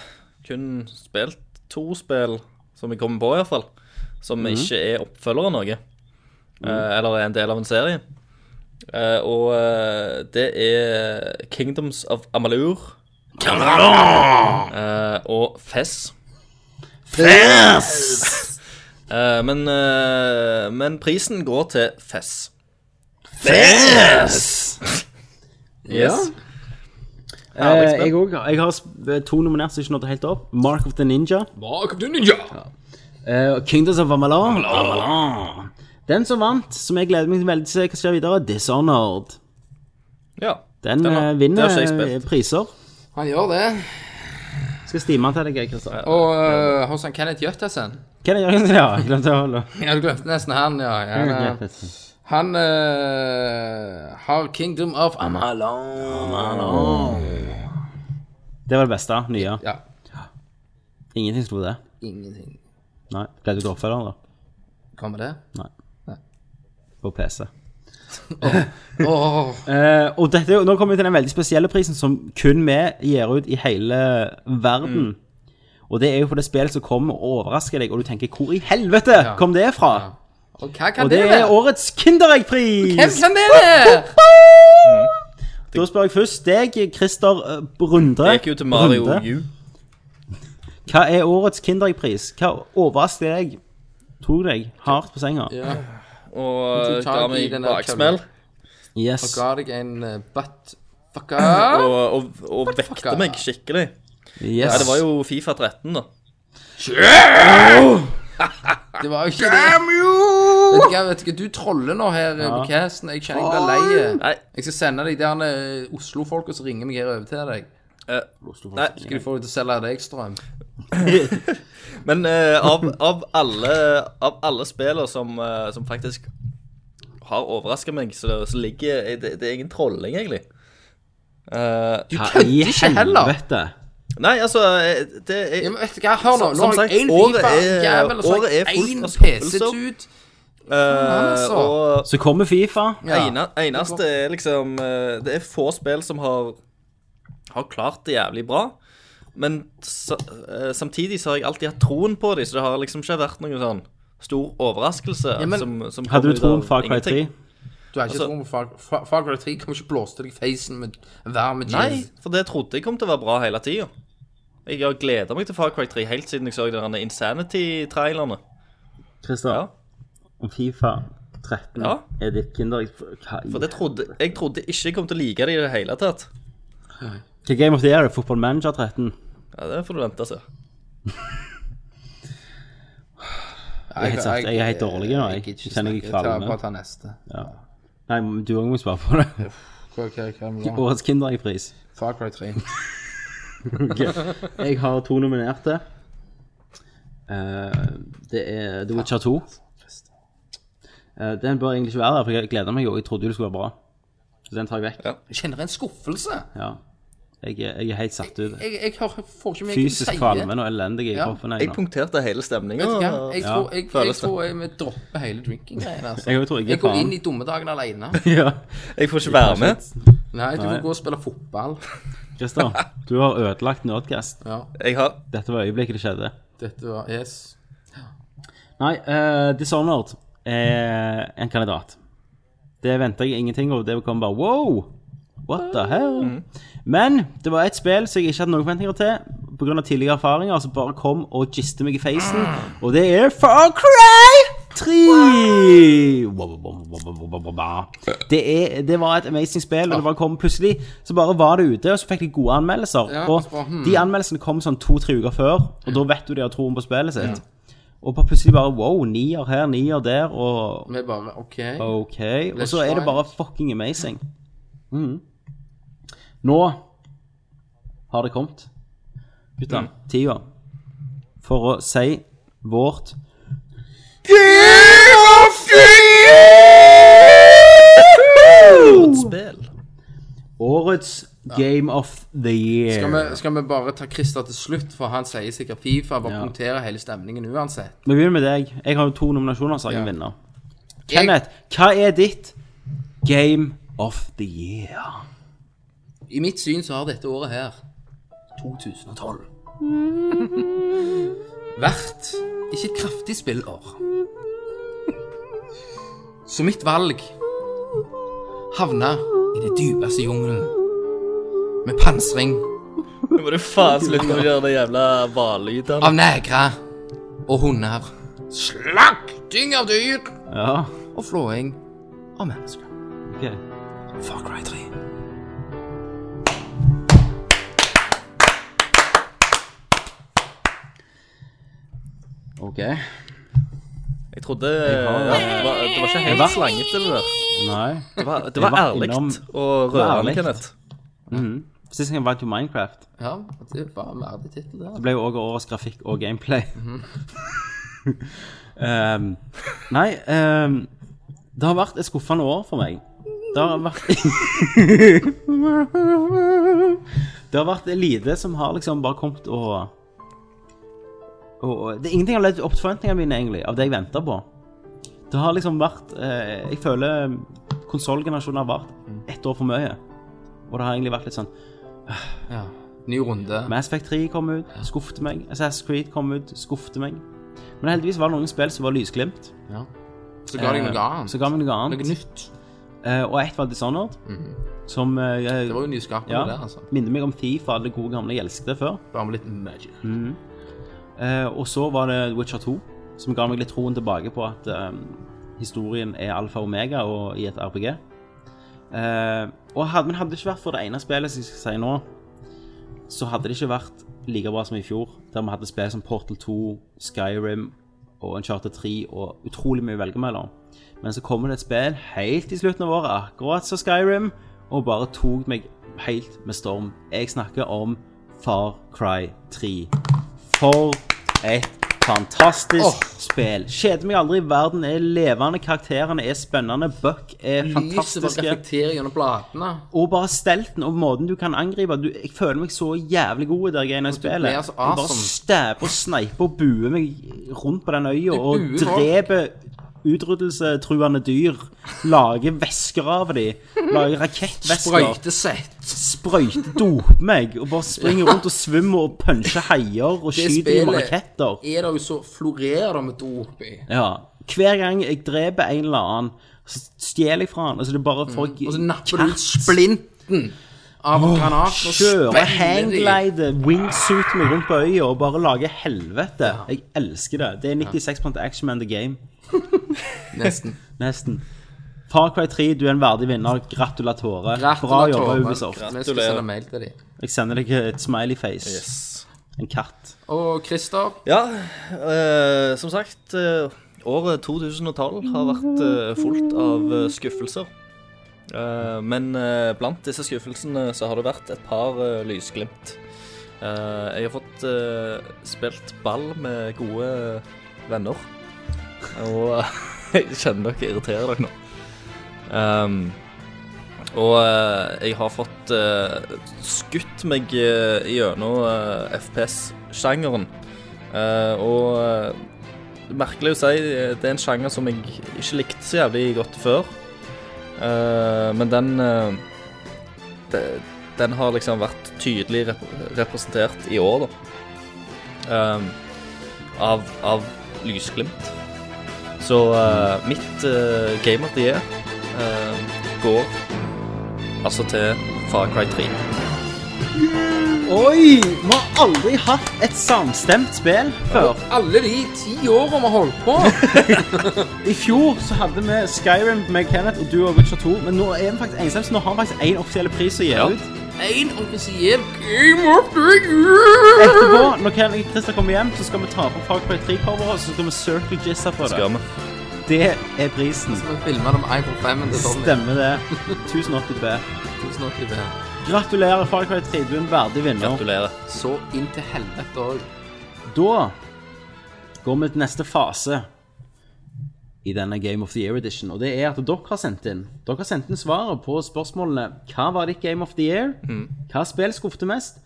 [SPEAKER 3] kun spilt to spill som jeg kommer på, iallfall. Som ikke er oppfølger av noe. eh, eller er en del av en serie. Eh, og eh, det er Kingdoms of Amalur. Eh, og Fess. Eh, men, eh, men prisen går til Fess. Yes.
[SPEAKER 1] Eh,
[SPEAKER 3] spill.
[SPEAKER 1] jeg, òg har- jeg har sp- eh, to nominert som ikke nådde helt opp. Mark of the Ninja.
[SPEAKER 5] Mark of the Ninja.
[SPEAKER 1] eh, og Kingdoms of Amalon. Amalon. Den som vant, som jeg gleder meg veldig til å se hva skjer videre, Dishonored.
[SPEAKER 3] Ja.
[SPEAKER 1] Den,
[SPEAKER 3] Den har-
[SPEAKER 1] eh,
[SPEAKER 3] det
[SPEAKER 1] vinner
[SPEAKER 3] har ikke jeg spilt.
[SPEAKER 1] eh, priser.
[SPEAKER 2] Han gjør det.
[SPEAKER 1] Skal stime til deg, Kristian.
[SPEAKER 2] Og eh, hos han Kenneth Jøttesen.
[SPEAKER 1] Hva er det Jørgensen gjør? Jeg glemte å holde
[SPEAKER 3] eh,
[SPEAKER 2] Jeg hadde glemt nesten han, ja. ja, ja. Han eh, har Kingdom of Amalon.
[SPEAKER 1] Det var det beste. Nye.
[SPEAKER 2] Ja.
[SPEAKER 1] Ingenting slo det.
[SPEAKER 2] Ingenting.
[SPEAKER 1] Nei. Ble du droppa der, da?
[SPEAKER 2] Kommer det?
[SPEAKER 1] På PC.
[SPEAKER 2] Åh,
[SPEAKER 1] Eh, og dette, er jo- nå kommer vi til den veldig spesielle prisen som kun vi gir ut i hele verden.
[SPEAKER 3] Mm.
[SPEAKER 1] Og det er jo for det spillet som kommer og overrasker deg, og du tenker 'hvor i helvete kom det fra?'
[SPEAKER 2] og hva kan
[SPEAKER 1] Og det er
[SPEAKER 2] være?
[SPEAKER 1] årets Kinderegg-pris!
[SPEAKER 2] Hvem kan det være?
[SPEAKER 1] Da spør jeg først deg, Christer eh, Runde.
[SPEAKER 3] Det gikk jo til Mario
[SPEAKER 1] Runde.
[SPEAKER 3] U.
[SPEAKER 1] Hva er årets Kinderegg-pris? Hva overrasker deg? Tok deg hardt på senga?
[SPEAKER 2] Ja,
[SPEAKER 3] Og
[SPEAKER 2] tok tak
[SPEAKER 3] ga
[SPEAKER 2] i
[SPEAKER 3] meg
[SPEAKER 2] den der
[SPEAKER 3] baksmell.
[SPEAKER 2] og
[SPEAKER 1] Yes.
[SPEAKER 2] ga deg en eh, butt fucker.
[SPEAKER 3] Og, og, og vekte
[SPEAKER 2] fucker?
[SPEAKER 3] meg skikkelig.
[SPEAKER 1] yes.
[SPEAKER 3] Ja, det var jo Fifa 13, da.
[SPEAKER 2] Det var jo ikke det. Vet du hva, vet du hva, du troller nå her eh, på casten. Jeg kjenner jeg blir lei. eh.
[SPEAKER 3] Nei,
[SPEAKER 2] Jeg skal sende deg der eh, Oslo-folka som ringer meg her over til deg.
[SPEAKER 3] nei.
[SPEAKER 2] Skal du få dem til å selge deg strøm?
[SPEAKER 3] Men eh, av, av alle, av alle spillene som, eh, som faktisk har overraska meg, så, så ligger eh, det, det er ingen trolling, egentlig. Eh,
[SPEAKER 1] Hva i helvete?
[SPEAKER 3] nei, altså eh, Det
[SPEAKER 2] Ja,
[SPEAKER 3] er
[SPEAKER 2] men vet du hva, hør nå. Nå
[SPEAKER 3] Som
[SPEAKER 2] har
[SPEAKER 3] sagt,
[SPEAKER 2] jeg én
[SPEAKER 3] året
[SPEAKER 2] Fifa,
[SPEAKER 3] er-
[SPEAKER 2] jævel, og så har
[SPEAKER 3] året er
[SPEAKER 2] jeg
[SPEAKER 3] fullt
[SPEAKER 2] én
[SPEAKER 3] av skuffelser.
[SPEAKER 2] PC-tut.
[SPEAKER 3] eh,
[SPEAKER 2] altså.
[SPEAKER 3] Og
[SPEAKER 1] Så kommer Fifa.
[SPEAKER 2] Ja.
[SPEAKER 3] ene, eneste er liksom eh, Det er få spill som har, har klart det jævlig bra. Men sa, eh, samtidig så har jeg alltid hatt troen på dem, så det har liksom ikke vært noen sånn stor overraskelse.
[SPEAKER 2] Ja, men-
[SPEAKER 3] som, som
[SPEAKER 1] Hadde du
[SPEAKER 3] kommer ut
[SPEAKER 1] troen
[SPEAKER 3] av
[SPEAKER 1] Far Cry
[SPEAKER 3] ingenting.
[SPEAKER 1] 3?
[SPEAKER 2] Du har ikke
[SPEAKER 3] Altså-
[SPEAKER 2] tro på Far- Far Far Cry 3 kommer ikke blåse til deg i facen med varm
[SPEAKER 3] Nei,
[SPEAKER 2] jeans.
[SPEAKER 3] for det trodde jeg kom til å være bra hele tida. Jeg har gleda meg til Far Cry 3 helt siden jeg så denne Insanity-trailerne. Ja.
[SPEAKER 1] Christer, om Fifa 13
[SPEAKER 3] Ja.
[SPEAKER 1] er ditt kinderegg Hva i
[SPEAKER 3] For det trodde, jeg trodde ikke jeg kom til å like det i det hele tatt.
[SPEAKER 1] Hva Game of the Year er Football Manager 13?
[SPEAKER 3] Ja, Det får du vente og se.
[SPEAKER 1] Jeg er helt, satt, jeg er helt dårlig nå. Jeg,
[SPEAKER 2] gidder ikke
[SPEAKER 1] kjenner jeg
[SPEAKER 2] snakke. Ta-
[SPEAKER 1] kvalmer.
[SPEAKER 2] Bare ta neste.
[SPEAKER 1] Nei, men du òg må svare på det.
[SPEAKER 2] Hva- hva- hva må du ha?
[SPEAKER 1] Årets Kindereggpris.
[SPEAKER 2] Far Cry 3.
[SPEAKER 1] Jeg har to nominerte. Eh, det er The Witcher 2. Eh, den bør egentlig ikke være der, for jeg gleda meg jo. Jeg trodde jo det skulle være bra. Så den tar jeg vekk.
[SPEAKER 3] Ja.
[SPEAKER 2] Jeg kjenner en skuffelse.
[SPEAKER 1] Ja. Jeg, er- jeg er helt satt ut.
[SPEAKER 2] Jeg, jeg hører, får ikke med hva du sier.
[SPEAKER 1] Fysisk kvalme og elendig i
[SPEAKER 2] Ja.
[SPEAKER 1] kroppen.
[SPEAKER 3] Jeg
[SPEAKER 1] Jeg, nå.
[SPEAKER 3] punkterte hele stemninga.
[SPEAKER 2] Vet du hva? Jeg
[SPEAKER 1] Ja,
[SPEAKER 2] tror jeg, jeg,
[SPEAKER 3] føles det.
[SPEAKER 2] tror jeg, vi dropper hele drinking-greiene. Altså.
[SPEAKER 1] Jeg tror jeg er
[SPEAKER 2] jeg går
[SPEAKER 1] faen.
[SPEAKER 2] inn i dummedagen alene.
[SPEAKER 1] ja.
[SPEAKER 3] Jeg får ikke være med.
[SPEAKER 2] Nei, du
[SPEAKER 1] Nei.
[SPEAKER 2] får gå og spille fotball.
[SPEAKER 1] Christer, du har ødelagt Nerdcast.
[SPEAKER 2] Ja,
[SPEAKER 3] Jeg har
[SPEAKER 1] Dette var øyeblikket det skjedde.
[SPEAKER 2] dette var Yes.
[SPEAKER 1] Nei, eh, Dishonored er en kandidat. Det venter jeg ingenting av. Det kom bare wow! What the hell? Men det var et spill som jeg ikke hadde noen forventninger til pga. tidligere erfaringer, som bare kom og giste meg i facen, og det er Far Cry 3! Det, er, det var et amazing spill, og det bare kom plutselig. Så bare var det ute, og så fikk de gode anmeldelser. og de anmeldelsene kom sånn to-tre uker før, og da vet du de har troen på spillet sitt. Og bare plutselig bare wow, nier her, nier der, og
[SPEAKER 2] Vi bare OK.
[SPEAKER 1] OK. Og
[SPEAKER 2] Let's
[SPEAKER 1] så er det
[SPEAKER 2] try.
[SPEAKER 1] bare fucking amazing. Mm. Nå har det kommet, gutta. Mm. Tida for å si vårt
[SPEAKER 3] et spill.
[SPEAKER 1] Årets Game of the Year.
[SPEAKER 2] Skal vi, skal vi bare ta Christer til slutt, for han sier sikkert Fifa. Bare punkterer hele stemningen uansett.
[SPEAKER 1] Vi begynner med deg. Jeg har jo to nominasjoner, så jeg
[SPEAKER 2] Ja.
[SPEAKER 1] en vinner. Kenneth, hva er ditt Game of the Year?
[SPEAKER 2] I mitt syn så har dette året her 2012 vært ikke et kraftig spillår. Så mitt valg havna i det dypeste jungelen med pansring
[SPEAKER 3] Nå må du faen slutte med å gjøre de jævla hvallydene.
[SPEAKER 2] av negre og hunder, slakting av dyr
[SPEAKER 1] Ja,
[SPEAKER 2] og flåing av mennesker.
[SPEAKER 1] ok.
[SPEAKER 2] Far Cry 3.
[SPEAKER 1] Ok.
[SPEAKER 3] Jeg trodde ja, det, var, det var ikke helt slangete, det der.
[SPEAKER 1] Nei.
[SPEAKER 3] Det var, det
[SPEAKER 1] Jeg
[SPEAKER 3] var
[SPEAKER 1] var
[SPEAKER 3] ærlig
[SPEAKER 1] innom-
[SPEAKER 3] og
[SPEAKER 1] var ærlig.
[SPEAKER 3] rørende, Kenneth.
[SPEAKER 1] Sist gang jeg vant jo Minecraft.
[SPEAKER 2] Ja, det var en verdig tittel, det.
[SPEAKER 1] ble jo òg årets grafikk og gameplay. um, nei um, Det har vært et skuffende år for meg. Det har vært Det har vært lite som har liksom bare kommet og, og, og Det er ingenting som har levd opp til forventningene mine, egentlig, av det jeg venter på. Det har liksom vært eh, Jeg føler konsollgenerasjonen har vært ett år for mye. Og det har egentlig vært litt sånn
[SPEAKER 2] Ja. Ny runde.
[SPEAKER 1] Mass Effect 3 kom ut, skuffte meg. Assassin's Creed kom ut, skuffte meg. Men heldigvis var det noen spill som var lysglimt.
[SPEAKER 2] Eh,
[SPEAKER 1] Eh,
[SPEAKER 2] Så ga deg noe annet.
[SPEAKER 1] Så ga meg noe
[SPEAKER 2] Noe
[SPEAKER 1] annet.
[SPEAKER 2] nytt. Mhm.
[SPEAKER 1] Eh, og ett var Dishonored, som eh, jeg-
[SPEAKER 2] Det var jo nyskapende,
[SPEAKER 1] ja,
[SPEAKER 2] det, altså.
[SPEAKER 1] minner meg om Thief og alle gode gamle jeg elsket før.
[SPEAKER 2] Bare med litt magic.
[SPEAKER 1] Eh, og så var det Witcher 2, som ga meg litt troen tilbake på at eh, historien er alfa og omega og i et RPG. Eh, og hadde, men hadde det ikke vært for det ene spillet som jeg skal si nå, så hadde det ikke vært like bra som i fjor, der vi hadde spill som Portal 2, Skyrim og Uncharted 3 og utrolig mye å velge mellom. Men så kommer det et spill helt i slutten av året, akkurat som Skyrim, og bare tok meg helt med storm. Jeg snakker om Far Cry 3. For et fantastisk spill. Kjeder meg aldri. Verden er levende, karakterene er spennende, Buck er
[SPEAKER 2] Lyset bare
[SPEAKER 1] fantastiske.
[SPEAKER 2] reflekterer gjennom platene.
[SPEAKER 1] Og bare stelten og måten du kan angripe du, Jeg føler meg så jævlig god i det greiene jeg spiller.
[SPEAKER 2] blir så
[SPEAKER 1] Jeg bare
[SPEAKER 2] awesome.
[SPEAKER 1] stæper og sneiper og buer meg rundt på den øya og
[SPEAKER 2] buer folk.
[SPEAKER 1] dreper utryddelsetruende dyr. Lager væsker av dem. Lager rakettvæsker.
[SPEAKER 2] Brøytesett.
[SPEAKER 1] Sprøyter, doper meg og bare springer rundt og svømmer og puncher haier og skyter dem med
[SPEAKER 2] spillet-
[SPEAKER 1] raketter.
[SPEAKER 2] Er det jo så florerer det med dop i.
[SPEAKER 1] Ja. Hver gang jeg dreper en eller annen, så stjeler jeg fra han. Altså, det er bare folk
[SPEAKER 2] Mm. Og så napper du ut splinten av granaten og
[SPEAKER 1] Kjøre
[SPEAKER 2] spenner i.
[SPEAKER 1] hangglide, wingsuit meg rundt på øya og bare lage helvete. Jeg elsker det. Det er 96 action man the game.
[SPEAKER 2] Nesten.
[SPEAKER 1] Nesten. Far Cry 3, du er en verdig vinner. Gratulatore. Bra jobba, Ubisoft.
[SPEAKER 2] Vi skal
[SPEAKER 3] Gratulerer.
[SPEAKER 2] sende mail til dem.
[SPEAKER 1] Jeg sender deg et smiley face. En katt.
[SPEAKER 2] Og Christer,
[SPEAKER 3] Ja, eh, som sagt eh, Året 2012 har vært eh, fullt av eh, skuffelser. Eh, men eh, blant disse skuffelsene så har det vært et par eh, lysglimt. Eh, jeg har fått eh, spilt ball med gode venner. Og jeg kjenner dere irriterer dere nå. Ehm, og eh, jeg har fått eh, skutt meg eh, gjennom eh, FPS-sjangeren. Eh, og eh, merkelig å si, eh, det er en sjanger som jeg ikke likte så jævlig godt før. Eh, men den eh, de- Den har liksom vært tydelig rep representert i år, da. Eh, av, av lysglimt. Så eh, mitt uh, game of the year eh, går altså til Far Cry 3.
[SPEAKER 1] Oi! Vi har aldri hatt et samstemt spill før.
[SPEAKER 2] alle de ti åra vi har holdt på
[SPEAKER 1] I fjor så hadde vi Skyrim med Kenneth og du og Witcher 2, men nå er vi faktisk ensomme, så nå har vi faktisk én offisiell pris å gi
[SPEAKER 3] Ja.
[SPEAKER 1] ut.
[SPEAKER 2] Én offisiell Game of the Year!
[SPEAKER 1] Etterpå, når Ken og Christer kommer hjem, så skal vi ta på Far Cry 3-coveret, og så skal vi circle jizza på det.
[SPEAKER 3] Skal vi? Sånn,
[SPEAKER 1] Det er prisen.
[SPEAKER 2] Vi filma det med iPhone 5 til Tommy.
[SPEAKER 1] Stemmer det. 1080p.
[SPEAKER 2] Tusen takk til det.
[SPEAKER 1] Gratulerer, Far Cry 3. Du er en verdig vinner.
[SPEAKER 3] Gratulerer.
[SPEAKER 2] Så inn til helvete òg.
[SPEAKER 1] Da går vi til neste fase i denne Game of the Year Edition, og det er at dere har sendt inn Dere har sendt inn svaret på spørsmålene Hva var ditt Game of the Year?
[SPEAKER 3] Mm.
[SPEAKER 1] Hva spill skuffte mest?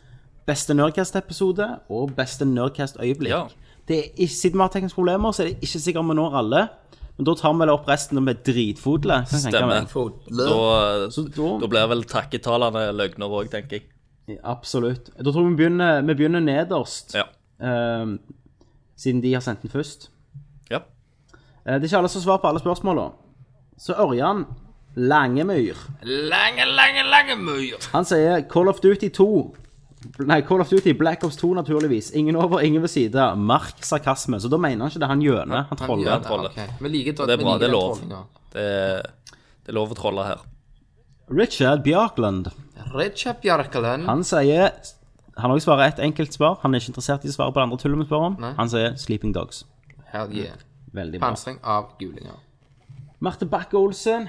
[SPEAKER 1] Beste Nerdcast-episode og beste Nerdcast-øyeblikk.
[SPEAKER 3] Ja.
[SPEAKER 1] Det er ikke, siden vi har tekniske problemer, så er det ikke sikkert vi når alle. Men da tar vi vel opp resten med dritfodle. kan jeg tenke
[SPEAKER 3] Stemmer.
[SPEAKER 1] meg.
[SPEAKER 3] Da, eh,
[SPEAKER 1] Så da-
[SPEAKER 3] da blir vel takketalene løgner òg, tenker jeg.
[SPEAKER 1] Absolutt. Da tror jeg vi begynner, vi begynner nederst,
[SPEAKER 3] Ja.
[SPEAKER 1] ehm, siden de har sendt den først.
[SPEAKER 3] ja.
[SPEAKER 1] Eh, Det er ikke alle som svarer på alle spørsmåla. Så Ørjan Langemyr
[SPEAKER 2] Lange, lange, lange mye.
[SPEAKER 1] Han sier Call of Duty 2. Nei, Call of Duty Black Ops 2, naturligvis. Ingen over, ingen ved side. Merk sarkasme. Så da mener han ikke det. Han gjøner. Han
[SPEAKER 3] gjør
[SPEAKER 1] troller.
[SPEAKER 3] det. Trolle.
[SPEAKER 2] Ok, Vi liker
[SPEAKER 3] Det er bra,
[SPEAKER 2] vi liker
[SPEAKER 3] det er lov.
[SPEAKER 2] trollinga.
[SPEAKER 3] Det, er- det er lov å trolle her.
[SPEAKER 1] Richard Bjørkland.
[SPEAKER 2] Recep Bjarkeland.
[SPEAKER 1] Han sier Han også svarer ett enkelt svar. Han er ikke interessert i å svare på det andre tullet vi spør om. Han sier Sleeping Dogs.
[SPEAKER 2] Hell yeah.
[SPEAKER 1] Veldig bra.
[SPEAKER 2] Pansring av gulinger.
[SPEAKER 1] Marte Bakke-Olsen.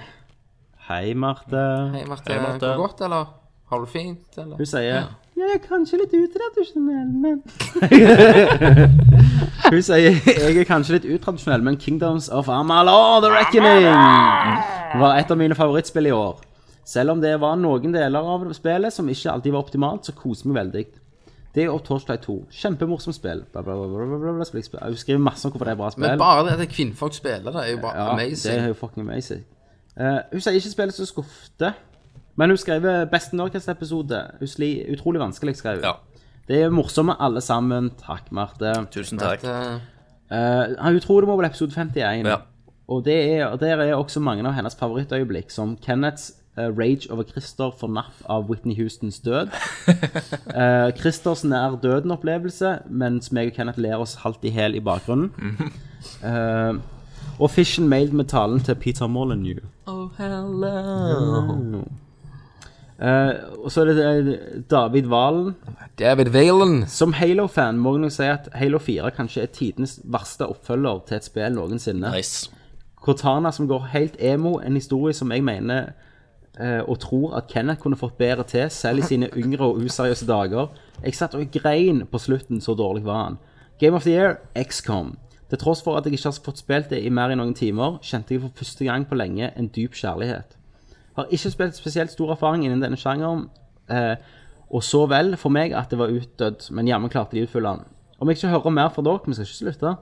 [SPEAKER 1] Hei, Marte.
[SPEAKER 2] Hei, Marte.
[SPEAKER 3] Hei, Marte.
[SPEAKER 2] Går det godt, eller? Har du det fint, eller?
[SPEAKER 1] Hun sier Jeg er kanskje litt utredd, du, Chanel, men Hun sier jeg er kanskje litt utradisjonell, men Kingdoms of Amalur The Reckoning var et av mine favorittspill i år. Selv om det var noen deler av spillet som ikke alltid var optimalt, så koser jeg meg veldig. Det er jo Torchlight 2. Kjempemorsomt spill. Bla, bla, bla, bla, bla, bla, bla, spill, spill. Hun skriver masse om hvorfor det er bra
[SPEAKER 2] Men
[SPEAKER 1] spill.
[SPEAKER 2] bare det at kvinnfolk spiller det, er jo bare
[SPEAKER 1] Ja, det
[SPEAKER 2] amazing.
[SPEAKER 1] er jo fucking amazing. Eh, hun sier ikke spillet så skuffte, men hun skrev beste Norcast-episode. Hun sli- Utrolig vanskelig, skrev hun.
[SPEAKER 3] Ja.
[SPEAKER 1] Det er morsomme alle sammen. Takk, Marte.
[SPEAKER 3] Tusen takk.
[SPEAKER 2] Eh,
[SPEAKER 1] Eh, hun tror det må være episode 51.
[SPEAKER 3] Ja.
[SPEAKER 1] Og det er, og der er også mange av hennes favorittøyeblikk, som Kenneths eh, rage over Christer for napp av Whitney Houstons død. Eh, Christers nær døden-opplevelse, mens meg og Kenneth ler oss halvt i hæl i bakgrunnen. Eh, og Fishen mailed med talen til Peter Molyneux. Oh, hello. og så er det eh, David Valen,
[SPEAKER 2] David Valen.
[SPEAKER 1] som Halo-fan må jeg nok si at Halo 4 kanskje er tidenes verste oppfølger til et spill noensinne.
[SPEAKER 3] Nice.
[SPEAKER 1] Cortana som går helt emo, en historie som jeg mener eh, og tror at Kenneth kunne fått bedre til, selv i sine yngre og useriøse dager. Jeg satt og grein på slutten, så dårlig var han. Game of the Year, XCOM. Til tross for at jeg ikke har fått spilt det i mer enn noen timer, kjente jeg for første gang på lenge en dyp kjærlighet. Har ikke spilt spesielt stor erfaring innen denne sjangeren, eh, og så vel for meg at det var utdødd, men jammen klarte de å utfylle den. Om jeg ikke hører mer fra dere, vi skal ikke slutte,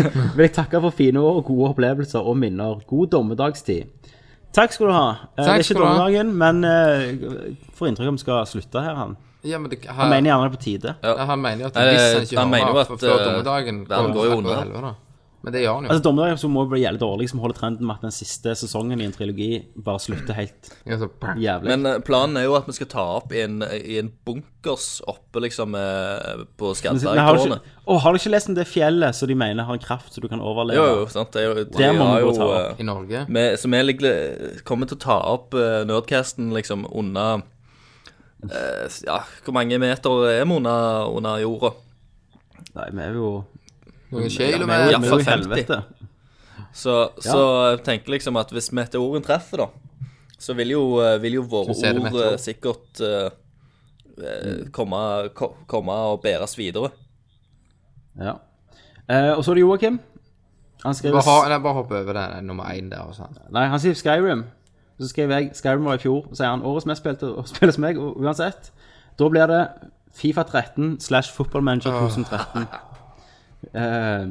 [SPEAKER 1] vil jeg takke for fine år og gode opplevelser og minner. God dommedagstid. Takk skal du ha. Eh, det er
[SPEAKER 2] Takk
[SPEAKER 1] ikke
[SPEAKER 2] skal du ha.
[SPEAKER 1] dommedagen, men eh, får inntrykk av at vi skal slutte her. Han
[SPEAKER 2] Ja, men det,
[SPEAKER 1] Han
[SPEAKER 2] han,
[SPEAKER 1] mener gjerne det er på tide.
[SPEAKER 2] ja, han mener jo at
[SPEAKER 3] Nei,
[SPEAKER 2] hvis han ikke
[SPEAKER 3] han mener jo
[SPEAKER 2] hører
[SPEAKER 3] at,
[SPEAKER 2] på før
[SPEAKER 3] eh,
[SPEAKER 2] dommedagen
[SPEAKER 3] verden går jo under.
[SPEAKER 2] under. Men det gjør han jo.
[SPEAKER 1] Altså, dommedagen så må jo bli jævlig dårlig, som holder trenden med at den siste sesongen i en trilogi bare slutter helt
[SPEAKER 2] Altså, brr.
[SPEAKER 1] jævlig.
[SPEAKER 3] Men eh, planen er jo at vi skal ta opp i en, i en bunkers oppe liksom eh, på
[SPEAKER 1] Nei, Altså, har, du
[SPEAKER 3] Skadbergtårnet.
[SPEAKER 1] ikke, Å, har du ikke lest om det fjellet som de mener har en kraft så du kan overleve?
[SPEAKER 3] Jo, jo, sant. Det er jo,
[SPEAKER 1] Der må
[SPEAKER 3] har
[SPEAKER 1] vi gå og ta
[SPEAKER 3] eh,
[SPEAKER 1] opp.
[SPEAKER 2] I Norge.
[SPEAKER 3] vi, Så vi ligger- kommer til å ta opp eh, Nerdcasten liksom under eh, Ja, hvor mange meter er vi under, under jorda?
[SPEAKER 1] Nei, vi er jo
[SPEAKER 2] Noen
[SPEAKER 1] vi er
[SPEAKER 2] kilometer.
[SPEAKER 1] jo-
[SPEAKER 3] Ja,
[SPEAKER 1] vi er
[SPEAKER 3] for
[SPEAKER 1] jo i
[SPEAKER 3] 50.
[SPEAKER 1] helvete.
[SPEAKER 3] Så, så jeg tenker liksom at hvis meteoren treffer, da, så vil jo, eh, vil jo våre
[SPEAKER 2] Så er det
[SPEAKER 3] ord
[SPEAKER 2] meteor.
[SPEAKER 3] eh, sikkert eh, eh, komme, ko- komme og bæres videre.
[SPEAKER 1] Ja. Eh, og så er det Joakim. Han skriver
[SPEAKER 2] Bare, ha, nei, bare hopp over det, det er nummer én der. og sånn.
[SPEAKER 1] Nei, han sier Skyrim. Så skrev jeg Skyrim var i fjor. Så sier han årets mest spilte og spilles meg og uansett. Da blir det Fifa 13 slash Football Manager 2013. Eh,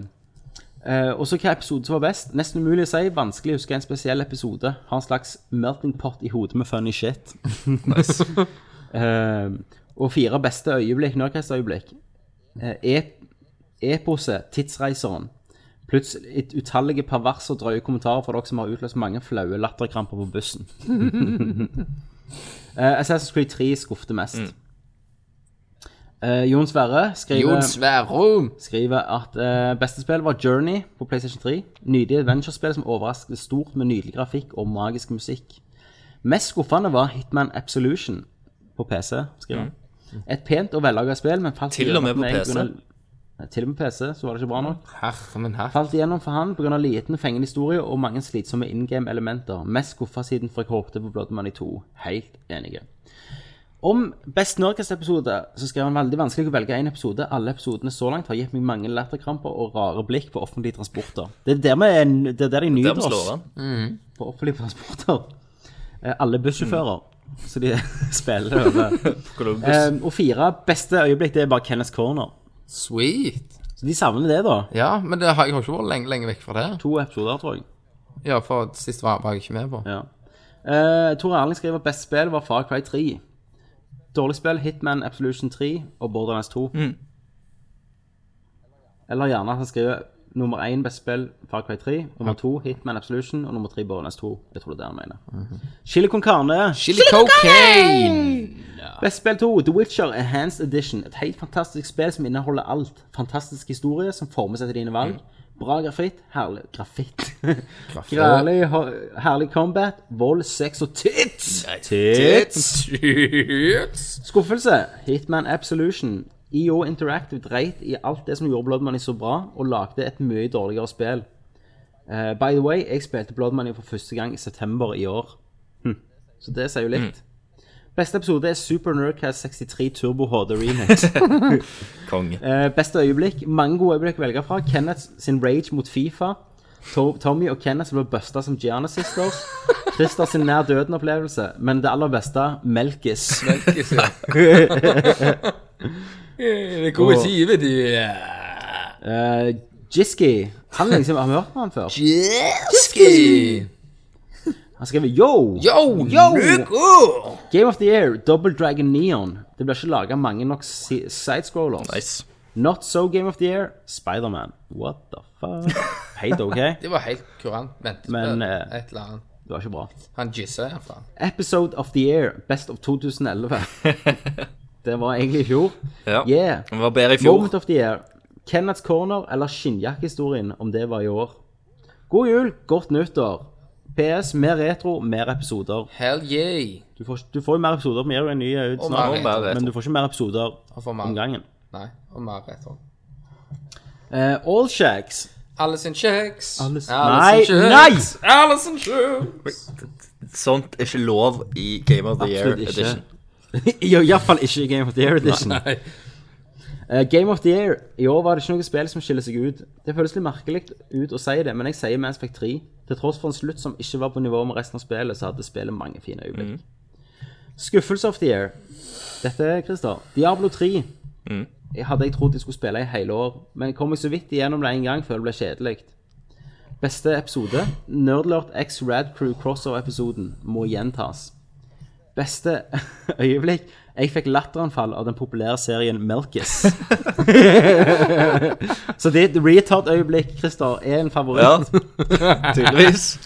[SPEAKER 1] eh, og så hva episode som var best. Nesten umulig å si. Vanskelig å huske en spesiell episode. Har en slags melting pot i hodet med funny shit. Eh, og fire beste øyeblikk, Nørkast-øyeblikk. Eh, ep- eposet, Tidsreiseren. Plutselig et utallige perverse og drøye kommentarer fra dere som har utløst mange flaue latterkramper på bussen. Eh, Assassin's Creed 3 skuffte mest. Eh, Jon Sverre skriver
[SPEAKER 2] Jon Sverrum!
[SPEAKER 1] skriver at eh, beste spill var Journey på PlayStation 3. Nydelig adventure-spill som overrasket stort med nydelig grafikk og magisk musikk. Mest skuffende var Hitman Absolution på PC, skriver han. Et pent og vellaga spill, men falt
[SPEAKER 3] Mm. Til og med
[SPEAKER 1] igjennom for
[SPEAKER 3] på
[SPEAKER 1] meg
[SPEAKER 3] PC?
[SPEAKER 1] grunn av- Nei, Til og med på PC, så var det ikke bra nok.
[SPEAKER 2] Herre min herre.
[SPEAKER 1] Falt igjennom for han pga. liten, fengende historie og mange slitsomme in game-elementer. Mest skuffa siden for jeg håpte på Blood Money 2. Helt enige. Om Best Norges-episode så skrev han veldig vanskelig å velge én episode. Alle episodene så langt har gitt meg mange latterkramper og rare blikk på offentlige transporter. Det er der, vi er, det er der de
[SPEAKER 3] Der
[SPEAKER 1] nyter
[SPEAKER 3] vi slår
[SPEAKER 1] oss.
[SPEAKER 3] an.
[SPEAKER 1] På offentlige transporter. Eh, Alle bussjåfører. Så de spiller over.
[SPEAKER 3] Columbus.
[SPEAKER 1] Eh, og fire beste øyeblikk, det er bare Kenneth Corner.
[SPEAKER 2] Sweet.
[SPEAKER 1] Så de savner det, da.
[SPEAKER 2] Ja, men det har, jeg har ikke vært lenge, lenge vekk fra det.
[SPEAKER 1] To episoder, tror jeg.
[SPEAKER 2] Ja, for sist var, var jeg ikke med på.
[SPEAKER 1] Ja. Eh, Tore Erling skriver best spill var Far Cry 3. Dårlig spill Hitman Absolution 3 og Borderlands 2. Eller gjerne at han skriver nummer én best spill Far Cry 3, nummer to Hitman Absolution og nummer tre Borderlands 2. Jeg tror det er det han mener. Chili con carne.
[SPEAKER 2] Chili cocaine!
[SPEAKER 1] Best spill 2, The Witcher Enhanced Edition. Et helt fantastisk spill som inneholder alt. Fantastisk historie som formes etter dine valg. Bra grafitt. Herlig grafitt. herlig, herlig combat. Vold, sex og tits! Tits! Skuffelse. Hitman Absolution. EO Interactive dreit i alt det som gjorde Blood Money så bra, og lagde et mye dårligere spill. Eh, by the way, jeg spilte Blood Money for første gang i september i år. Hm. Så det sier jo litt. Beste episode er Super Nerdcast 63 Turbo HD Remix.
[SPEAKER 3] Konge.
[SPEAKER 1] Eh, beste øyeblikk. Mange gode øyeblikk å velge fra. Kenneth sin rage mot Fifa. To Tommy og Kenneth som ble busta som Gianna Sisters. Christer sin nær døden-opplevelse. Men det aller beste Melkis.
[SPEAKER 2] Melkis, ja.
[SPEAKER 5] Det kommer sivet i
[SPEAKER 1] Eh, Jiski. Han er liksom, Har vi hørt om han før? Han skriver yo!
[SPEAKER 2] Yo,
[SPEAKER 1] Yo!
[SPEAKER 2] Luko!
[SPEAKER 1] Game of the Year, Double Dragon Neon. Det blir ikke laga mange nok si- sidescrollers.
[SPEAKER 3] Nice.
[SPEAKER 1] Not so Game of the Year, Spiderman. What the fuck? Helt ok.
[SPEAKER 2] Det var helt kurant. Ventespill.
[SPEAKER 1] Men, eh,
[SPEAKER 2] Et eller annet.
[SPEAKER 1] Det var ikke bra.
[SPEAKER 2] Han jizza iallfall.
[SPEAKER 1] Episode of the Year, Best of 2011. Det var egentlig i fjor.
[SPEAKER 3] Ja.
[SPEAKER 1] Yeah.
[SPEAKER 3] Det var bedre i fjor.
[SPEAKER 1] Moment of the Year. Kenneths Corner eller skinnjakkehistorien, om det var i år. God jul, godt nyttår. PS, mer retro, mer episoder.
[SPEAKER 2] Hell yeah.
[SPEAKER 1] Du får, du får jo mer episoder. Vi er jo en ny ut
[SPEAKER 2] Og
[SPEAKER 1] snart,
[SPEAKER 2] mer retro.
[SPEAKER 1] men du får ikke mer episoder
[SPEAKER 3] Altså,
[SPEAKER 2] Og for
[SPEAKER 1] om
[SPEAKER 2] mer.
[SPEAKER 1] gangen.
[SPEAKER 2] Nei, og mer rett hånd.
[SPEAKER 1] Eh, All Shacks
[SPEAKER 2] Alison Checks.
[SPEAKER 1] Alice- Nei,
[SPEAKER 2] Checks. Alison Checks.
[SPEAKER 3] Sånt er ikke lov i Game of the Year
[SPEAKER 1] Absolutt ikke.
[SPEAKER 3] edition.
[SPEAKER 1] I hvert fall ikke i Game of the Year Edition. Eh, Game of the Year. I år var det ikke noe spill som skiller seg ut. Det føles litt merkelig ut å si det, men jeg sier Mass Effect 3. Til tross for en slutt som ikke var på nivå med resten av spillet, så hadde spillet mange fine øyeblikk. Skuffelse of the Year. Dette, Christer. Diablo 3 jeg hadde jeg trodd jeg skulle spille i hele år, men kom meg så vidt igjennom det en gang før det ble kjedelig. Beste episode? Nerdlert x Rad Crew crossover-episoden må gjentas. Beste øyeblikk? Jeg fikk latteranfall av den populære serien Melkis. så ditt retard-øyeblikk, Christer, er en favoritt.
[SPEAKER 3] Ja, tydeligvis.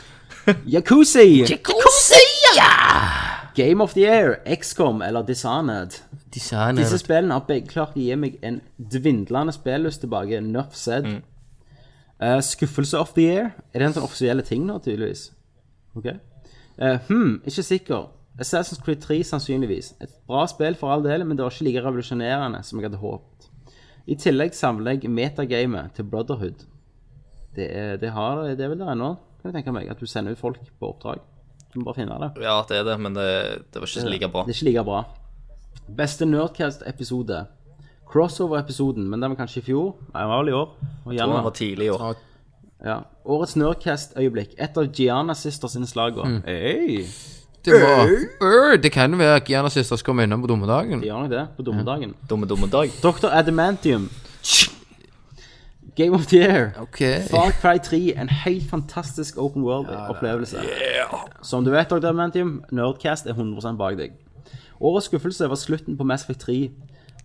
[SPEAKER 1] Jacuzzi! Game of the Year, XCOM eller Dishonored. Disse spillene har begge klart å gi meg en dvindlende spilllyst tilbake. Nuff said. Eh, skuffelse of the year. Er det en sånn offisielle ting nå, tydeligvis? Ok. Eh, hm, ikke sikker. Assassin's Creed 3 sannsynligvis. Et bra spill for all del, men det var ikke like revolusjonerende som jeg hadde håpet. I tillegg samler jeg metagamet til Brotherhood. Det, er, det, har, det er vel der ennå, kan jeg tenke meg, at du sender ut folk på oppdrag. Du må bare finne det.
[SPEAKER 3] Ja, det er det, men det, det var ikke like bra.
[SPEAKER 1] Det er ikke like bra. Beste Nerdcast-episode. Crossover-episoden, men den var kanskje i fjor? Nei, den var vel i år. Og
[SPEAKER 3] Det
[SPEAKER 1] januar.
[SPEAKER 3] var tidlig i år.
[SPEAKER 1] Ja. Årets Nerdcast-øyeblikk. Et av Gianna Sisters sine slagord.
[SPEAKER 2] Det var Øh, Det kan jo være at Gianna Sisters kommer innom på dommedagen.
[SPEAKER 1] De gjør nok det på dommedagen.
[SPEAKER 3] Dumme, dumme dag.
[SPEAKER 1] Dr. Adamantium. Game of the Year.
[SPEAKER 2] Ok.
[SPEAKER 1] Far Cry 3. En helt fantastisk open world-opplevelse. Som du vet, Dr. Adamantium, Nerdcast er 100 bak deg. Årets skuffelse var slutten på Mass Effect 3.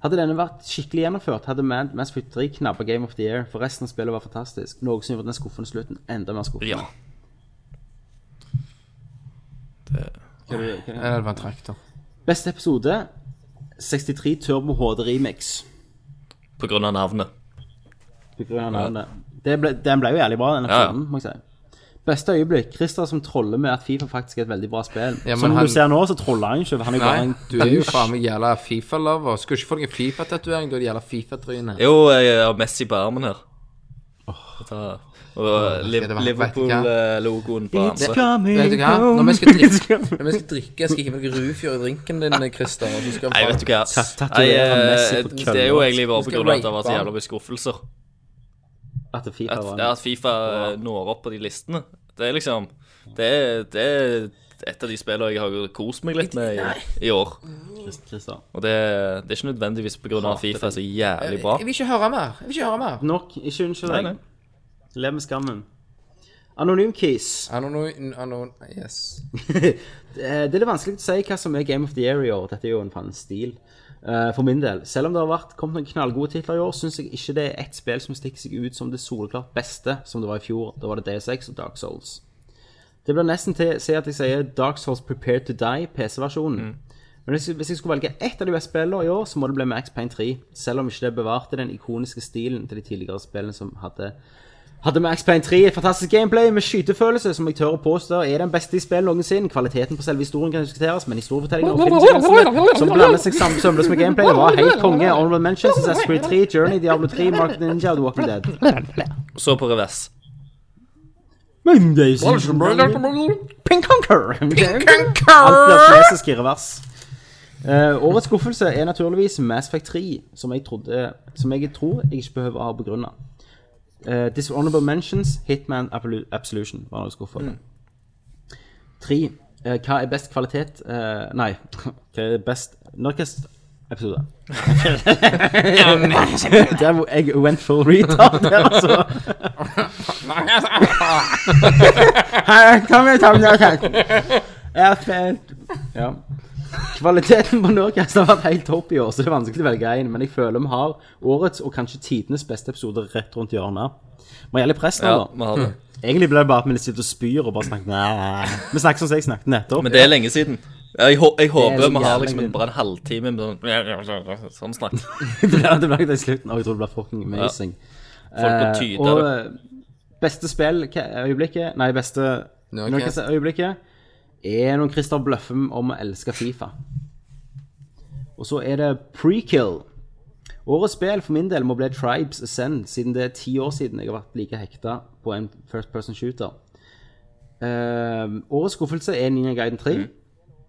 [SPEAKER 1] Hadde denne vært skikkelig gjennomført, hadde Man- Mass Effect 3 knabba Game of the Year, for resten av spillet var fantastisk, noe som gjorde den skuffende slutten enda mer skuffende.
[SPEAKER 3] Ja.
[SPEAKER 2] Ja, det var en traktor.
[SPEAKER 1] Beste episode 63 Turbo HD Remix.
[SPEAKER 3] På grunn av navnet.
[SPEAKER 1] På grunn av navnet. Det ble, den ble jo jævlig bra, den
[SPEAKER 3] Ja, ja.
[SPEAKER 1] episoden, må jeg si. Beste øyeblikk. Christer som troller med at Fifa faktisk er et veldig bra spill.
[SPEAKER 2] Ja, men
[SPEAKER 1] som
[SPEAKER 2] han-
[SPEAKER 1] du ser nå, så troller han ikke. for Han er jo bare
[SPEAKER 2] Nei,
[SPEAKER 1] en
[SPEAKER 2] du er jo
[SPEAKER 1] douche.
[SPEAKER 2] faen meg jævla Fifa-lover. Skulle ikke få deg en Fifa-tatovering da det gjelder Fifa-trynet?
[SPEAKER 3] Jo, jeg har Messi på armen her. Ta- Og eh, Liv-
[SPEAKER 2] det var-
[SPEAKER 3] Liverpool-logoen på
[SPEAKER 1] It's
[SPEAKER 3] armen.
[SPEAKER 1] coming
[SPEAKER 2] Vet du hva?
[SPEAKER 1] home.
[SPEAKER 2] Når vi skal
[SPEAKER 1] It's
[SPEAKER 2] drikke,
[SPEAKER 1] coming-
[SPEAKER 2] når vi skal, drikke skal jeg hive noe rufjør i drinken din, Christer. og så skal vi
[SPEAKER 3] Nei,
[SPEAKER 2] faen-
[SPEAKER 3] vet du hva. Nei,
[SPEAKER 1] Tatuere Messi
[SPEAKER 3] eh,
[SPEAKER 1] på
[SPEAKER 3] det
[SPEAKER 1] kølla.
[SPEAKER 3] er jo egentlig bare
[SPEAKER 2] Du
[SPEAKER 3] på
[SPEAKER 2] skal
[SPEAKER 3] grunn av at det har
[SPEAKER 2] rape
[SPEAKER 3] vært så
[SPEAKER 2] han.
[SPEAKER 3] jævla mye skuffelser.
[SPEAKER 1] At det Fifa
[SPEAKER 3] At,
[SPEAKER 1] var
[SPEAKER 3] ja,
[SPEAKER 1] en
[SPEAKER 3] at Fifa eh, når opp på de listene. Det er liksom Det er, det er et av de spillene jeg har kost meg litt med i, i år.
[SPEAKER 1] Christer.
[SPEAKER 3] Og det, det er ikke nødvendigvis på grunn av at Fifa er så jævlig bra.
[SPEAKER 2] Jeg vil ikke høre mer. Jeg vil ikke høre mer.
[SPEAKER 1] Nok. Ikke unnskyld
[SPEAKER 3] Nei, nei.
[SPEAKER 1] deg. Lev med skammen. Anonym Keys.
[SPEAKER 2] Anonym anon, Yes.
[SPEAKER 1] Eh, Det er litt vanskelig å si hva som er Game of the Year i år. Dette er jo en faen stil. eh, for min del. Selv om det har vært kommet noen knallgode titler i år, syns jeg ikke det er ett spill som stikker seg ut som det soleklart beste, som det var i fjor. Da var det DS6 og Dark Souls. Det blir nesten til å si at jeg sier Dark Souls Prepared to Die, PC-versjonen. Men hvis, hvis jeg skulle velge ett av de beste spillene i år, så må det bli Max Payne 3. Selv om ikke det bevarte den ikoniske stilen til de tidligere spillene som hadde hadde Max Payne 3 et fantastisk gameplay med skytefølelse, som jeg tør å påstå er den beste i spillet noensinne. Kvaliteten på selve historien kan diskuteres, men historiefortellingen og filmsekvensene som blandet seg sammen sømløst med gameplay, var helt konge. Honorable Mentions, Assassin's Creed 3, Journey, Diablo 3, Mark of the Ninja og The Walking Dead.
[SPEAKER 3] Så på revers.
[SPEAKER 1] Mondays Pink Conquer! Alt blir klassisk i revers. Eh, årets skuffelse er naturligvis Mass Effect 3, som jeg, trodde, som jeg tror jeg ikke behøver å ha begrunna. Eh, Dishonorable Mentions, Hitman Absolu- Absolution var noe skuffa. Tre. Eh, hva er best kvalitet eh, Nei, hva er best Nerdcast episode? Der hvor jeg went full retard der, altså. Her kommer Tom Ja. Kvaliteten på Nordcast har vært helt topp i år, så det er vanskelig å velge en, men jeg føler vi har årets og kanskje tidenes beste episode rett rundt hjørnet. Må gjelde press nå,
[SPEAKER 3] Ja,
[SPEAKER 1] da.
[SPEAKER 3] vi har det.
[SPEAKER 1] Egentlig ble det bare at vi sitter og spyr og bare snakker Nei. Vi snakker sånn som jeg snakket nettopp.
[SPEAKER 3] Men det er lenge siden. Jeg, hå- jeg håper
[SPEAKER 1] så
[SPEAKER 3] vi har
[SPEAKER 1] jævlig
[SPEAKER 3] liksom
[SPEAKER 1] synd.
[SPEAKER 3] bare en halvtime med sånn, sånn snakk.
[SPEAKER 1] det ble det ble det i slutten, og jeg tror det ble fucking amazing.
[SPEAKER 3] Folk må
[SPEAKER 1] Eh,
[SPEAKER 3] tyde
[SPEAKER 1] og
[SPEAKER 3] det.
[SPEAKER 1] eh, beste spill hva- øyeblikket Nei, beste
[SPEAKER 2] Nerdcast.
[SPEAKER 1] Nerdcast øyeblikket er når Christer bløffer om å elske Fifa. Og så er det pre-kill. Årets spill for min del må bli Tribes Ascend, siden det er ti år siden jeg har vært like hekta på en first person shooter. Eh, årets skuffelse er Ninja Gaiden 3.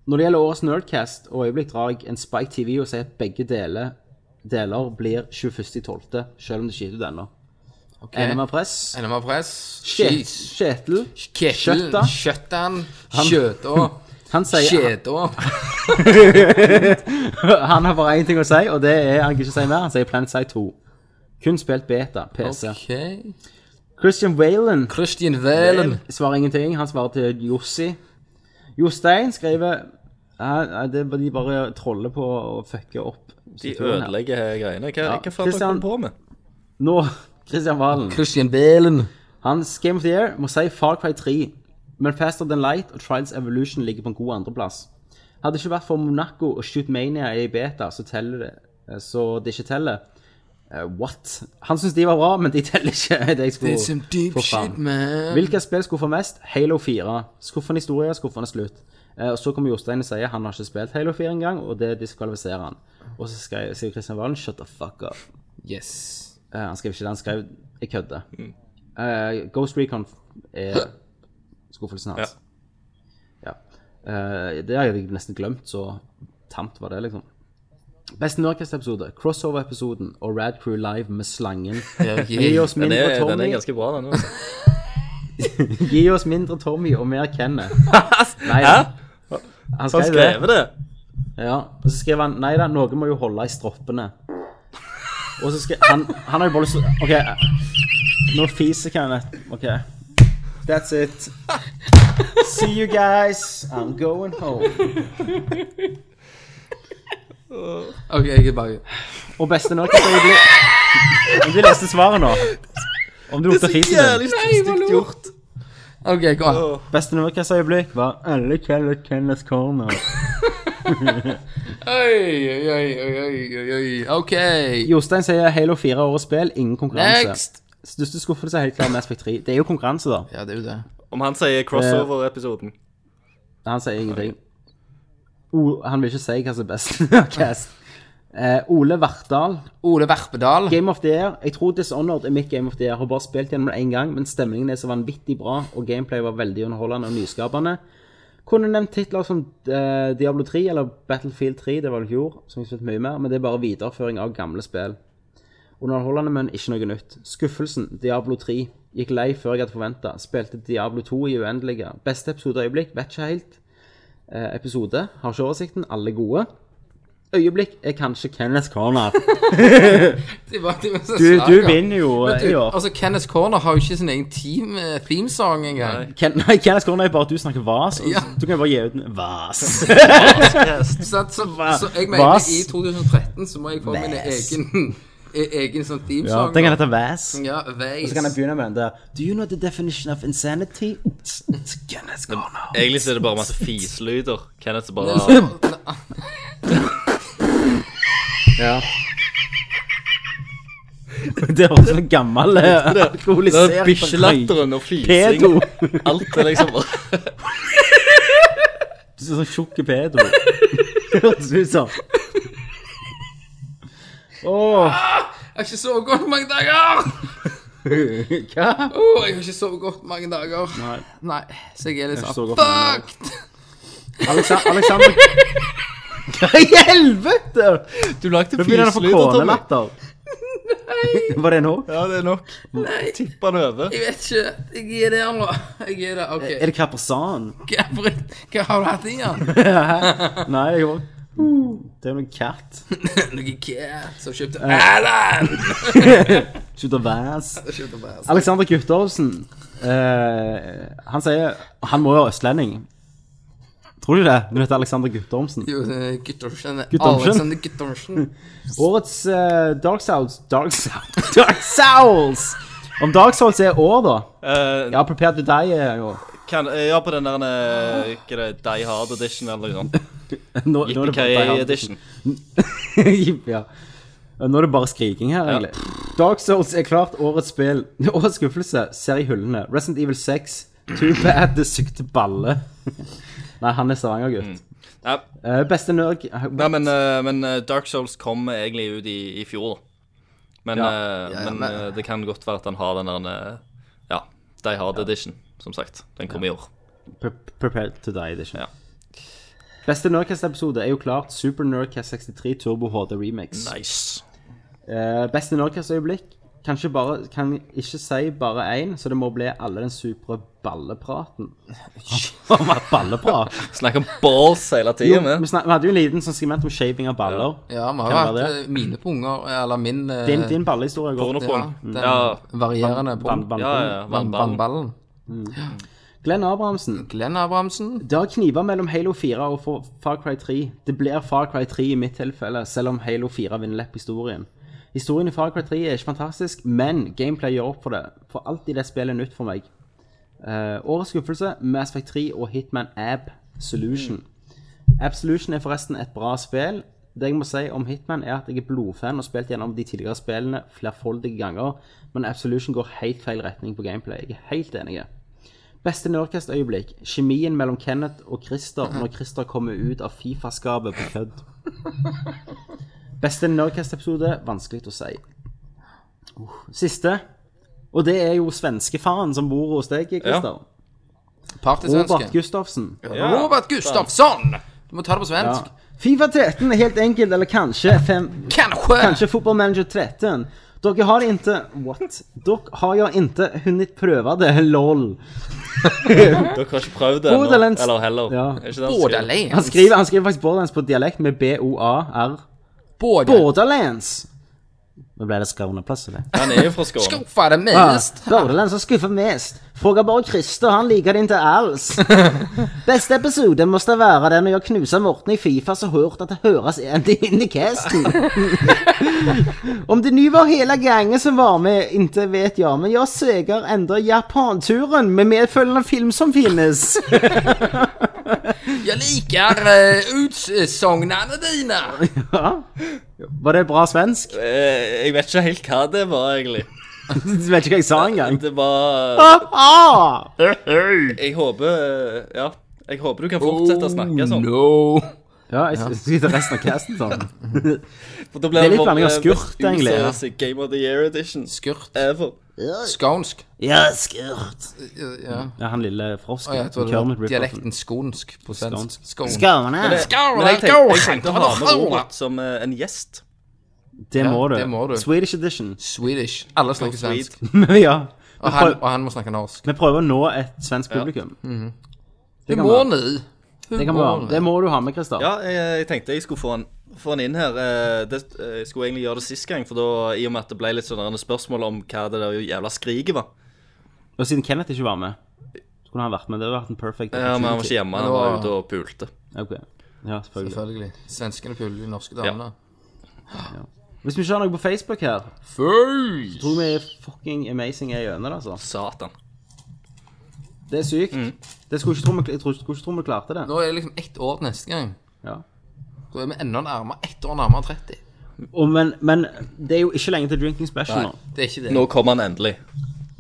[SPEAKER 1] Når det gjelder årets Nerdcast og øyeblikk drar jeg en Spike TV og sier at begge deler, deler blir 21.12., selv om det skjer ut ennå. Enig med press.
[SPEAKER 2] NMA Press.
[SPEAKER 1] Kjet-
[SPEAKER 2] Jeez.
[SPEAKER 1] Kjetil.
[SPEAKER 2] Kjetil.
[SPEAKER 1] Kjøtta.
[SPEAKER 2] Kjøttan. Kjøtå.
[SPEAKER 1] Han sier
[SPEAKER 2] Kjedå.
[SPEAKER 1] han har bare én ting å si, og det er han kan ikke si mer. Han sier Plantside 2. Kun spilt beta, PC.
[SPEAKER 2] OK.
[SPEAKER 1] Christian Whalen
[SPEAKER 2] Christian Valen.
[SPEAKER 1] svarer ingenting. Han svarer til Jossi. Jostein skriver Nei, nei, det er bare- De bare troller på å fucke opp.
[SPEAKER 3] De
[SPEAKER 1] situasjonen her.
[SPEAKER 3] ødelegger her greiene. Hva, hva faen holder
[SPEAKER 1] Christian-
[SPEAKER 3] dere på med?
[SPEAKER 1] Nå, Christian Valen.
[SPEAKER 2] Christian Valen.
[SPEAKER 1] Hans Game of the Year må si Far Cry 3, men Faster Than Light og Trials Evolution ligger på en god andreplass. Hadde det ikke vært for Monaco og Shootmania i beta, så teller det, eh, så det ikke teller. Eh, what? Han syns de var bra, men de teller ikke. Det jeg skulle
[SPEAKER 2] It's some deep
[SPEAKER 1] få fram.
[SPEAKER 2] shit,
[SPEAKER 3] Um,
[SPEAKER 2] man.
[SPEAKER 1] Hvilke spill skuffer mest? Halo 4. Skuffende historie, skuffende slutt. Eh, og Så kommer Jostein og sier han har ikke spilt Halo 4 engang, og det diskvalifiserer han. Og så skrev- sier Kristian Valen 'shut the fuck up'.
[SPEAKER 2] Yes.
[SPEAKER 1] Eh, han skrev ikke det, han skrev 'jeg kødder'.
[SPEAKER 3] Mm.
[SPEAKER 1] Eh, Ghost Recon er skuffelsen hans. Ja. Eh, det har jeg nesten glemt, så tamt var det, liksom. Beste Nordcast-episode, crossover-episoden og Rad Crew Live med slangen. Gi oss
[SPEAKER 3] Den
[SPEAKER 1] mindre
[SPEAKER 3] er, den er
[SPEAKER 1] Tommy,
[SPEAKER 3] ganske bra, den. altså.
[SPEAKER 1] gi oss mindre Tommy og mer Kenneth. Nei,
[SPEAKER 3] Hæ?
[SPEAKER 1] Han
[SPEAKER 3] Han
[SPEAKER 1] skrev det.
[SPEAKER 3] skrev det?
[SPEAKER 1] Ja, og så skrev han Nei da, noen må jo holde i stroppene. Og så skrev han Han har jo bare lyst til OK. Nå fiser Kenneth. OK. That's it. See you guys. I'm going home.
[SPEAKER 2] OK, jeg er bak.
[SPEAKER 1] Og beste nok at jeg blir Om du leste svaret nå Om du lukter fisen din.
[SPEAKER 3] stygt gjort.
[SPEAKER 2] OK, gå.
[SPEAKER 1] Beste Nordkast-øyeblikk var Alle kaller Kenneth Corner.
[SPEAKER 2] Oi, oi, oi, oi, oi, oi. OK.
[SPEAKER 1] Jostein sier Halo 4 årets spill, ingen konkurranse.
[SPEAKER 2] Next.
[SPEAKER 1] Største skuffelse er helt klart Mass Effect 3. Det er jo konkurranse, da.
[SPEAKER 2] Ja, det er jo det.
[SPEAKER 3] Om han sier crossover-episoden.
[SPEAKER 1] Han sier ingenting. O, han vil ikke si hva som er best. Cast. Eh, Ole Vartdal.
[SPEAKER 2] Ole Verpedal.
[SPEAKER 1] Game of the Year. Jeg tror Dishonored er mitt Game of the Year. Har bare spilt gjennom det én gang, men stemningen er så vanvittig bra, og gameplay var veldig underholdende og nyskapende. Kunne nevnt titler som eh, Diablo 3 eller Battlefield 3, det var det i fjor, som jeg spilte mye mer, men det er bare videreføring av gamle spill. Underholdende, men ikke noe nytt. Skuffelsen. Diablo 3. Gikk lei før jeg hadde forventa. Spilte Diablo 2 i uendelige. Beste episodeøyeblikk, vet ikke helt. Eh, episode. Har ikke oversikten. Alle gode. Øyeblikk er kanskje Kenneth Corner.
[SPEAKER 2] Det var- det var så
[SPEAKER 1] Du,
[SPEAKER 2] slager.
[SPEAKER 1] du vinner jo
[SPEAKER 2] Men
[SPEAKER 1] eh,
[SPEAKER 2] du,
[SPEAKER 1] i år.
[SPEAKER 2] Altså, Kenneth Corner har jo ikke sin egen team, eh, themesong engang.
[SPEAKER 1] Ken, nei, Kenneth Corner er bare at du snakker vas. og
[SPEAKER 2] Ja.
[SPEAKER 1] så- Du kan jo bare gi ut en vas.
[SPEAKER 2] Så, så, så jeg
[SPEAKER 1] Hva?
[SPEAKER 2] mener i 2013 så må jeg få min
[SPEAKER 1] Væs.
[SPEAKER 2] egen, e- egen sånn
[SPEAKER 1] Ja,
[SPEAKER 2] themesong.
[SPEAKER 1] den kan hete Vas.
[SPEAKER 2] Ja, Vase.
[SPEAKER 1] Og så kan jeg begynne med den der Do you know the definition of insanity? Kenneth Corner.
[SPEAKER 3] Egentlig så er det bare masse fiselyder. Kenneth er bare
[SPEAKER 1] Ja. Det høres ut som en gammel eh,
[SPEAKER 3] Det er
[SPEAKER 1] alkoholisert
[SPEAKER 3] Bikkjelatteren og fising.
[SPEAKER 1] Pedo.
[SPEAKER 3] Alt er liksom bare
[SPEAKER 1] Du ser sånn tjukk pedo. Høres ut som. Åh,
[SPEAKER 2] Jeg har ikke sovet godt mange dager!
[SPEAKER 1] hva?
[SPEAKER 2] Åh, jeg har ikke sovet godt mange dager.
[SPEAKER 1] Nei.
[SPEAKER 2] Nei, så jeg er litt
[SPEAKER 1] Jeg har ikke
[SPEAKER 2] sånn
[SPEAKER 1] sovet godt mange dager.
[SPEAKER 2] fucked!
[SPEAKER 1] Aleksa- Alexander I helvete!
[SPEAKER 3] Du lagde
[SPEAKER 1] Nå begynner han å få
[SPEAKER 3] fiselyder, Tommy.
[SPEAKER 1] kånelatter. Var det nå?
[SPEAKER 3] Ja, det er nok. Tipper han over.
[SPEAKER 2] Jeg vet ikke. Jeg er der nå. Jeg er der.
[SPEAKER 1] Er
[SPEAKER 2] OK.
[SPEAKER 1] det Kapersan?
[SPEAKER 2] Hva, hva har du hatt i den?
[SPEAKER 1] Nei, jeg òg. Det er jo en katt.
[SPEAKER 2] Noe cat som kjøpte Alan!
[SPEAKER 1] Slutt å væse. Alexander Guttormsen. eh, han sier Han må jo være østlending. Tror du det? Når det heter Alexander Guttormsen.
[SPEAKER 2] Jo, det er Guttormsen.
[SPEAKER 1] Guttormsen?
[SPEAKER 2] Alexander Guttormsen.
[SPEAKER 1] Årets eh, Dark Souls Dark Souls Dark Souls! Om Dark Souls er år, da?
[SPEAKER 3] Eh,
[SPEAKER 1] Ja, prepared to die er jo
[SPEAKER 3] kan, ja, på den der eh, Hva er det? Die Hard Edition eller noe sånt.
[SPEAKER 1] Nå- nå er det bare Die
[SPEAKER 3] Yippee
[SPEAKER 1] Hard
[SPEAKER 3] Edition.
[SPEAKER 1] ja. Nå er det bare skriking her, egentlig. Dark Souls er klart årets spill. Årets skuffelse ser i hyllene. Resident Evil 6. Too bad det sugde balle. Nei, han er Stavanger-gutt.
[SPEAKER 3] Ja,
[SPEAKER 1] Eh, beste nerd
[SPEAKER 3] nei, Mm. men, eh, men eh, Dark Souls kom egentlig ut i, i fjor, da. Men, eh, men eh, det kan godt være at han har den der eh, Ja, Die Hard Edition, som sagt. Den kom i år.
[SPEAKER 1] Pre- Prepared to die edition.
[SPEAKER 3] Ja.
[SPEAKER 1] Beste Nerdcast-episode er jo klart Super Nerdcast 63 Turbo HD Remix.
[SPEAKER 3] Nice.
[SPEAKER 1] Eh, beste Nerdcast-øyeblikk? Kanskje bare, kan ikke si bare én, så det må bli alle den supre ballepraten. Om at balleprat?
[SPEAKER 3] Snakker om balls hele
[SPEAKER 1] Jo,
[SPEAKER 3] tiden, eh.
[SPEAKER 1] vi,
[SPEAKER 3] men.
[SPEAKER 1] snak, vi hadde jo en liten sånn segment om shaving av baller.
[SPEAKER 2] Ja, vi har jo
[SPEAKER 1] Kan
[SPEAKER 2] hatt
[SPEAKER 1] være
[SPEAKER 2] eh, mine punger, eller min eh,
[SPEAKER 1] Din, din ballehistorie går
[SPEAKER 2] ja,
[SPEAKER 3] Pornopoeng.
[SPEAKER 2] den
[SPEAKER 3] Ja.
[SPEAKER 2] varierende
[SPEAKER 1] Van-
[SPEAKER 2] pung.
[SPEAKER 1] van-
[SPEAKER 3] Ja, ja. Vannballen.
[SPEAKER 2] Vannballen.
[SPEAKER 1] Glenn Abrahamsen.
[SPEAKER 2] Glenn Abrahamsen.
[SPEAKER 1] Det har kniva mellom Halo 4 og Fa- Far Cry 3. Det blir Far Cry 3 i mitt tilfelle, selv om Halo 4 vinner lepp historien. Historien i Far Cry 3 er ikke fantastisk, men gameplay gjør opp for det. For alt i det spillet er nytt for meg. Eh, årets skuffelse, Mass Effect 3 og Hitman Ab Solution. Ab Solution er forresten et bra spill. Det jeg må si om Hitman, er at jeg er blodfan og har spilt gjennom de tidligere spillene flerfoldige ganger, men Ab Solution går helt feil retning på gameplay. Jeg er helt enig. Beste Nerdcast-øyeblikk. Kjemien mellom Kenneth og Christer når Christer kommer ut av Fifa-skapet på kødd. Beste Nerdcast-episode. Vanskelig å si. Uh, siste. Og det er jo svenskefaren som bor hos deg, Christer. Robert
[SPEAKER 2] Partysvenske.
[SPEAKER 1] Gustafsen.
[SPEAKER 2] Robert Gustafsson! Du må ta det på
[SPEAKER 1] Ja.
[SPEAKER 2] svensk.
[SPEAKER 1] Fifa 13 er helt enkelt, eller kanskje fem,
[SPEAKER 2] Kanskje.
[SPEAKER 1] Kanskje fotballmanager 13. Dere har inte... What? Dere har jo inte hunnit prøve det, lol.
[SPEAKER 3] Dere har ikke prøvd det ennå.
[SPEAKER 1] Borderlands-
[SPEAKER 3] Eller heller.
[SPEAKER 1] Ja.
[SPEAKER 3] Er ikke det han skriver?
[SPEAKER 2] Borderlands.
[SPEAKER 1] Han skriver, han skriver faktisk Borderlands på dialekt med B-O-A-R.
[SPEAKER 2] Både
[SPEAKER 1] Borderlands! Nå ble det Skåneplass i det.
[SPEAKER 3] Han er jo fra Skåne.
[SPEAKER 2] skuffa det mest.
[SPEAKER 1] Ah. Borderlands har skuffa mest. Fråga bare Christer, han liker det ikke alls. Beste episode måtte være den når jeg knuser Morten i Fifa så hardt at det høres ende inn i casten. Om det nu var hele gjengen som var med, inte vet jeg, men jeg søker enda Japanturen med medfølgende film som finnes.
[SPEAKER 2] Jeg liker uh, utsagnene dine.
[SPEAKER 1] Var det bra svensk?
[SPEAKER 3] Eh, Jeg vet ikke helt hva det var, egentlig.
[SPEAKER 1] Du vet ikke hva jeg sa engang.
[SPEAKER 3] Det var
[SPEAKER 1] Ah, ah.
[SPEAKER 3] Jeg håper eh, Ja. Jeg håper du kan fortsette å
[SPEAKER 1] Oh,
[SPEAKER 3] snakke sånn.
[SPEAKER 2] Oh, No.
[SPEAKER 1] Ja, jeg skal skal ta resten av casten sånn.
[SPEAKER 3] For da blir
[SPEAKER 1] Det er litt
[SPEAKER 3] vår,
[SPEAKER 1] blanding av
[SPEAKER 3] eh,
[SPEAKER 1] skurk,
[SPEAKER 3] mest
[SPEAKER 1] egentlig, ja.
[SPEAKER 3] useriøse Game of the Year Edition
[SPEAKER 2] Skurt.
[SPEAKER 3] ever.
[SPEAKER 2] Skånsk.
[SPEAKER 1] Ja, skurt.
[SPEAKER 2] Ja.
[SPEAKER 1] Ja, han lille
[SPEAKER 2] Å, jeg
[SPEAKER 1] frosken.
[SPEAKER 2] tror det
[SPEAKER 1] Kermit
[SPEAKER 2] var
[SPEAKER 1] Ripper.
[SPEAKER 2] dialekten skånsk på svensk.
[SPEAKER 1] Skånsk.
[SPEAKER 2] Skånsk.
[SPEAKER 1] Skåne.
[SPEAKER 3] Men jeg tenkte, jeg tenkte å ha med Robert som eh, en gjest.
[SPEAKER 1] Det må,
[SPEAKER 2] Ja,
[SPEAKER 1] du.
[SPEAKER 2] det må du.
[SPEAKER 1] Swedish edition.
[SPEAKER 2] Swedish. Alle snakker svensk.
[SPEAKER 1] ja.
[SPEAKER 2] Og han, og han må snakke norsk.
[SPEAKER 1] Vi prøver å nå et svensk publikum.
[SPEAKER 2] Det
[SPEAKER 1] kan
[SPEAKER 2] må
[SPEAKER 1] være.
[SPEAKER 2] ni.
[SPEAKER 1] Det, kan vi ha. det må du ha med, Christer.
[SPEAKER 3] Ja, jeg, jeg tenkte jeg skulle få han, få han inn her. Eh, Det, eh, jeg skulle egentlig gjøre det sist gang, for da, i og med at det ble litt sånn spørsmål om hva det der jævla skriket var.
[SPEAKER 1] Og siden Kenneth ikke var med, så kunne han vært med. Det hadde vært en perfect
[SPEAKER 3] Ja, Men han var ikke hjemme, han var
[SPEAKER 2] var-
[SPEAKER 3] ute og pulte.
[SPEAKER 1] Ok. Ja, selvfølgelig.
[SPEAKER 2] Selvfølgelig. Svenskene puler de norske damene.
[SPEAKER 1] Hvis vi ikke har noe på Facebook her,
[SPEAKER 2] Føy!
[SPEAKER 1] tror vi fucking amazing er gjennom det, altså.
[SPEAKER 3] Satan.
[SPEAKER 1] Det er sykt. Det skulle ikke tro vi, jeg tror- skulle ikke tro vi klarte det.
[SPEAKER 2] Nå er det liksom ett år til neste gang.
[SPEAKER 1] Ja.
[SPEAKER 2] Da er vi enda nærmere ett år nærmere 30.
[SPEAKER 1] Og, men, men det er jo ikke lenge til Drinking Special
[SPEAKER 3] Nei.
[SPEAKER 1] nå.
[SPEAKER 2] Det er ikke det.
[SPEAKER 3] Nå kommer han endelig.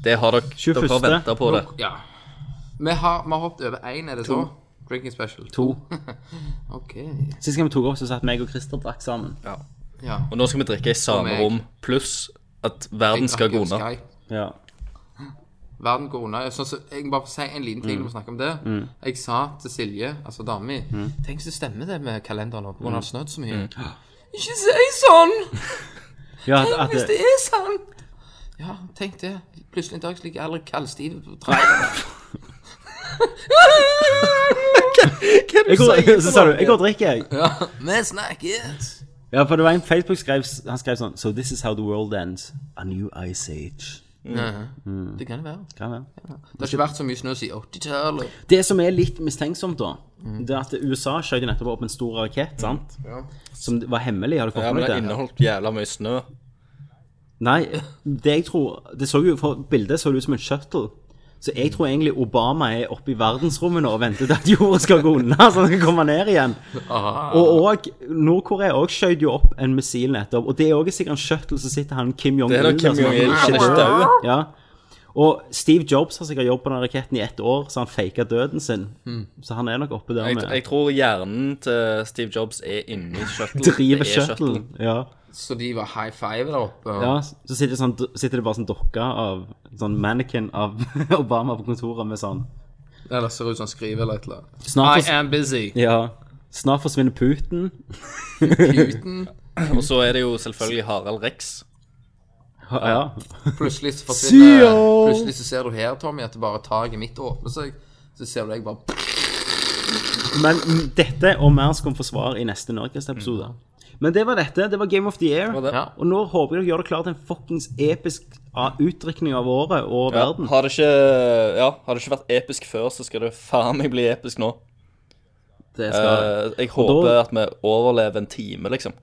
[SPEAKER 3] Det har dere, dere
[SPEAKER 1] 21..
[SPEAKER 3] har venta på det.
[SPEAKER 2] Ja. Vi har, vi har hoppet over én, er det så? Drinking special.
[SPEAKER 1] To.
[SPEAKER 2] OK.
[SPEAKER 1] Sist gang vi tok opp, så satt meg og Christer og drakk sammen.
[SPEAKER 2] Ja.
[SPEAKER 3] Og nå skal vi drikke i samme
[SPEAKER 2] meg.
[SPEAKER 3] rom, pluss at verden skal gå unna.
[SPEAKER 2] Skype.
[SPEAKER 1] Ja.
[SPEAKER 2] verden går unna. Sånn som- jeg må bare få si en liten ting når vi snakker om det. Jeg sa til Silje, altså dama mi Tenk hvis det stemmer det med kalenderen nå, på grunn av snødd så mye. Ikke si sånn!
[SPEAKER 1] Ja, at,
[SPEAKER 2] Tenk
[SPEAKER 1] at
[SPEAKER 2] hvis det
[SPEAKER 1] det,
[SPEAKER 2] er sant! Ja, tenk det. Plutselig en dag så ligger jeg aldri kaldstiv på trappen.
[SPEAKER 1] jeg går, så sa du Jeg går og drikker, jeg.
[SPEAKER 2] Vi snakkes!
[SPEAKER 1] Ja, for det var en Facebook skrev, han skrev sånn So this is how the world ends. A new ice age.
[SPEAKER 2] Det kan det være.
[SPEAKER 1] Kan være.
[SPEAKER 2] Det har ikke vært så mye snø siden 80-tallet.
[SPEAKER 1] Det som er litt mistenksomt, da,
[SPEAKER 3] Mm.
[SPEAKER 1] det er at USA skjøt jo nettopp opp en stor rakett, sant? Som var hemmelig. Har du fått
[SPEAKER 3] Ja, men
[SPEAKER 1] med
[SPEAKER 3] det
[SPEAKER 1] deg det?
[SPEAKER 3] inneholdt jævla mye snø.
[SPEAKER 1] Nei, det jeg tror Det så jo fra bildet så det ut som en shuttle. Så jeg tror egentlig Obama er oppe i verdensrommet nå og venter til at jorda skal gå unna, så han skal komme ned igjen. Og, og Nord-Korea òg skjøt jo opp en missil nettopp. Og det er òg sikkert en shuttle, så sitter han Kim Jong-un
[SPEAKER 3] Det er da
[SPEAKER 1] der,
[SPEAKER 3] Kim
[SPEAKER 1] som er
[SPEAKER 3] Jong-il
[SPEAKER 1] den
[SPEAKER 3] han er
[SPEAKER 1] shit-
[SPEAKER 3] ikke død.
[SPEAKER 1] Ja. Og Steve Jobs har sikkert jobbet på den raketten i ett år, så han faka døden sin. Så han er nok oppe der
[SPEAKER 3] Jeg,
[SPEAKER 1] med
[SPEAKER 3] jeg tror hjernen til Steve Jobs er inni shuttlen.
[SPEAKER 1] Driver
[SPEAKER 3] Det er shuttlen.
[SPEAKER 1] shuttlen. Ja.
[SPEAKER 2] Så de var high five der oppe.
[SPEAKER 1] ja. Så sitter det, sånn, sitter det bare sånn dokke av Sånn mannequin av Obama på kontoret med sånn
[SPEAKER 2] Eller ser ut som han skriver eller et eller annet.
[SPEAKER 1] Snart, fors
[SPEAKER 2] am busy.
[SPEAKER 1] ja. Snart forsvinner Putin.
[SPEAKER 2] Putin.
[SPEAKER 3] Og så er det jo selvfølgelig Harald Rex.
[SPEAKER 1] Ja.
[SPEAKER 2] Plutselig så forsvinner
[SPEAKER 1] Sio!
[SPEAKER 2] Plutselig så ser du her, Tommy, at det bare taket mitt åpner seg. Så ser du deg bare
[SPEAKER 1] Men dette og mer skal vi få svar i neste Nerdcast-episode. Men det var dette. Det var Game of the Year.
[SPEAKER 2] Ja.
[SPEAKER 1] Og nå håper jeg dere gjør det klart til en fuckings episk ah, utdrikning av året og
[SPEAKER 3] Ja,
[SPEAKER 1] verden.
[SPEAKER 3] har, det ikke, ja, har det ikke vært episk før, så skal det faen meg bli episk nå.
[SPEAKER 1] Det skal
[SPEAKER 3] Eh, jeg
[SPEAKER 1] Og da-
[SPEAKER 3] håper at vi overlever en time, liksom.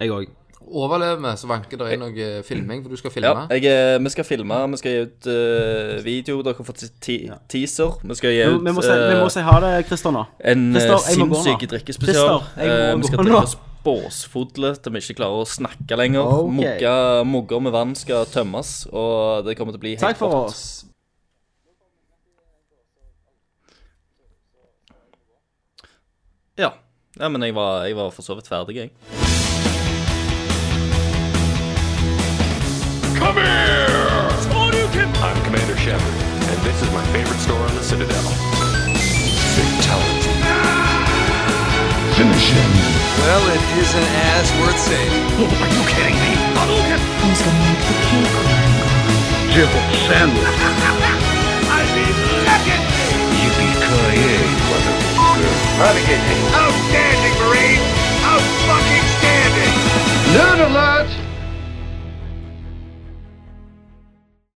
[SPEAKER 1] jeg òg.
[SPEAKER 2] Overlever vi, så vanker det inn noe filming, for du skal
[SPEAKER 3] Ja,
[SPEAKER 2] filme.
[SPEAKER 3] jeg, er- vi skal filme, vi skal gi ut eh, video, dere har fått se ti teaser. Vi skal gi ut
[SPEAKER 1] Vi må, si, vi må
[SPEAKER 3] eh,
[SPEAKER 1] si ha det, Christer, nå.
[SPEAKER 3] en eh,
[SPEAKER 1] Christer, jeg må gå nå.
[SPEAKER 3] sinnssyk drikkespesial.
[SPEAKER 1] Christer, jeg må
[SPEAKER 3] Eh, vi skal
[SPEAKER 1] gå nå.
[SPEAKER 3] drikke oss båsfodle til vi ikke klarer å snakke lenger.
[SPEAKER 1] Ok.
[SPEAKER 3] Mugga- Mugger med vann skal tømmes, og det kommer til å bli helt
[SPEAKER 1] Takk for
[SPEAKER 3] rått.
[SPEAKER 1] oss.
[SPEAKER 3] Ja. ja, men jeg var, jeg var for så vidt ferdig, jeg.
[SPEAKER 4] Come here! I'm Commander Shepard, and this is my favorite store on the Citadel.
[SPEAKER 6] Well, it isn't as worth saying.
[SPEAKER 4] I be lucky! Yippee-ki-yay, motherfucker. Out,